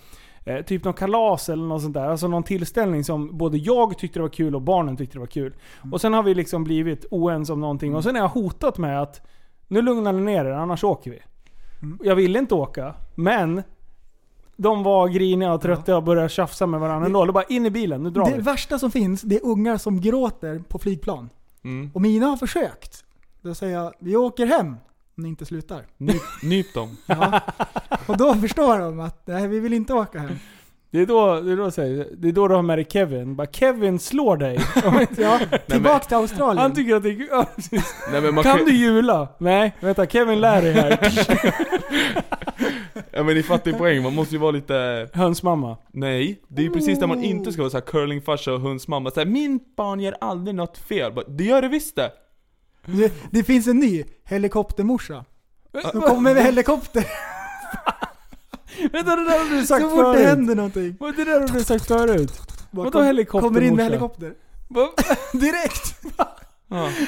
eh, typ någon kalas eller något sånt där. Alltså någon tillställning som både jag tyckte det var kul och barnen tyckte det var kul. Och sen har vi liksom blivit oense om någonting och sen har jag hotat med att nu lugnar ni ner er, annars åker vi. Jag ville inte åka, men de var griniga och trötta och började tjafsa med varandra ändå. Då bara in i bilen, nu drar
Det
vi.
värsta som finns, det är ungar som gråter på flygplan.
mm.
Och mina har försökt. Då säger jag, vi åker hem om ni inte slutar.
Nyp, nyp dem.
Ja. Och då förstår de att, nej vi vill inte åka hem.
Det är då, det är då, så här, det är då du har med dig Kevin. Bara Kevin slår dig.
ja,
tillbaka
till Australien.
Han tycker att det är ja, precis.
Nej, men man
kan,
kan-
du jula? Nej, vänta Kevin lär dig här.
Ja men ni fattar ju poäng, man måste ju vara lite...
Hönsmamma.
Nej, det är ju precis där
Oh.
man inte ska vara såhär curlingfarsa och hönsmamma. Såhär, min barn gör aldrig något fel. Bara, Det gör det visst det!
Det, det finns en ny helikoptermorsa. De kommer med helikopter.
Vänta det där har du sagt
Så fort det
förut.
händer någonting.
Vad är det där har du sagt förut? Vadå
kom-
helikopter
Kommer in med
morsa?
helikopter. Direkt!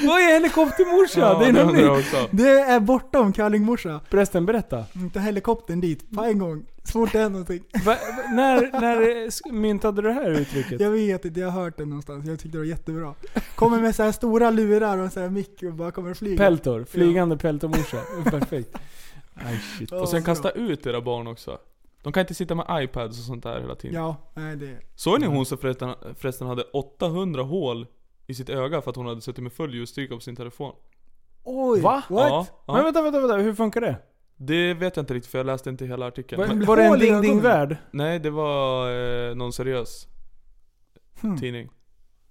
Vad är helikoptermorsa?
Ja,
det är
det
något
undrar jag
nytt.
också. Det är bortom Kallingmorsa.
Förresten, berätta.
Inte helikoptern dit, på en gång. Så fort det händer någonting.
Va, va, när, när s- myntade du det här uttrycket?
Jag vet inte, jag har hört det någonstans. Jag tyckte det var jättebra. Kommer med så här stora lurar och så här mick och bara kommer och flyger.
Peltor.
Ja.
Flygande peltormorsa. Perfekt. Aj, shit.
Och sen kasta ut era barn också. De kan inte sitta med iPads och sånt där hela tiden.
Ja, nej det...
Såg ni hon som förresten, förresten hade 800 hål i sitt öga för att hon hade suttit med full ljusstyrka på sin telefon?
Oj!
Va?
what?
Ja, ja. Men vänta, vänta, vänta. Hur funkar det?
Det vet jag inte riktigt för jag läste inte hela artikeln.
Var- var det en Hål i ding-ding ögonen? värld?
Nej, det var eh, någon seriös
Hmm.
tidning.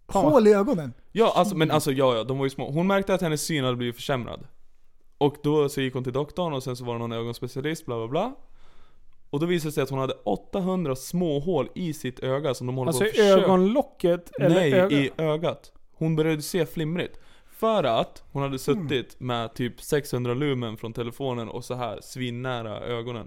Hål i ögonen.
Ja, alltså, men alltså ja, ja, de var ju små. Hon märkte att hennes syn hade blivit försämrad. Och då så gick hon till doktorn och sen så var det någon ögonspecialist, bla bla bla. Och då visade det sig att hon hade 800 små hål i sitt öga som de håller
Alltså
på att
i
försöka...
ögonlocket eller
Nej,
öga-
i ögat. Hon började se flimrigt. För att hon
Hmm.
hade suttit med typ 600 lumen från telefonen och så här svinnära ögonen.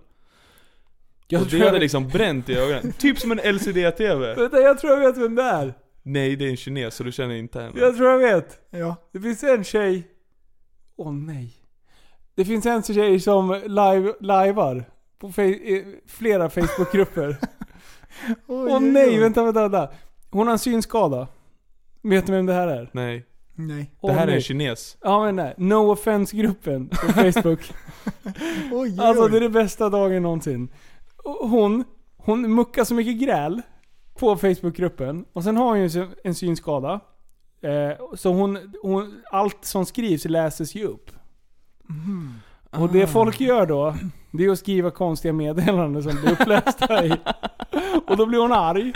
Jag
och det
tror jag-
hade liksom bränt i ögonen. typ som en LCD-TV.
Vänta, jag tror jag vet vem det är.
Nej, det är en kines så du känner inte henne.
Jag tror jag vet.
Ja.
Det finns en tjej... Åh nej. Det finns en tjej som live, livear på fe- i flera Facebookgrupper. Åh
oj,
nej,
oj.
vänta, vänta, vänta. Hon har en synskada. Vet ni vem det här är?
Nej.
Nej.
Det här
Åh,
är en
nej.
kines.
Ja men nej. No offense-gruppen på Facebook.
oj.
Alltså det är den bästa dagen någonsin. Och Hon, hon muckar så mycket gräl på Facebookgruppen. Och sen har hon ju sy- en synskada. Eh, så hon, hon, allt som skrivs läses ju upp.
Mm.
Och
Ah.
det folk gör då, det är att skriva konstiga meddelanden som blir upplästa i. Och då blir hon arg.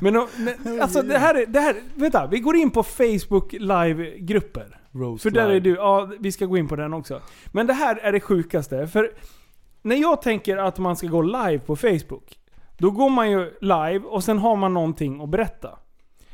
Men hon, nej, alltså det här är, det här, vänta, vi går in på Facebook live-grupper. För där är
live.
du, ja vi ska gå in på den också. Men det här är det sjukaste. För när jag tänker att man ska gå live på Facebook, då går man ju live och sen har man någonting att berätta.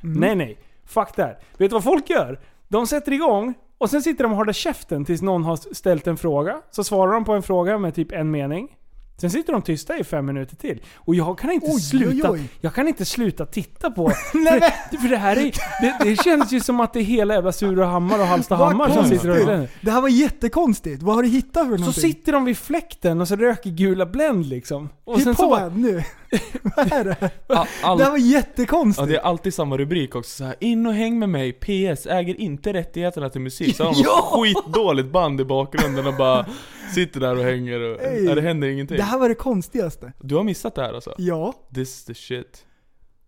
Mm.
Nej nej, fuck that. Vet du vad folk gör? De sätter igång och sen sitter de och håller käften tills någon har ställt en fråga. Så svarar de på en fråga med typ en mening. Sen sitter de tysta i fem minuter till. Och jag kan inte,
Oj, oj,
sluta,
oj.
Jag kan inte sluta titta på... för, för det här är, det, det känns ju som att det är hela jävla Surahammar och Hallstahammar
Vad
som sitter och håller den.
konstigt. Det här var jättekonstigt. Vad har du hittat för
Så
någonting?
sitter de vid fläkten och så röker gula Blend liksom. Och
Hit
sen
på
så bara,
nu. Vad är det?
all-
Det här var
Ja,
jättekonstigt.
det är alltid samma rubrik också så här. In och häng med mig, PS, äger inte rättigheterna till musik. Så har de
Ja!
något skitdåligt band i bakgrunden och bara sitter där och hänger och
Ey,
ja, det händer ingenting.
Det här var det konstigaste.
Du har missat det här alltså?
Ja.
This is the shit.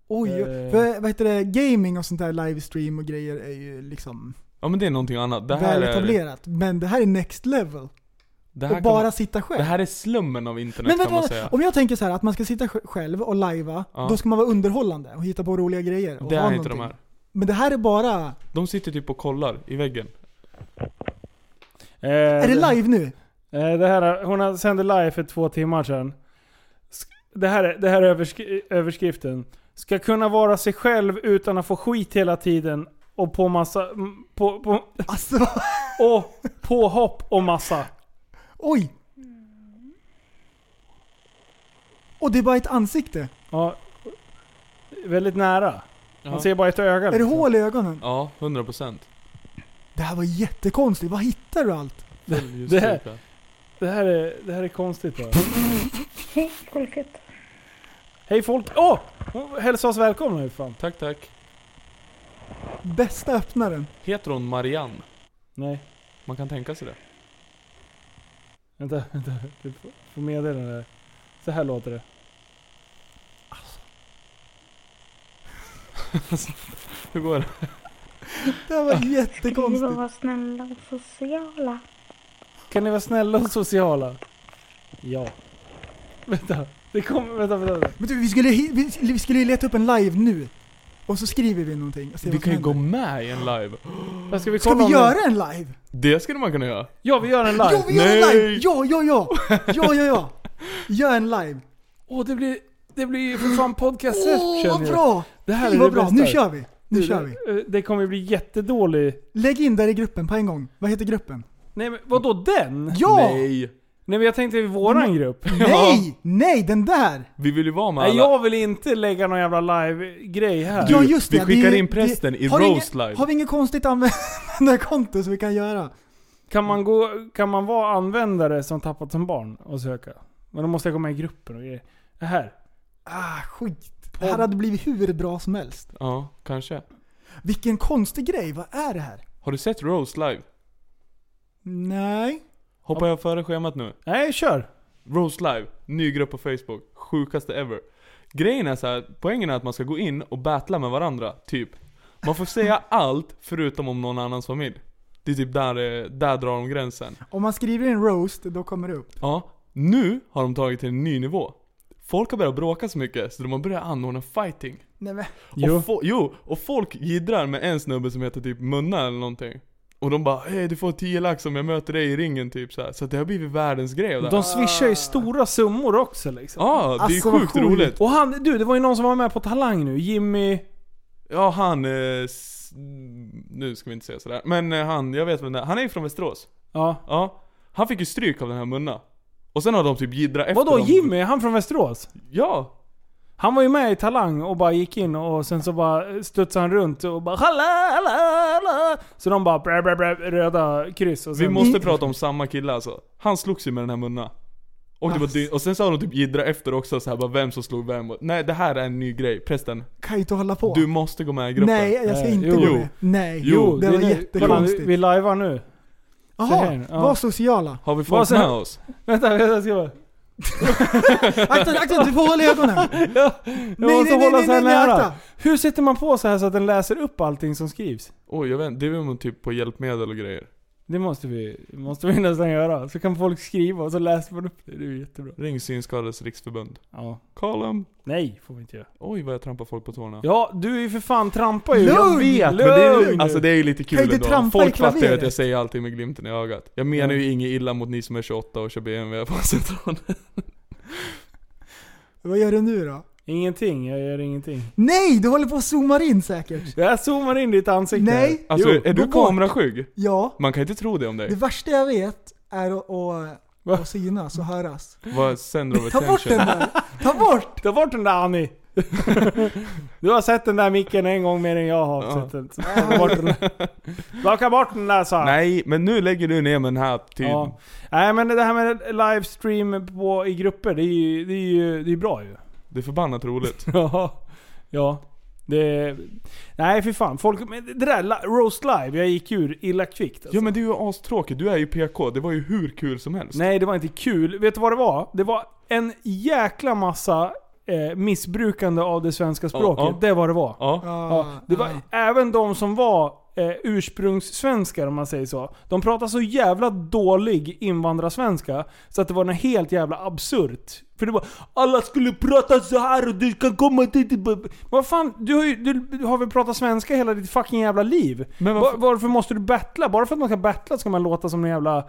Oj,
Eh.
för, vad heter det? Gaming och sånt där, livestream och grejer är ju liksom
Ja men det är någonting annat. Det här
väl
är...
etablerat. Men det här är next level.
Det här
och
kan
bara
man-
sitta själv.
Det här är slummen av internet
men
kan man
vänta,
säga.
om jag tänker så här att man ska sitta sj- själv och lajva,
Ja.
då ska man vara underhållande och hitta på roliga grejer. Och
Det
ha
är inte de
någonting.
här.
Men det här är bara...
De sitter typ och kollar i väggen.
Är det live nu?
Eh, Det här, hon har- sände live för två timmar sedan. Sk- Det här, är- det här är överskri överskriften. Ska kunna vara sig själv utan att få skit hela tiden och på massa... m- På, på,
Alltså,
och påhopp och massa.
Oj! Och det är bara ett ansikte.
Ja, väldigt nära. Man
Ja.
ser bara ett öga. liksom.
Är det hål i ögonen?
Ja, 100%.
Det här var jättekonstigt. Vad hittar du allt?
Det här, det, här är, det här är konstigt bara.
Hej folket.
Hej folk! Åh! Oh, hälsa oss välkomna nu fan.
Tack tack.
Bästa öppnaren.
Heter hon Marianne?
Nej.
Man kan tänka sig det.
Vänta, vänta. Du får- får meddela det här. Så här låter det. Alltså.
Hur går det?
Det här var
Kan ni
jättekonstigt.
bara vara snälla och sociala?
Kan ni vara snälla och sociala? Ja. Vänta, det kommer... Vänta, vänta. vänta.
Men du, vi skulle, hi- vi, vi skulle ju leta upp en live nu. Och så skriver vi någonting. Och ser
Vi
vad
kan
som
ju
händer.
gå med i en live.
Ska vi,
Ska vi göra en live?
Det skulle man kunna göra.
Ja, vi gör en live.
Jo, vi gör en live! Ja, ja, ja! Ja, ja, ja! Gör en live.
Åh, det blir... Det blir ju för fan podcast
Åh, vad bra!
Det här
Fy,
är
vad
det
bra.
bästa.
Nu kör vi. Nu
Du,
kör
det-
vi.
eh, Det kommer bli jättedålig...
Lägg in där i gruppen på en gång. Vad heter gruppen?
Nej men vadå den?
Ja!
Nej!
Nej men jag tänkte i våran grupp.
Nej! Nej, den där!
Vi vill ju vara med
Nej,
alla.
jag vill inte lägga någon jävla live-grej här.
ja, just det.
vi
det
skickar
är ju-
in prästen
det-
i
har vi
roast
inget-
live.
Har vi inget konstigt användarkonto som vi kan göra?
Kan man, gå, kan man vara användare som tappat som barn och söka? Men då måste jag gå med i gruppen och grejer. Det här.
Ah, skit. Det här hade blivit hur bra som helst.
Ja, kanske.
Vilken konstig grej. Vad är det här?
Har du sett roast live?
Nej.
Hoppar jag före schemat nu?
Nej, kör!
Roast live, ny grupp på Facebook. Sjukaste ever. Grejen är så här, poängen är att man ska gå in och battla med varandra, typ. Man får säga allt förutom om någon annans familj. Det är typ där, eh, där drar de gränsen.
Om man skriver in roast, då kommer det upp.
Ja, nu har de tagit till en ny nivå. Folk har börjat bråka så mycket så de har börjat anordna fighting.
Nej men.
Och fo- jo, och folk jiddrar med en snubbe som heter typ Munna eller någonting. Och de bara hej du får 10 lax om jag möter dig i ringen typ så här. Så det har blivit världens grej av det här.
De swishar
Ah.
ju stora summor också liksom.
Ja, det är Alltså, vad sjukt sjukt. roligt.
Och han, du det var ju någon som var med på Talang nu, Jimmy...
Ja han, eh, s- nu ska vi inte säga sådär. Men eh, han, jag vet vem det är. Han är ju från Västerås.
Ja.
Ja. Han fick ju stryk av den här Munna. Och sen har de typ jiddrat efter
Vadå
dem.
Jimmy? Är han från Västerås?
Ja.
Han var ju med i Talang och bara gick in och sen så bara studsade han runt och bara halla, halla, halla. Så de bara brä, brä, brä, röda kryss och sen,
Vi måste prata om samma kille alltså. Han slogs ju med den här Munna. Och, det var dy- och sen sa de typ jiddra efter också så här, bara vem som slog vem. Och- Nej det här är en ny grej, prästen.
Kan ju inte hålla på.
Du måste gå med i gruppen.
Nej, jag ska inte gå med. Nej,
jo.
det var
är nu-
jättekonstigt.
kolla, Vi lajvar nu.
Jaha, var sociala.
Har vi folk
Vad sa-
med oss?
Vänta, jag ska bara...
Akta, akta, du får hålla i ögonen.
ja, jag
Nej,
måste
nej,
hålla
nej,
så här
nej, nej,
nära.
akta.
Hur sitter man på så här så att den läser upp allting som skrivs?
Oj jag vet inte, det är väl typ på hjälpmedel och grejer.
Det måste vi, måste vi nästan göra. Så kan folk skriva och så läser man upp det. Det är ju jättebra.
Ring Synskadades Riksförbund.
Ja.
Call 'em.
Nej, får vi inte göra.
Oj vad jag trampar folk på tårna.
Ja, du är ju för fan trampar ju.
Jag vet, men det är, ju-
Lugn.
alltså det är ju lite
Kan
kul
inte
ändå.
trampa i
Folk fattar ju att
klaveret.
jag säger allting med glimten i ögat. Jag menar ju inget illa mot ni som är 28 och kör BMW på centralen.
Vad gör du nu då?
Ingenting, jag gör ingenting.
Nej, du håller på och zoomar in säkert.
Jag zoomar in ditt ansikte.
Nej.
Alltså
Jo,
är
gå
du
bort.
kameraskygg?
Ja.
Man kan inte tro det om dig.
Det värsta jag vet är att, att, att synas och höras.
Vad sänder of
Ta bort den
attention.
där. Ta bort!
Ta bort den där Annie. Du har sett den där micken en gång mer än jag har sett den. Så ta bort den. Plocka bort den där sa jag.
Nej, men nu lägger du ner med den här tiden.
Ja. Nej men det här med livestream på, i grupper, det är ju, det är ju det är bra ju.
Det är förbannat roligt.
ja. Ja. Det... Nej för fan. Folk, men det där li- roast live, jag gick ur illa kvickt. Alltså.
Ja men det är ju astråkigt, du är ju PK, det var ju hur kul som helst.
Nej det var inte kul. Vet du vad det var? Det var en jäkla massa eh, missbrukande av det svenska språket.
ja.
Det var det var.
Ja.
Det var även de som var eh, ursprungssvenskar om man säger så. De pratade så jävla dålig invandrarsvenska så att det var något helt jävla absurt. För det var alla skulle prata så här och du kan komma dit. Men vad fan, du har, ju, du, du har väl pratat svenska hela ditt fucking jävla liv? varför, varför måste du battla? Bara för att man ska battla ska man låta som en jävla...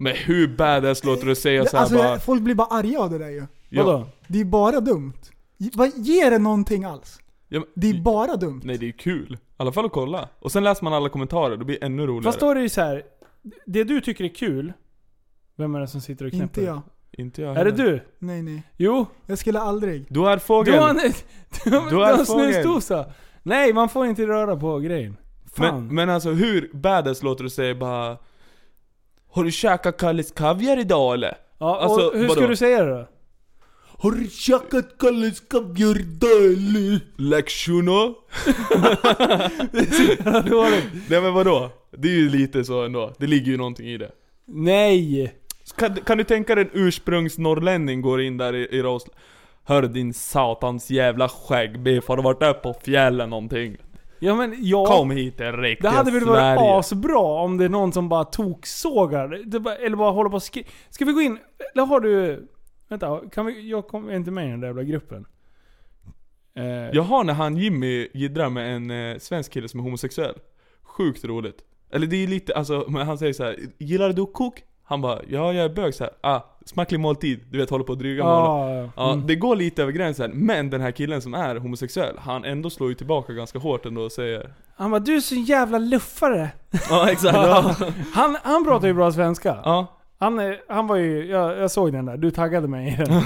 Men hur badass låter det att säga
Det,
såhär
alltså,
bara...
folk blir bara arga av det där ju.
Ja. Vadå?
Det är bara dumt. Ge- vad- Ger det någonting alls?
Ja, men,
Det är bara dumt.
nej det är ju kul. I alla fall att kolla. Och sen läser man alla kommentarer, det blir ännu roligare.
Fast då är det ju så här. det du tycker är kul, vem är det som sitter och knäpper?
Inte jag.
Inte jag
Är det
heller.
du?
Nej, nej.
Jo.
Jag skulle aldrig.
Du är fågel.
Du har en,
Du
du, du
är
har en
fågel.
snusdosa. Nej, man får inte röra på grejen. Fan.
Men, men alltså hur badass låter det att säga bara... Har du käkat Kalles kaviar idag eller?
ja,
alltså,
och hur
vadå?
ska du säga det då?
Har du käkat Kalles kaviar idag eller? Lektioner? Nej men vadå? Det är ju lite så ändå. Det ligger ju någonting i det.
Nej!
Kan, kan du tänka dig en ursprungsnorrlänning går in där i, i Rosla? Hör din satans jävla skäggbiff, har du varit där på fjällen någonting?
Ja men jag...
Kom hit till riktiga
Det hade väl varit
Sverige.
asbra om det är någon som bara toksågar. Det bara- Eller bara håller på och skri... Ska vi gå in... Eller har du... Vänta, kan vi... Jag kommer inte med i den där jävla gruppen. Eh,
Jag har när han Jimmy jiddrar med en eh, svensk kille som är homosexuell. Sjukt roligt. Eller det är lite, alltså, men han säger så här: Gillar du kok? Han bara, ja jag är bög så här. ah, smaklig måltid. Du vet, håller på att dryga med
Ah,
honom.
ja.
Ja,
Mm.
Det går lite över gränsen, men den här killen som är homosexuell, han ändå slår ju tillbaka ganska hårt ändå och säger
Han bara 'Du är så jävla luffare'
Ja exakt. Ja.
han, han pratar ju bra svenska.
Ja.
Han, är- han var ju... Jag, jag såg den där, du taggade mig i den.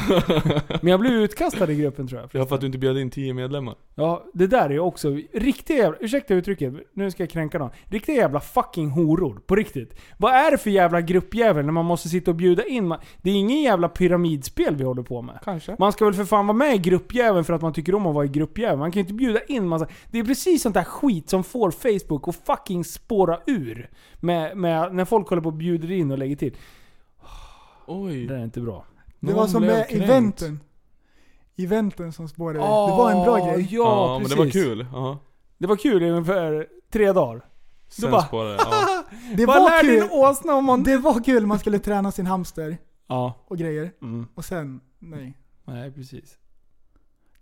Men jag blev utkastad i gruppen tror jag.
Ja för att du inte bjöd in 10 medlemmar.
Ja, det där är ju också riktiga jävla... Ursäkta uttrycket, nu ska jag kränka någon. Riktiga jävla fucking horor, på riktigt. Vad är det för jävla gruppjävel när man måste sitta och bjuda in? Man, det är ingen jävla pyramidspel vi håller på med.
Kanske.
Man ska väl för fan vara med i gruppjäveln för att man tycker om att vara i gruppjäveln. Man kan ju inte bjuda in massa... Det är precis sånt där skit som får Facebook att fucking spåra ur. Med, med, när folk håller på och bjuder in och lägger till.
Oj.
Det där är inte bra.
Det var som med eventen. Eventen som spårade. det var en bra grej.
Ja,
ja men
precis.
det var kul. Ja.
Det var kul i ungefär tre dagar. Då
Sen
bara-
spårade det. Ja.
Det
Vad
var
lär
kul.
din åsna om man...
Det var kul man skulle träna sin hamster
Ja.
och grejer.
Mm.
Och sen, nej.
Nej, precis.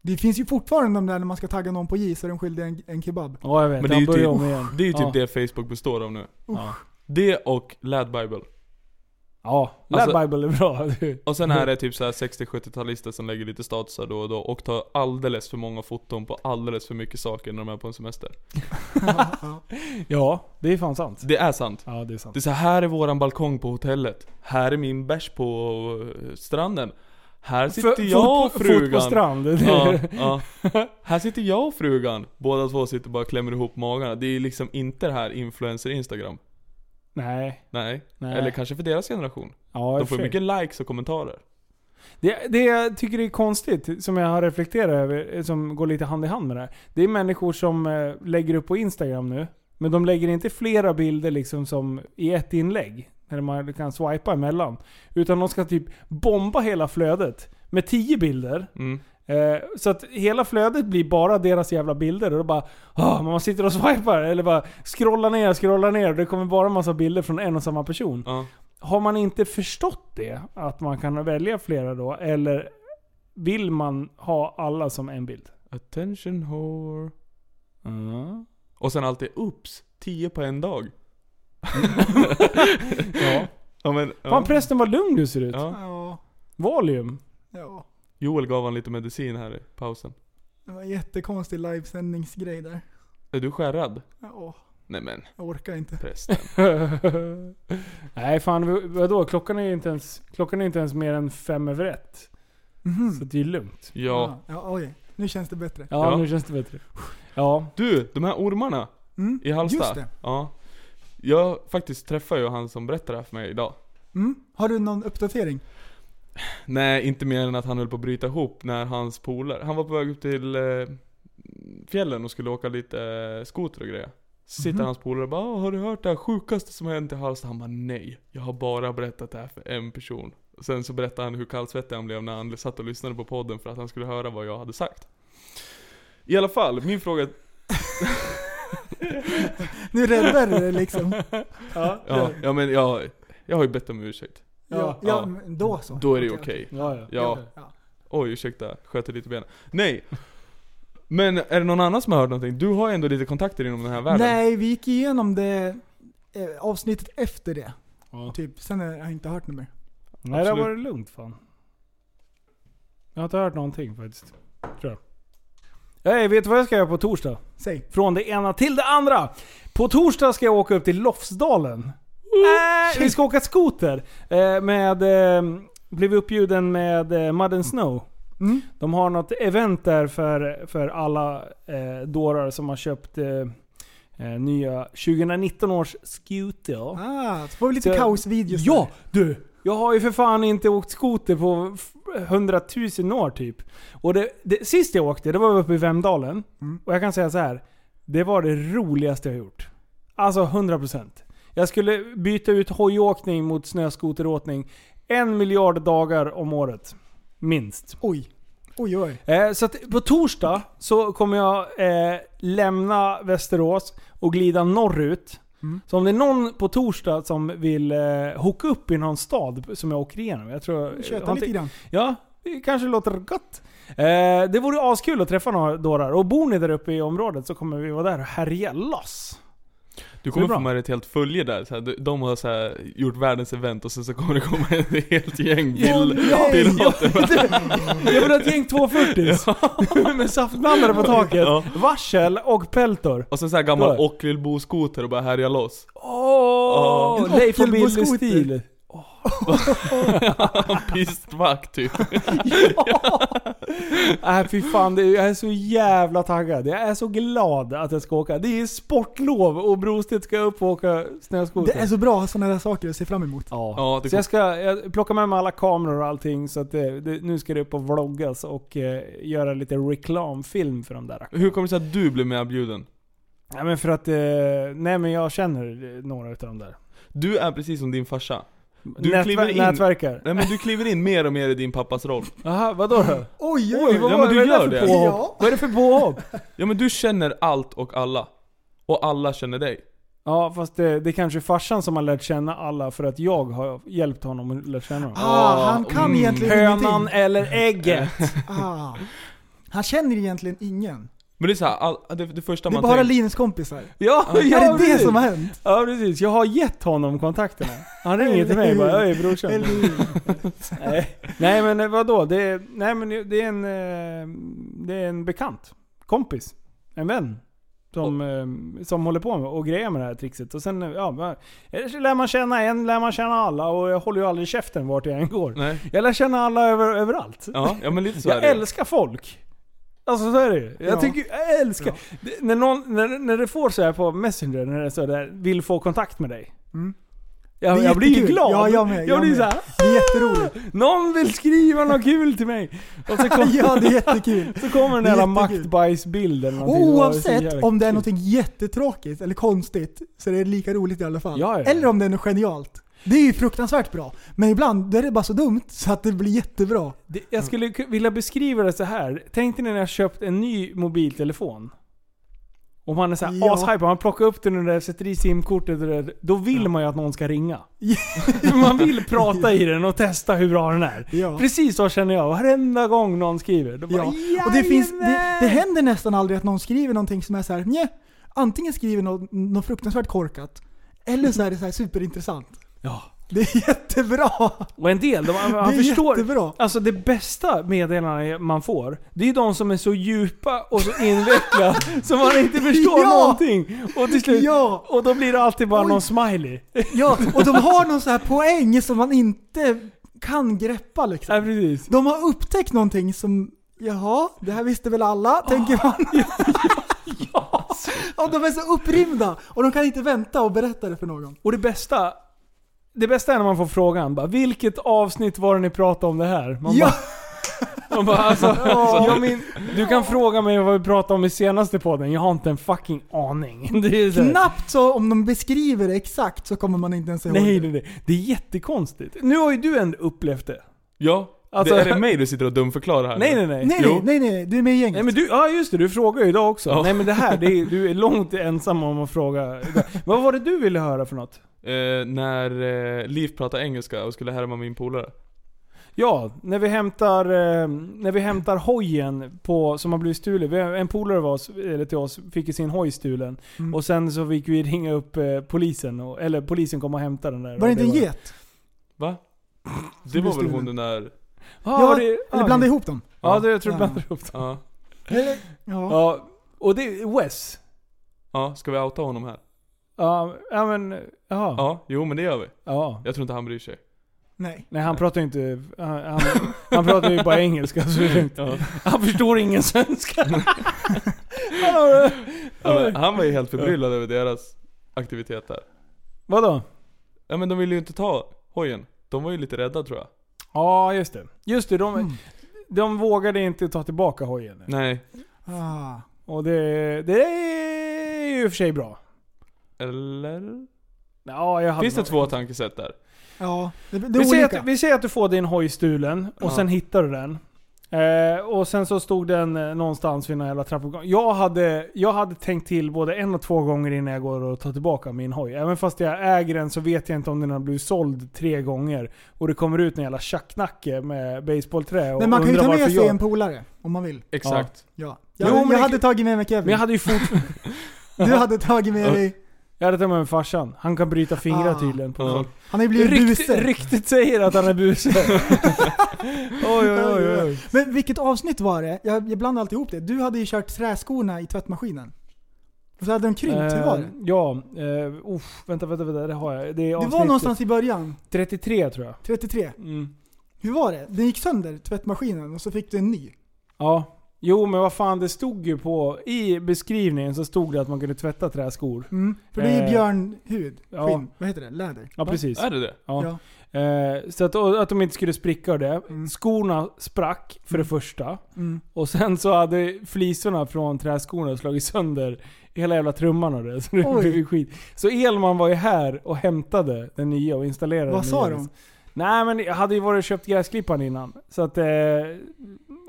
Det finns ju fortfarande de där när man ska tagga någon på J så är de skyldiga en, en kebab.
Ja, jag vet.
Men det är
han
ju
börjar
typ,
om igen.
det, är ju typ
ja.
det Facebook består av nu.
Ja.
Det och Lad Bible.
Ja, Lad
Alltså-
Bible är bra.
Och sen är det typ så här 60-70-talister som lägger lite statusar då och då och tar alldeles för många foton på alldeles för mycket saker när de är på en semester.
Ja, det är fan sant.
Det är sant.
Ja, det är sant.
Det är så här, här är våran balkong på hotellet. Här är min bärs på eh, stranden. Här sitter
Fö-
jag och
fot- fot på
frugan.
strand.
Ja, ja. Här sitter jag och frugan. Båda två sitter bara och klämmer ihop magarna. Det är liksom inte det här influencer-instagram.
Nej.
Nej.
Nej.
Eller kanske för deras generation.
Ja,
De
i och
får
för sig.
mycket likes och kommentarer.
Det, det jag tycker är konstigt, som jag har reflekterat över, eh, som går lite hand i hand med det här. Det är människor som eh, lägger upp på Instagram nu, men de lägger inte flera bilder liksom som i ett inlägg. När man kan swipa emellan. Utan de ska typ bomba hela flödet med tio bilder.
Mm,
Eh, så att hela flödet blir bara deras jävla bilder. Och då bara, ah, man sitter och swipar. Eller bara scrollar ner, scrollar ner. Och det kommer bara massa bilder från en och samma person. Har man inte förstått det, att man kan välja flera då? Eller vill man ha alla som en bild?
Attention whore. Och sen alltid, ups, 10 på en dag.
ja.
ja, men, ja.
Fan prästen vad lugn du ser ut.
Ja.
Valium.
Ja.
Joel gav han lite medicin här i pausen.
Det var en jättekonstig livesändningsgrej där.
Är du skärrad?
Ja.
Nej men.
Jag orkar inte.
Prästen.
Nej fan v- vadå? Klockan är ju inte ens, klockan är inte ens mer än fem över ett. Så det är lugnt.
Ja.
Mhm. ja oj. Nu känns det bättre.
Ja, nu känns det bättre. Ja.
Du, de här ormarna
Mm,
i Halsta.
just det.
Ja. Jag faktiskt träffade ju han som berättade det här för mig idag.
Mm? Har du någon uppdatering?
Nej, inte mer än att han höll på att bryta ihop när hans polare, han var på väg upp till eh, fjällen och skulle åka lite eh, skoter och grejer. Så sitter
Mhm.
hans polare och bara "Åh, 'Har du hört det här sjukaste som har hänt i Halsta?' Han bara 'Nej, jag har bara berättat det här för en person' Sen så berättade han hur kallsvettig han blev när han satt och lyssnade på podden för att han skulle höra vad jag hade sagt. I alla fall, min fråga...
Nu räddar du det liksom.
Ja.
Ja, ja men jag, jag har ju bett om ursäkt.
Ja, ja, men då så.
Då är det ju
Okej,
okej.
okej. Ja, ja.
Oj, ursäkta. Sköt lite i benen. Nej! Men är det någon annan som har hört någonting? Du har ju ändå lite kontakter inom den här världen.
Nej, vi gick igenom det eh, avsnittet efter det.
Ja.
Typ. Sen har jag inte hört något mer.
Nej det
Absolut.
var det lugnt fan. Jag har inte hört någonting faktiskt. Tror jag. Hey, vet du vad jag ska göra på torsdag?
Säg.
Från det ena till det andra. På torsdag ska jag åka upp till Lofsdalen. Äh, vi ska åka skoter. Eh, med, eh, blev uppbjuden med eh, Mud and Snow. De har något event där för, för alla eh, dårar som har köpt eh, eh, nya 2019 års skuter.
Ah, så får vi lite kaosvideos
Ja, du! Jag har ju för fan inte åkt skoter på f- hundratusen år typ. Och det, det, sist jag åkte, det var uppe i Vemdalen. Och jag kan säga så här. Det var det roligaste jag gjort. Alltså 100%. Jag skulle byta ut hojåkning mot snöskoteråkning en miljard dagar om året. Minst.
Oj. Oj oj.
Eh, så att på torsdag så kommer jag eh, lämna Västerås och glida norrut. Så om det är någon på torsdag som vill eh, hooka upp i någon stad som jag åker igenom. Jag tror...
Köta
har
lite
inte-
grann.
Ja, det kanske låter gott. Eh, det vore askul att träffa några dårar. Och bor ni där uppe i området så kommer vi vara där och härja loss.
Du kommer
Det är bra.
få med dig ett helt följe där. Så här, de- de har så här, gjort världens event och sen så kommer det komma ett helt gäng bil,
nej!
piloter.
Jag vill ha ett gäng 240 med saftblandare på taket,
Ja.
varsel och peltor.
Och sen så här gammal
Då.
Ockelbo-skoter och bara härja loss.
Åh!
Ja.
Leif och Billy
Ockelbo-skoter.
stil.
Pistvakt typ.
Nej fy fan, det är, jag är så jävla taggad. Jag är så glad att jag ska åka. Det är sportlov och Brostedt ska upp och åka snöskoter.
Det är så bra sådana där saker att se fram emot.
Ja,
så jag ska jag plocka med mig alla kameror och allting så att det, det, nu ska det upp och vloggas och eh, göra lite reklamfilm för de där
Hur kommer det sig att du blev medbjuden?
Nej men för att, eh, nej men jag känner eh, några utav dem där.
Du är precis som din farsa. Du
Nätver-
kliver in,
nätverkar.
Nej men du kliver in mer och mer i din pappas roll.
Jaha, vadå då?
Oj,
oj, ja, men du
vad är
gör
för
det.
påhopp?
Ja.
Vad är det för påhopp?
Ja men du känner allt och alla. Och alla känner dig.
Ja fast eh, det, det är kanske är farsan som har lärt känna alla för att jag har hjälpt honom att lära känna dem.
Ah, han kan
Mm.
egentligen
Hönan
ingenting.
eller ägget.
Ah. Han känner egentligen ingen.
Men det är så här, all, det, det första
Det är
man
bara
tänker...
Linus kompisar.
Ja,
Är
ja
det det
precis.
som har hänt?
Ja precis, jag har gett honom kontakterna. Han ringer till mig och bara Öj brorsan.
Eller
Nej. nej men eh, vadå? Det är, nej men det är en... eh, Det är en bekant. Kompis. En vän. Som, eh, som håller på med och grejer med det här trixet. Och sen eh, ja, va- eller så lär man känna en, lär man känna alla och jag håller ju aldrig käften vart jag än går.
Nej.
Jag lär känna alla över, överallt.
Ja, ja men lite så är
Jag
det.
älskar folk. Alltså så är det ju. Jag,
Ja.
tycker, jag älskar... Det, när, någon, när, när det får så här på Messenger, när det är så där, vill få kontakt med dig. Jag,
Mm. Det är
jag blir ju
jättekul.
glad.
Ja, jag med,
jag,
jag
blir
med.
såhär...
Det är jätteroligt.
Någon vill skriva något kul till mig. Och så kommer,
Ja, det är jättekul.
Så kommer den
Det är
där
jättekul.
maktbajsbilden. eller någonting. Så
Oavsett
jävla
om det är
kul.
något jättetråkigt eller konstigt så är det lika roligt i alla fall.
Ja, ja.
Eller om det är något genialt. Det är ju fruktansvärt bra. Men ibland då är det bara så dumt så att det blir jättebra.
Det, jag skulle ku- vilja beskriva det så här. Tänk dig när jag köpt en ny mobiltelefon. Om man är såhär
Ja.
ashype, man plockar upp den och det där, sätter i simkortet och det där, Då vill man ju att någon ska ringa. man vill prata i den och testa hur bra den är. Precis så känner jag. Varenda gång någon skriver. Då bara,
Ja. Och det, finns, det, det händer nästan aldrig att någon skriver någonting som är så här, "Nja." antingen skriver någon något fruktansvärt korkat, eller så är det så här superintressant.
Ja.
Det är jättebra!
Och en del, de, man,
Det är
förstår. Alltså det bästa meddelandena man får, det är ju de som är så djupa och så invecklade så man inte förstår
Ja!
någonting. Och till slut, och då blir det alltid bara någon smiley.
Ja, och de har någon så här poäng som man inte kan greppa liksom.
Ja, precis.
De har upptäckt någonting som, jaha, det här visste väl alla, tänker man. Och de är så upprymda och de kan inte vänta och berätta det för någon.
Och det bästa, det bästa är när man får frågan bara, vilket avsnitt var det ni pratade om det här? Man
Ja.
bara, man bara alltså,
Ja.
jag min, du kan fråga mig vad vi pratade om i senaste podden, jag har inte en fucking aning. Det är så här,
Knappt så om de beskriver det exakt så kommer man inte ens ihåg
nej,
det.
nej, nej. Det är jättekonstigt. Nu har ju du ändå upplevt det.
Ja.
Alltså-
det är det mig du sitter och dumförklarar här?
Nej
nu?
nej nej.
Jo.
nej nej, du är med i gänget.
Nej men du, ja just det, du frågar ju idag också.
Ja.
Nej men det här, det är, du är långt ensam om att fråga. Vad var det du ville höra för något?
Eh, när eh, Liv pratade engelska och skulle härma min polare.
Ja, när vi hämtar, eh, när vi hämtar hojen på, som har blivit stulen. Vi- En polare av oss, eller till oss fick ju sin hoj stulen.
Mm.
Och sen så fick vi ringa upp eh, polisen, och, eller polisen kom och hämtade den där.
Var det
Och
inte en get?
Va? Det
blev
var väl
stulen.
hon den där...
Ja,
Ja,
var det,
eller blanda ihop dem.
Ja, det, jag tror du
Ja.
blandade ihop dem.
Ja.
Eller,
Ja.
ja.
Och det är Wes.
Ja, ska vi outa honom här?
Ja, ja men, jaha.
Ja, jo men det gör vi.
Ja.
Jag tror inte han bryr sig.
Nej.
Nej han pratar ju inte, han, han, han pratar ju bara engelska så det är lugnt.
Ja.
Han förstår ingen svenska.
Ja, men han var ju helt förbryllad över deras aktivitet där.
Vadå?
Ja men de ville ju inte ta hojen. De var ju lite rädda tror jag.
Ja just det. Just det, de, de vågade inte ta tillbaka hojen.
Nej.
Ah.
Och det, det är ju i och för sig bra.
Eller?
Ja, jag hade
Finns det
nog-
två tankesätt där?
Ja, det, det är
vi, säger
olika.
att, vi säger att du får din hoj stulen och
Ja.
sen hittar du den. Eh, och sen så stod den eh, någonstans vid någon jävla trappuppgång. Jag hade, jag hade tänkt till både en och två gånger innan jag går och tar tillbaka min hoj. Även fast jag äger den så vet jag inte om den har blivit såld tre gånger. Och det kommer ut en jävla tjacknacke med basebollträ och
Men man kan ju
undrar
ta med
varför
sig
jag-
en polare om man vill.
Exakt.
Ja.
Jo,
Jag,
men det-
jag hade tagit med mig Kevin.
Men jag hade ju fort...
Du hade tagit med dig...
Jag hade tagit med mig farsan. Han kan bryta fingrar
Ah.
tydligen på
Ja.
folk.
Han har ju blivit
Rykte-
buse.
Ryktet säger att han är Eh, buse. oj, oj, oj, oj.
Men vilket avsnitt var det? Jag, jag blandar alltid ihop det. Du hade ju kört träskorna i tvättmaskinen. Och så hade de krympt, hur var
Eh,
det?
Ja, uh, vänta, vänta, vänta, det har jag. Det, är
Det var
avsnitt
någonstans i början,
33 tror jag.
33.
Mm.
Hur var det? Den gick sönder, tvättmaskinen, och så fick du en ny.
Ja. Jo men vad fan, det stod ju på... I beskrivningen så stod det att man kunde tvätta träskor.
Mm, för det är
Eh,
björnhud,
ja.
skinn, vad heter det? Läder?
Ja
Va?
precis.
Är det det?
Ja. Eh, så att, och, att de inte skulle spricka och det. Skorna sprack för det första.
Mm.
Och sen så hade flisorna från träskorna slagit sönder hela jävla trumman och det. Så det
Oj.
blev ju skit. Så Elman var ju här och hämtade den nya och installerade
Vad
den
sa
nya.
de?
Nej men jag hade ju varit och köpt gräsklipparen innan. Så att eh,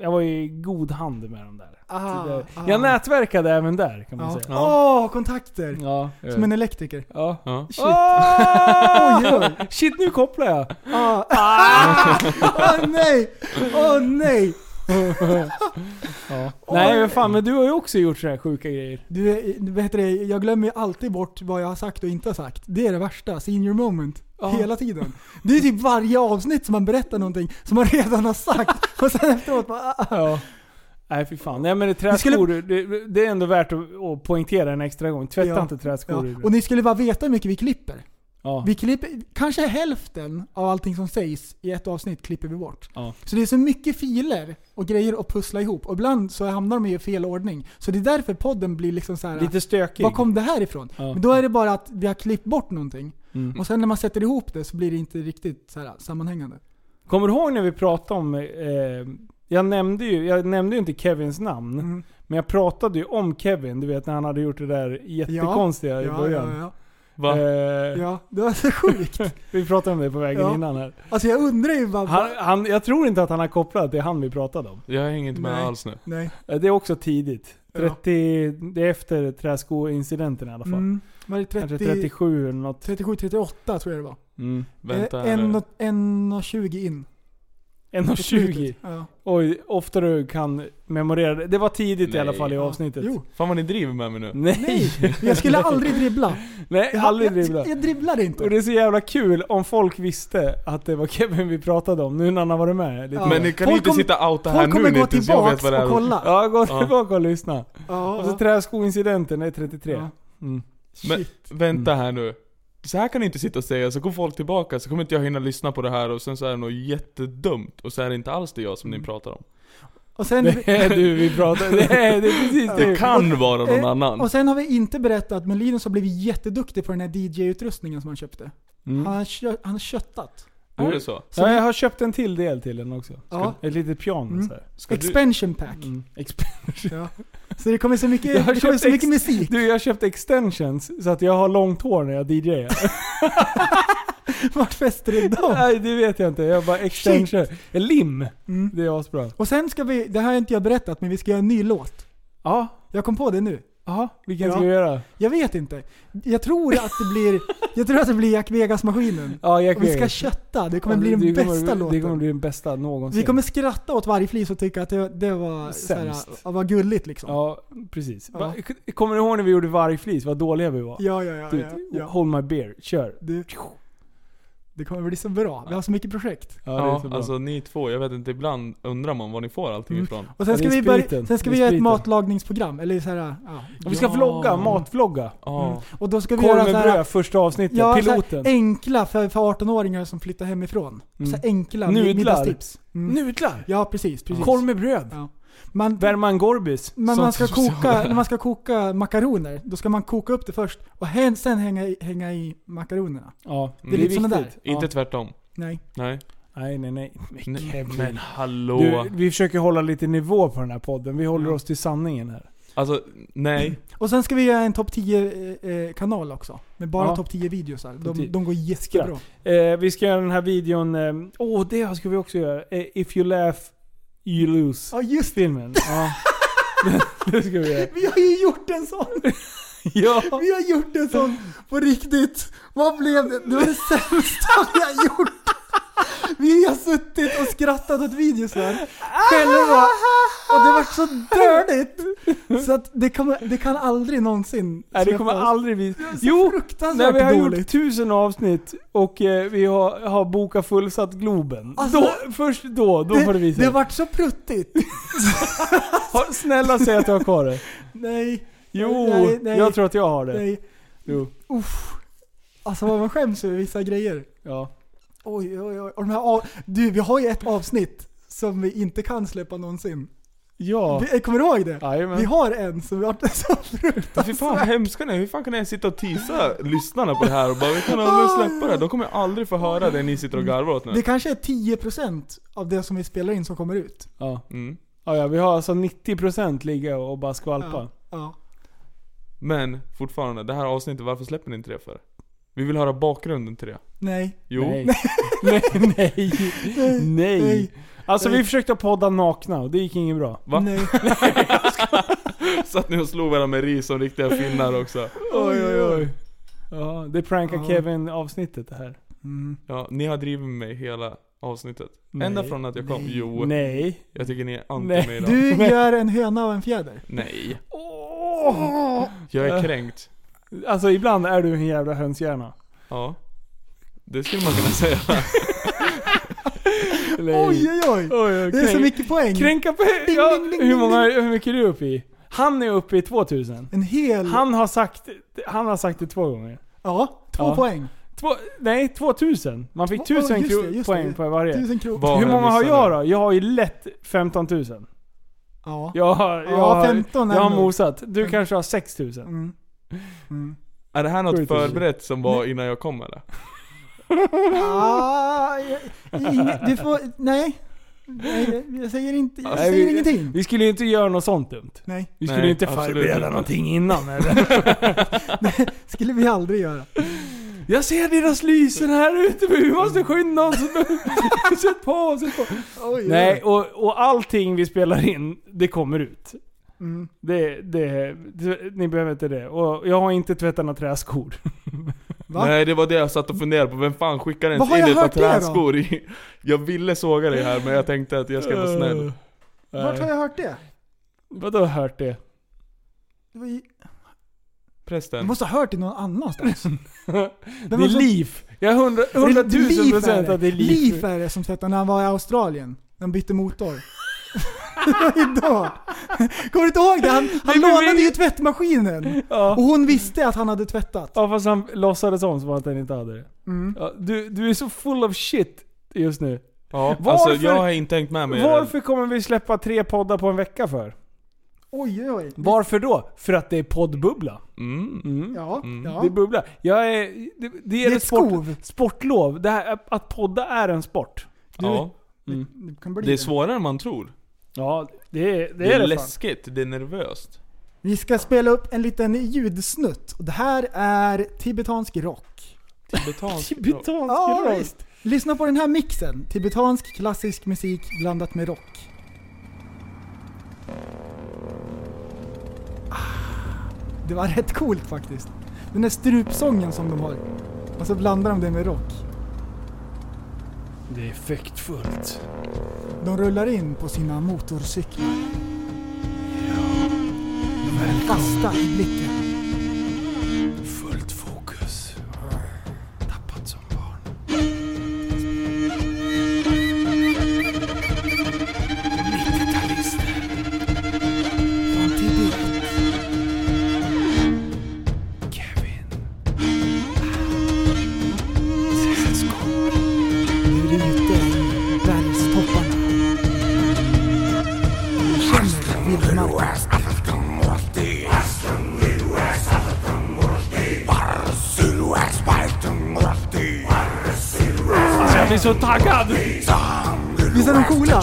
jag var i god hand med dem där.
Ah,
Så det-
ah.
Jag nätverkade även där kan man
Ja.
säga.
Åh, kontakter!
Ja.
Som en elektriker.
Ja.
ja.
Shit.
Åh!
Oj,
Shit nu kopplar jag.
Ah. Ah. Åh nej! Åh nej!
Ja.
Oj.
Nej men fan men du har ju också gjort sådana här sjuka grejer.
Du, är- du vet det, jag glömmer ju alltid bort vad jag har sagt och inte har sagt. Det är det värsta, senior moment. Hela tiden. Det är typ varje avsnitt som man berättar någonting som man redan har sagt. Och sen efteråt bara... ah, ah.
Ja. Nej fy fan. Nej men det träskor, det, det är ändå värt att, att poängtera en extra gång. Tvätta
Ja.
inte träskor.
Ja. Och ni skulle bara veta hur mycket vi klipper.
ja.
Vi klipper, kanske hälften av allting som sägs i ett avsnitt klipper vi bort.
Ja.
Så det är så mycket filer och grejer att pussla ihop. Och ibland så hamnar de i fel ordning. Så det är därför podden blir liksom så här.
Lite stökig.
Var kom det här ifrån?
Ja.
Men då är det bara att vi har klippt bort någonting.
Mm.
Och sen när man sätter ihop det så blir det inte riktigt så här sammanhängande.
Kommer du ihåg när vi pratade om... Eh, jag, nämnde ju, jag nämnde ju inte Kevins namn.
Mm.
Men jag pratade ju om Kevin, du vet när han hade gjort det där jättekonstiga i
ja,
början.
ja, ja.
Va?
Ja, det var så sjukt.
vi pratade om det på vägen
Ja.
innan här.
Alltså jag undrar ju bara...
Han, han, jag tror inte att han har kopplat att det är han vi pratade om.
Jag hänger inte med
Nej.
alls nu.
Nej.
Eh, Det är också tidigt. 30, Det är efter träskoincidenten i alla fall.
Mm. Var det
Kanske
30
37 eller något.
37-38 tror jag det var.
Mm.
Vänta
Eh,
här
en
nu.
och- en och 20 in.
1.20.
Ja.
Oj, ofta du kan memorera det. Det var tidigt i
Nej.
alla fall i
Ja.
avsnittet.
Jo.
Fan vad ni driver med mig nu.
Nej!
Jag skulle aldrig dribbla.
Nej,
Jag-
aldrig
jag-
dribbla.
Jag dribblade inte.
Och det är så jävla kul om folk visste att det var Kevin vi pratade om nu när han har varit med. lite
Ja.
mer.
Men ni kan Folk inte kom- sitta och outa folk här nu kommer när gå inte ens jag tillbaks vet vad det är. och kolla.
Ja, gå
Ja.
tillbaka och lyssna.
Ja,
och så
ja.
träskoincidenten är 33.
Ja.
Mm.
Men vänta
Mm.
här nu. Så här kan ni inte sitta och säga, så går folk tillbaka så kommer inte jag hinna lyssna på det här och sen så är det något jättedumt och så är det inte alls det jag som ni
Mm.
pratar om.
Och sen,
Det är du vi pratar om. Det är, det är precis
Ja.
du.
Det kan vara någon
Eh,
annan.
Och sen har vi inte berättat, men Linus har blivit jätteduktig på den här DJ-utrustningen som han köpte.
Mm.
Han, har kö- han har köttat.
Är det så?
Ja, jag har köpt en till del till den också.
Ja.
Ett litet piano
Mm.
så här.
Expansion pack.
Expansion.
Ja. Så det kommer så mycket,
Mm. Jag har
det kommer
köpt
så mycket
ex-
musik.
Du, jag har köpt extensions så att jag har långt hår när jag DJar.
Vart fäster du dem?
Nej, det vet jag inte. Jag bara extension. Lim.
Mm.
Det är asbra.
Och sen ska vi, det här har inte jag berättat, men vi ska göra en ny låt.
Ja.
Jag kom på det nu.
Jaha, vilken ska vi göra?
Jag vet inte. Jag tror att det blir, jag tror att det blir Jack Vegas-maskinen.
Ja, Jack
Och vi ska
Vegas.
kötta, det kommer
Ja,
bli den
det
bästa
kommer,
låten.
Det kommer bli den bästa någonsin.
vi kommer skratta åt varje flis och tycka att det, det var, såhär,
Sämst.
ja, vad gulligt liksom.
Ja, precis.
Ja.
Va- Kommer ni ihåg när vi gjorde vargflis? Vad dåliga vi var?
Ja, ja, ja,
Du,
ja, ja.
Hold my beer, kör.
Du, det kommer bli så bra. Vi har så mycket projekt.
Ja,
Ja, alltså ni två, jag vet inte, ibland undrar man var ni får allting
Mm.
ifrån.
Och sen ska, vi, börja, sen ska vi göra ett matlagningsprogram, eller så här, ja.
Vi ska
Ja.
vlogga, matvlogga.
Mm. Och då ska vi
Korv
göra
med
så här-
bröd, första avsnittet,
Ja, så här
piloten.
enkla för, för 18-åringar som flyttar hemifrån.
Mm.
Så här enkla
Nudlar.
middagstips. Mm.
Mm. Nudlar?
Ja, precis. precis.
Korv med bröd.
Ja. Man,
Värma en gorbis.
Men
Sånt
man ska
som-
koka, när man ska koka makaroner, då ska man koka upp det först och hän, sen hänga i, hänga i makaronerna.
Ja,
Det är lite såna där.
Inte
Ja.
tvärtom.
Nej.
Nej.
Nej, nej, nej. Men Kevin.
Men hallå.
Du, vi försöker hålla lite nivå på den här podden. Vi håller oss till sanningen här.
Alltså, nej.
Och sen ska vi göra en topp 10-kanal också. Med bara
Ja.
topp 10-videosar.
Topp 10.
De, de går jättebra.
Eh, vi ska göra den här videon... Åh, eh, åh, det ska vi också göra. Eh, If you laugh, you lose.
Ja, just
Filmen. Ja. det ska vi göra.
Vi har ju gjort en sån!
Ja.
Vi har gjort en sån på riktigt. Vad blev det? Det var det sämsta vi har gjort. Vi har suttit och skrattat åt videosar själva. Och det var så dörligt. Så att det, kommer, det kan aldrig någonsin
Nej, det kommer
släppas.
aldrig bli...
så
Jo! När
fruktansvärt
vi har gjort
dåligt.
tusen avsnitt och eh, vi har, har bokat fullsatt Globen.
Alltså-
då, först då, då
det,
får du visa
Det
dig.
vart så pruttigt.
Har- Snälla säg att du har kvar det.
Nej.
Jo,
Nej, nej.
jag tror att jag har det.
Nej.
Jo.
Uff. Alltså vad man skäms över vissa grejer.
Ja.
Oj, oj, oj. Och de här av... Du, vi har ju ett avsnitt som vi inte kan släppa någonsin.
Ja.
Vi, kommer du ihåg det?
Jajamän.
Vi har en som har varit så fruktansvärt...
Alltså, Fy fan vad hemska ni är. hur fan kan jag sitta och tisa lyssnarna på det här och bara vi kan aldrig släppa det här. De kommer aldrig få höra det ni sitter och
Mm.
garvar åt nu.
Det kanske är 10% av det som vi spelar in som kommer ut.
Ja.
Mm.
Ja, ja, vi har alltså 90% ligga och bara skvalpa.
Ja. ja.
Men fortfarande, det här avsnittet, varför släpper ni inte det för? Vi vill höra bakgrunden till det.
Nej.
Jo.
Nej. nej, nej, nej.
Nej.
Alltså
Nej.
vi försökte podda nakna och det gick inget bra.
Va? Satt ni och slog varandra med ris som riktiga finnar också.
Oj, oj, oj. Ja, det prankar
Ja.
Kevin avsnittet det här.
Ja, ni har drivit med mig hela avsnittet.
Nej.
Ända från att jag kom.
Nej.
Jo.
Nej.
Jag tycker ni är anti
Nej.
mig idag.
Du gör en höna av en fjäder.
Nej.
Åh.
Jag
Äh.
är kränkt.
Alltså ibland är du en jävla hönshjärna.
Ja. Det skulle man kunna säga.
Nej.
Oj, oj, oj. Det är så mycket poäng.
Kränka på...
Ding,
Ja,
ding, ding,
hur,
ding,
många, hur mycket är du uppe i? Han är uppe i 2000.
En hel...
Han har sagt, han har sagt det två gånger.
Ja, två poäng.
Två, nej, 2000. Man fick
Åh,
1000
just det,
kro-
just
poäng
det.
på varje.
1000 kronor.
Vad
Hur
har jag
många har
missat
jag då? Jag har ju lätt 15 000.
Ja.
Jag har, jag
Ja,
har,
15 är
jag har
nog.
mosat. Du kanske har 6 000.
Mm. Mm.
Är det här
Skjut
något
oss.
förberett som var innan jag kom eller?
Ah, jag- ing- du får, nej. Nej, Jag säger inte, jag
Nej,
säger
vi,
ingenting.
Vi skulle ju inte göra något sånt dumt.
Nej.
Vi skulle
Nej,
ju inte
absolut
förbereda
inte.
någonting innan eller?
Det skulle vi aldrig göra.
Jag ser deras lysen här ute, men vi måste skynda oss. sätt på, sätt på.
Oj,
Nej, och, och allting vi spelar in, det kommer ut.
Mm.
Det, det, det, ni behöver inte det. Och jag har inte tvättat några träskor. Va?
Nej det var det jag satt och funderade på, vem fan skickar
Vad
ens
har
in
jag
ett par
hört det då?
träskor i? Jag ville såga dig här men jag tänkte att jag ska vara
Eh.
snäll.
Vart har jag hört det?
Vadå hört det?
Det var ju- Du
Prästen.
måste ha hört det någon annanstans.
Det är Leaf. Jag är hundra- hundratusen procent att det är Leaf.
Leaf är det som tvättade när han var i Australien. När han bytte motor. Det var ju då. Kommer du inte ihåg det? Han, han
men
lånade
vi-
ju tvättmaskinen. Och hon visste att han hade tvättat.
Ja fast han låtsades om som att han inte hade det.
Mm.
Ja, du, du är så full of shit just nu.
Ja, alltså jag har inte hängt med mig i det.
Varför kommer vi släppa tre poddar på en vecka för?
Oj, oj, oj.
Varför då? För att det är poddbubbla.
Mm.
Ja, ja.
Det är bubbla. Jag är, det, det är, ett sport, sportlov. Det här, att podda är en sport.
Ja. Det är svårare än man tror.
Ja, det är
Det är,
det fan.
läskigt, det är nervöst.
Vi ska spela upp en liten ljudsnutt. Och det här är tibetansk rock.
Tibetansk,
Tibetansk
ja,
rock.
Visst. Lyssna på den här mixen. Tibetansk klassisk musik blandat med rock. Ah, Det var rätt coolt faktiskt. Den där strupsången som de har. Och så blandar de det med rock.
Det är effektfullt.
De rullar in på sina motorcyklar. De är fasta i blicken.
Fullt fokus. Tappat som barn.
Nu är det ute i bergstopparna. Nu känner du vildmarken.
Alltså jag blir så taggad!
Visst är de coola?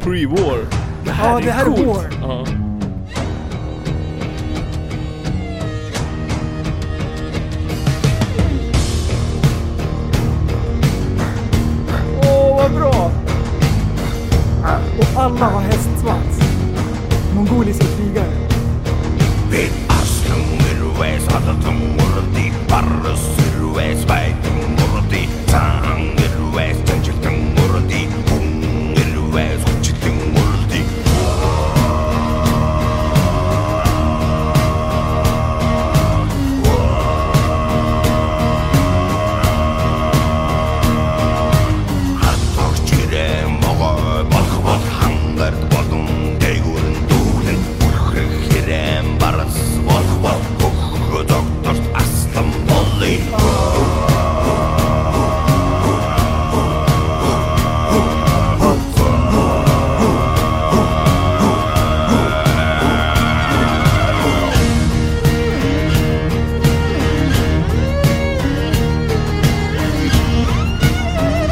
Pre-war.
Ja, det här är
coolt.
war.
Ja.
Åh, vad bra! Och alla har hästsvans. Mongoliska krigare.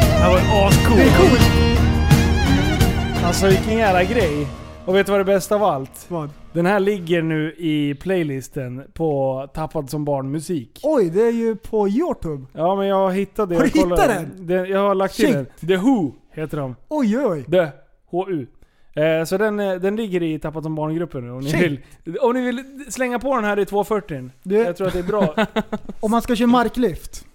Det här var ju ascool. Det är coolt! Alltså vilken jävla grej. Och vet du vad det bästa av allt?
Vad?
Den här ligger nu i playlisten på Tappad som barn musik.
Oj, det är ju på Youtube.
Ja men jag hittade
Har du
jag kollade.
hittat den?
Den- Jag har lagt till
Shit.
den. The Who heter de.
Oj, oj.
The H-U. Eh, så den, eh, den ligger i Tappat som barn-gruppen nu. Om ni,
Shit.
vill, om ni vill slänga på den här i 240 Jag tror att det är bra.
Om man ska köra marklyft.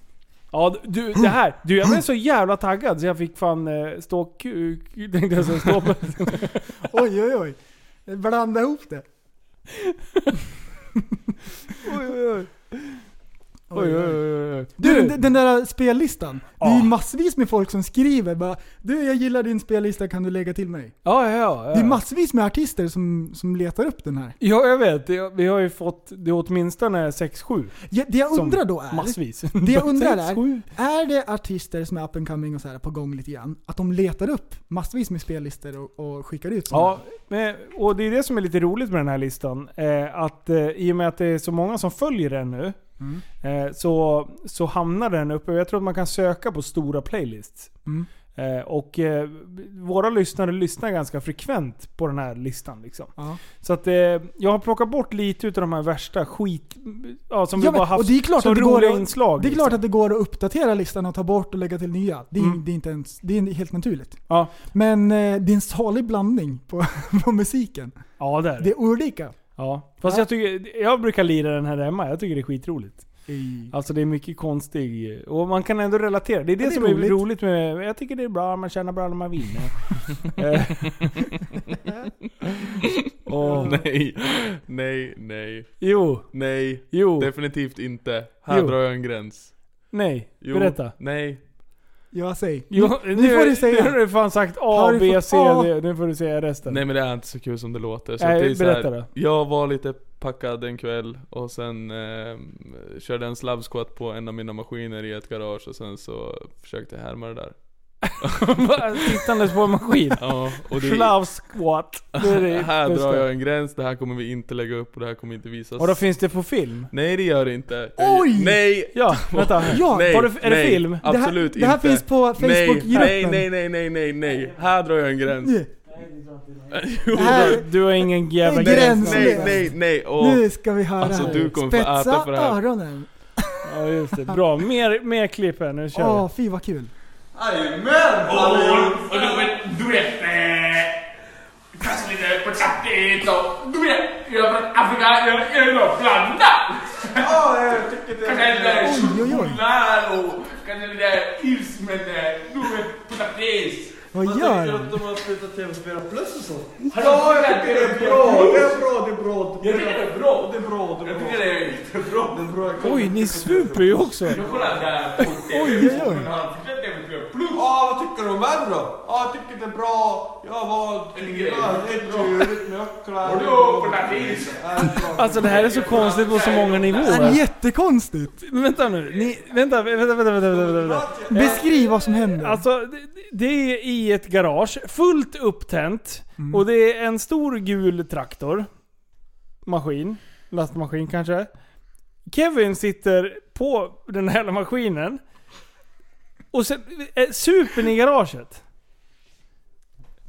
Ja du, det här. Du jag blev så jävla taggad så jag fick fan eh, stå kuk, tänkte jag säga, stå på.
Oj, oj, oj. Blanda ihop det.
oj, oj, oj. Oj, oj, oj, oj.
Du, den- den där spellistan. Det är ju massvis med folk som skriver bara Du, jag gillar din spellista, kan du lägga till mig?
Ja, ja, ja. ja.
Det är massvis med artister som, som letar upp den här.
Ja, jag vet. Det- Vi har ju fått det är åtminstone 6-7.
Ja, det jag
Som
undrar då är...
massvis.
Det jag undrar är,
Sex, sju.
är det artister som är up and coming och så här på gång lite grann? Att de letar upp massvis med spellistor och, och skickar ut såna
Ja, men, och det är det som är lite roligt med den här listan. Eh, att eh, i och med att det är så många som följer den nu, eh, så, så hamnar den uppe. Jag tror att man kan söka på stora playlists.
Mm.
Eh, och eh, våra lyssnare lyssnar ganska frekvent på den här listan. Liksom. Så att eh, jag har plockat bort lite utav de här värsta skit... Ja, som vi
men-
bara haft
och det är klart
som
att det går
roliga
att,
inslag.
Det är
liksom.
klart att det går att uppdatera listan och ta bort och lägga till nya. Det är,
Mm.
det är, inte ens, det är helt naturligt.
Ja.
Men eh, det är en salig blandning på, på musiken.
Ja, det är
Det är olika.
Ja, fast
Ja.
Jag, tycker, jag brukar lira den här hemma. Jag tycker det är skitroligt. Alltså det är mycket konstig... eh, Och man kan ändå relatera. Det är det,
Ja, det är
som
roligt.
är roligt med... Jag tycker det är bra, man tjänar bra när man vinner. Eh. Åh.
Nej, nej, nej.
Jo.
Nej.
Jo.
Definitivt inte. Här
Jo.
drar jag en gräns.
Nej,
Jo.
berätta.
Nej.
Ja, säg.
Jo,
nu, nu får du säga.
Nu har du fan sagt A,
Har du
B,
fått
C,
A?
D. Nu får du säga resten.
Nej men det är inte så kul som det låter. Så
Nej,
att det är så
berätta
här,
då.
Jag var lite packad en kväll och sen eh, körde en slavskvatt på en av mina maskiner i ett garage och sen så försökte jag härma det där.
Bara Sittandes på en maskin.
Ja, och det-
Slav squat. Det är det
här
bästa.
drar jag en gräns, det här kommer vi inte lägga upp och det här kommer inte visas.
Och då finns det på film?
Nej det gör det inte. Jag-
Oj!
Nej!
Ja, vänta. Ja,
nej,
har du- är det
nej,
film? Det här-
Absolut
det här
inte.
finns på
Nej,
Facebookgruppen.
Nej, nej, nej, nej, nej, nej. Här drar jag en gräns.
Nej.
Jo,
Här-
Du har ingen jävla
Det är
gräns.
gränslöst.
Nej, nej, åh.
Nu ska vi höra
Alltså,
här.
du kommer få
Spetsa
äta för det här.
öronen.
Ja just det. Bra. Mer, mer klipp här. Nu kör vi.
Åh, fy vad kul.
Jajamän!
Oh,
Och, och du vet, du vet... Eh, kanske lite på tappet och... Du vet, jag är från Afrika, jag jag är då blandad! Ja, jag tycker det. Kanske lite kjolar och kanske lite is, men eh, du vet, på tappet.
Alltså,
Vad gör han?
de har slutat tv-spela plus och så.
Hallå, det är bra.
Det är bra, det är bra.
Jag tycker det är bra.
Det är bra, det
Jag
är bra.
tycker det är
jättebra. Det är bra.
Oj, ni super ju också.
Jag kollar där på TV.
Oj, oj, oj.
Men han fortsätter med Plus.
Ja, vad tycker du om världen då? Ja, jag tycker det är bra. Jag var... Det är trevligt med öcklar.
Vadå, på latin?
Alltså det här är så konstigt på så många
Det är
nivåer.
jättekonstigt.
Men vänta nu. Ni, vänta, vänta, vänta, vänta, vänta, vänta.
Beskriv vad som händer.
Alltså, det, det är i ett garage, fullt upptänt. Och det är en stor gul traktor. Maskin. Lastmaskin kanske. Kevin sitter på den här maskinen. Och sen, eh, supern i garaget.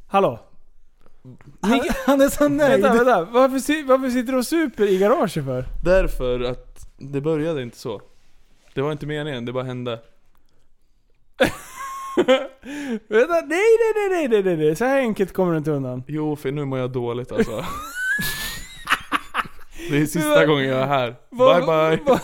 Hallå?
Han, han är så nöjd.
Vänta, vänta. Varför, si- varför sitter du och super i garaget för?
Därför att det började inte så. Det var inte meningen, det bara hände.
Vänta, nej, nej, nej, nej, nej, nej, nej. Så här enkelt kommer du inte undan.
Jo, för nu mår jag dåligt alltså. Det är sista
Men vad-
gången jag är här.
vad-
bye bye.
vad-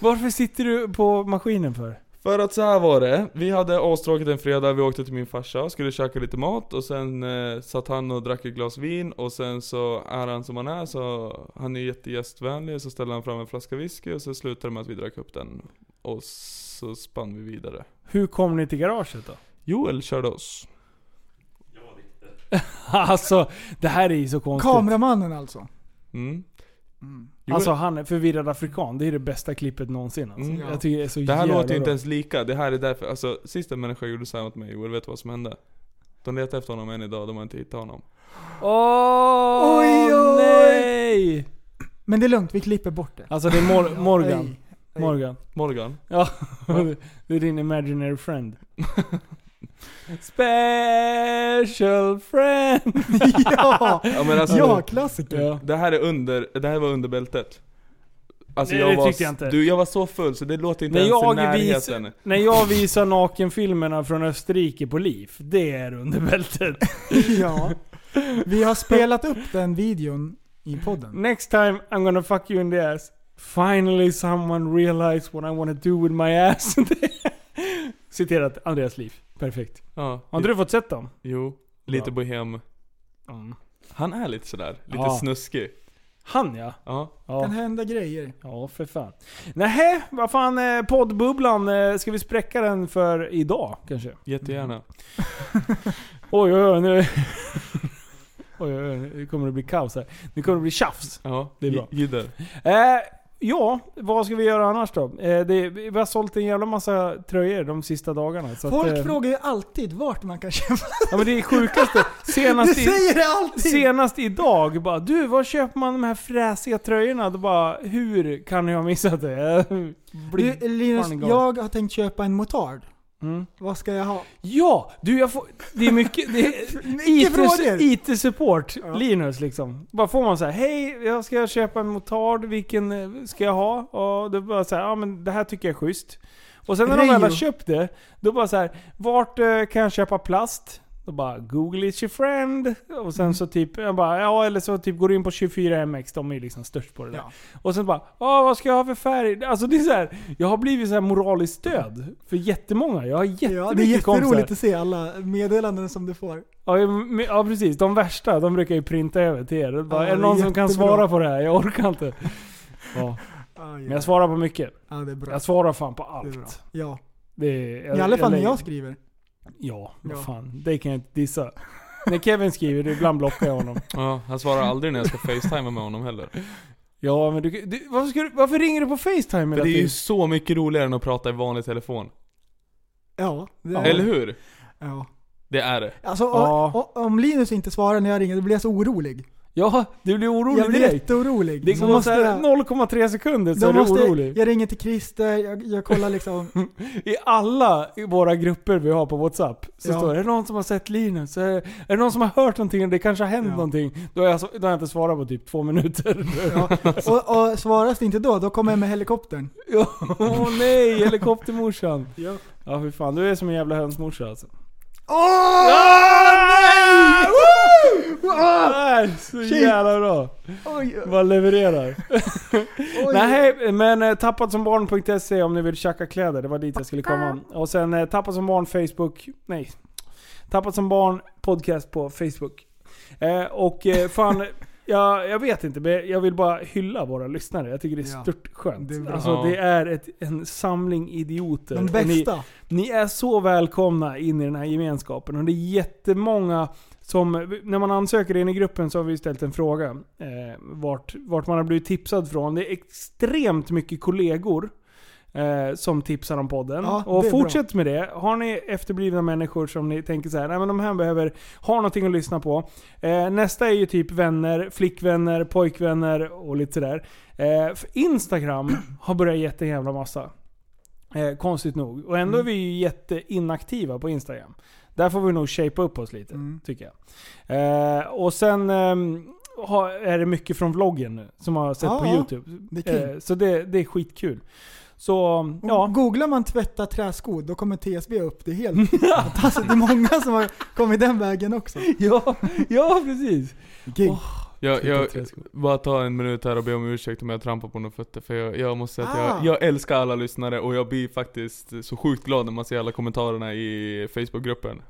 varför sitter du på maskinen för?
För att så här var det. Vi hade astråkigt en fredag, vi åkte till min farsa och skulle käka lite mat och sen eh, satt han och drack ett glas vin och sen så är han som han är så han är jättegästvänlig så ställde han fram en flaska whisky och så slutade det med att vi drack upp den. Och så spann vi vidare.
Hur kom ni till garaget då?
Joel körde oss.
Alltså, det här är ju så konstigt.
Kameramannen alltså.
Mm. Joel-
Alltså han är förvirrad afrikan. Det är det bästa klippet någonsin. Alltså.
Mm.
Jag tycker det är så
Det här
jävla
låter ju inte
bra.
ens lika, det här är därför, alltså sista människan gjorde så här mot mig Joel, vet du vad som hände? De letar efter honom än idag, de har inte hittat honom.
Åh
Oj, oj.
nej!
Men det är lugnt, vi klipper bort det.
Alltså det är Mor-
Ja,
Morgan.
nej.
Morgan.
Morgan?
Ja, det är din imaginary friend. Special friend!
ja!
Ja men alltså,
ja, klassiker.
Det här är under, det här var under bältet. Alltså
Nej,
jag
det
var,
tyckte jag
s-
inte.
Du, jag var så full så det låter inte
När
ens i
jag, vis,
närheten.
när jag visar nakenfilmerna från Österrike på liv, det är under bältet.
ja. Vi har spelat upp den videon i podden.
Next time I'm gonna fuck you in the ass. Finally someone realized what I wanna do with my ass. Citerat Andreas Liv. Perfekt.
Ja.
Har inte du fått sett dem?
Jo, lite
Bra.
bohem.
Mm.
Han är lite sådär, lite
Ja.
snuskig.
Han ja.
Ja.
Kan hända grejer.
Ja, för fan. Nähä, vad fan eh, poddbubblan. eh, Ska vi spräcka den för idag kanske?
Jättegärna.
Mm. Oj, oj, oj. Nu... oj, oj, oj. Nu kommer det bli kaos här. Nu kommer det bli tjafs.
Ja,
det är bra.
Gider.
Eh, ja, vad ska vi göra annars då? Eh, det, vi har sålt en jävla massa tröjor de sista dagarna. Så
Folk
att, eh,
frågar ju alltid vart man kan köpa.
Ja men det är sjukaste. Senast,
Du säger det alltid.
senast idag bara du, var köper man de här fräsiga tröjorna? Då bara, hur kan jag ha missat det? Jag blir
Du, Linus,
fan galen.
jag har tänkt köpa en motard.
Mm.
Vad ska jag ha?
Ja! Du jag får... Det är mycket... Det är
frågor.
IT- IT-support, Linus liksom. Bara får man säga hej, jag ska köpa en motard, vilken eh, ska jag ha? Och då bara såhär, ja men det här tycker jag är schysst. Och sen när de
Rejo.
väl har köpt det, då bara så här, vart eh, kan jag köpa plast? Då bara Google is your friend. Och
Mm.
sen så typ, jag bara, ja eller så typ går du in på 24MX, de är ju liksom störst på det där. Och sen bara, ja vad ska jag ha för färg? Alltså det är så här, jag har blivit så här moraliskt stöd för jättemånga. Jag har jättemycket
Ja,
kompisar.
det är jätteroligt att se alla meddelanden som du får.
Ja, men- men- ja precis, de värsta de brukar ju printa över till er. Det är Bara,
Ja,
är det
det är
någon som kan
jättebra.
svara på det här? Jag orkar inte. Ja. Men jag svarar på mycket.
Ah, Ja, det är bra.
Jag svarar fan på
Det är bra.
allt.
Ja.
Det är,
I alla fall när
lägger-
jag skriver.
Ja,
Ja.
vad fan. Det kan jag inte dissa. När Kevin skriver, det ibland blockar jag honom.
Ja, han svarar aldrig när jag ska facetima med honom heller.
Ja men du, du, varför, ska du varför ringer du på Facetime
Men
hela
det är ju
tiden?
så mycket roligare än att prata i vanlig telefon.
Ja. det är-
Eller hur?
Ja.
Det är det.
Alltså, o- o- om Linus inte svarar när jag ringer, då blir jag så orolig.
Ja, du blir orolig
Jag blir
direkt.
jätteorolig.
Det
Så
går
måste
såhär
jag-
0,3 sekunder så
Då
är du
måste-
orolig.
Jag ringer till Christer, jag, jag kollar liksom.
I alla våra grupper vi har på WhatsApp så
Ja.
står det är det någon som har sett Linus? Är är det någon som har hört någonting? Det kanske har hänt någonting? Då har, jag, så- då har jag inte svarat på typ två minuter.
Och, och svaras det inte då, då kommer jag med helikoptern.
Åh nej, helikoptermorsan. ja. ja fy fan, du är som en jävla hönsmorsa alltså. Ah,
Åh!
nej!
Ah!
Nej, så
Shit.
jävla bra.
Oj.
Bara levererar. Nej, men eh, tappadsombarn.se om ni vill tjacka kläder. Det var dit jag skulle komma. Och sen eh, Tappat som barn Facebook. Nej. Tappat som barn podcast på Facebook. Eh, och eh, fan, jag, jag vet inte. Men jag vill bara hylla våra lyssnare. Jag tycker det är
Ja.
störtskönt.
Det är bra.
alltså
Ja.
det är ett, en samling idioter.
De
Och ni-
bästa.
ni är så välkomna in i den här gemenskapen och det är jättemånga som, när man ansöker in i gruppen så har vi ställt en fråga eh, vart, vart man har blivit tipsad från. Det är extremt mycket kollegor eh, som tipsar om podden.
Ja,
och
det är bra.
fortsätt med det. Har ni efterblivna människor som ni tänker så här, nej men de här behöver ha någonting att lyssna på. Eh, nästa är ju typ vänner, flickvänner, pojkvänner och lite sådär. Eh, för Instagram har börjat ge en jävla massa. Eh, konstigt nog. Och
Mm.
ändå är vi ju jätteinaktiva på Instagram. Där får vi nog shapea upp oss lite,
Mm.
tycker jag. Eh, och sen ehm, har, är det mycket från vloggen nu, som har sett
Ja,
på
ja.
YouTube.
Det är kul. Mm.
Eh, så det, det är skitkul. Så,
Och
ja.
Googlar man tvätta träskor, då kommer TSB upp. Det är helt fantastiskt. Alltså, Det är många som har kommit den vägen också.
Ja, ja precis.
Jag, jag, bara ta en minut här och be om ursäkt om jag trampar på några fötter för jag, jag måste säga att
Ah.
jag, jag älskar alla lyssnare och jag blir faktiskt så sjukt glad när man ser alla kommentarerna i Facebookgruppen.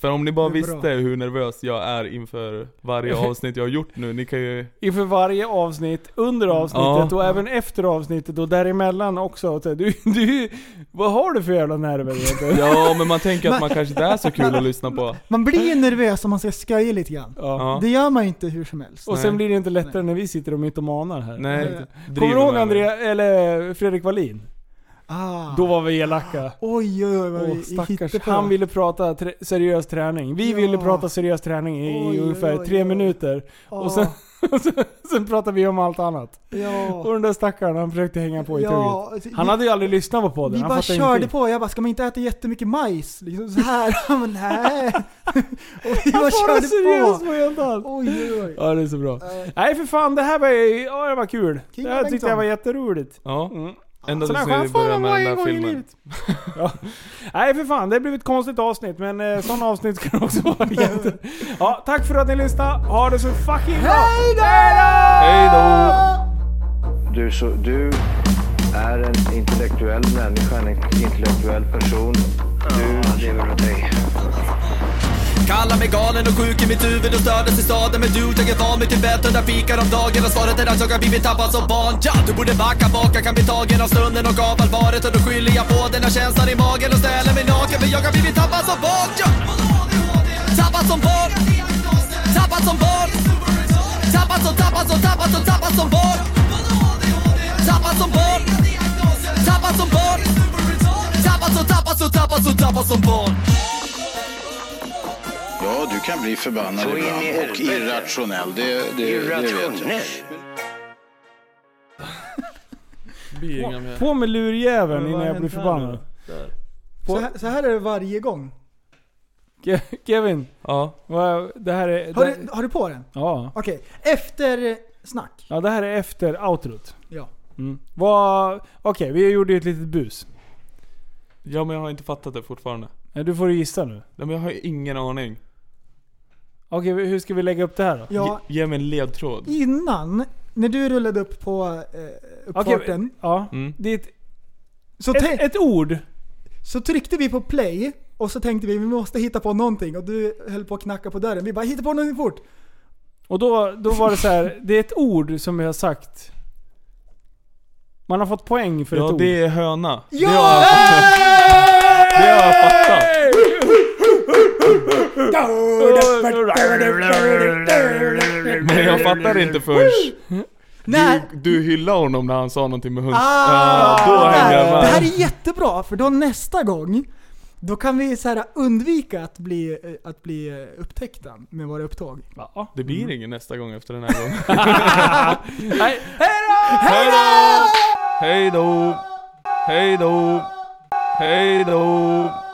För om ni bara
Det är
visste
bra.
hur nervös jag är inför varje avsnitt jag har gjort nu, ni kan ju...
Inför varje avsnitt, under
Mm.
Ja.
avsnittet och även efter avsnittet och däremellan också. Så Du, du, vad har du för jävla nerver egentligen?
Ja men man tänker att man kanske inte är så kul att lyssna på.
Man blir ju nervös om man ska skoja lite grann.
Ja.
Det gör man ju inte hur som helst.
Och sen blir det inte lättare när vi sitter och mytomanar här.
Nej,
Kommer
driver
du ihåg
med
Andrea, eller Fredrik Wallin?
Ah.
Då var vi elaka.
Oj, oj, oj. vad
Åh,
vi
stackars.
hittade på.
Han ville prata trä- seriös träning. Vi ville prata seriös träning i ungefär tre minuter.
Ah.
Och sen, sen, sen pratade vi om allt annat.
Ja.
Och den där stackaren han försökte hänga på i
Ah. Ja, alltså,
tugget.
vi-
Han hade ju aldrig lyssnat på podden.
Vi
han
bara
fattade
körde
ingenting.
på. Jag bara, ska man inte äta jättemycket majs? Liksom så här. Han bara, nej. Och vi
Han
bara
svarade
körde
seriöst
på. Ah.
på helt allt.
Oj, oj, oj.
Ja det är så bra. Nej för fan det här var, ju- ja, det var kul.
King
det här tyckte
Bengtsson.
jag var jätteroligt.
Ja. Ända
Mm. Sån här
Alltså,
tills ni
chans
börjar
får man
med den där
varje gång i
filmen.
livet. ja. Nej för fan, det blev ett konstigt avsnitt men eh, sådana avsnitt kan också vara jätte... Ja, tack för att ni lyssnade. Ha det så fucking bra!
Hejdå!
Hejdå!
Ah.
Du, så, du är en intellektuell människa, en intellektuell person. Du lever av dig.
Kallar mig galen och sjuk i mitt huvud och stördes i staden Men du, jag är van vid Tibet och där fikar om dagen Och svaret är att jag har blivit tappad som barn ja, Du borde backa bak, jag kan bli tagen av stunden och av allvaret Och då skyller jag på den här känslan i magen och ställer mig naken För jag har blivit tappad som barn ja. Tappad som barn Tappad som barn Tappad som, tappad som, tappad som, tappad som barn Tappad som barn Tappad som barn Tappad som, tappad som, tappad som, tappad som barn
Ja, du kan bli förbannad
Så in i
ibland och
helvete.
irrationell. Det, det, det vet jag.
Irrationell.
Blir inga mer.
På med
Men
lurjäveln
vad
innan jag
har
blir
hänt här
förbannad.
Så här, så här är det varje gång.
Ke- Kevin.
Ja.
Det här är...
Har
det-
du, har du på den?
Ja.
Okej, efter snack.
Ja, det här är efter outrot.
Ja.
Mm. Vad... Okej, vi gjorde ju ett litet bus.
Ja men jag har inte fattat det fortfarande.
Nej, Du får gissa nu.
Nej, men jag har ingen aning.
Okej, hur ska vi lägga upp det här då?
Ja.
Ge, ge mig en ledtråd.
Innan, när du rullade upp på eh,
Okej,
uppfarten.
ja.
Mm.
Det är ett,
så
ett, ett ord.
Så tryckte vi på play och så tänkte vi vi måste hitta på någonting och du höll på att knacka på dörren. Vi bara hitta på någonting fort.
Och då, då var det så här. det är ett ord som vi har sagt. Man har fått poäng för
ja
ett ord.
det är höna.
Ja!
Det har jag fattat. Det har jag fattat. Men jag fattar inte först.
Nej.
Du, du hyllade honom när han sa någonting med hund.
Ah,
ja, då hänger jag med.
det här är jättebra för då nästa gång då kan vi så här undvika att bli, eh, att bli eh, upptäckta med våra upptåg.
Det blir ingen nästa gång efter den här gången.
Nej.
Hej då! Hej då! Hej då! Hej då!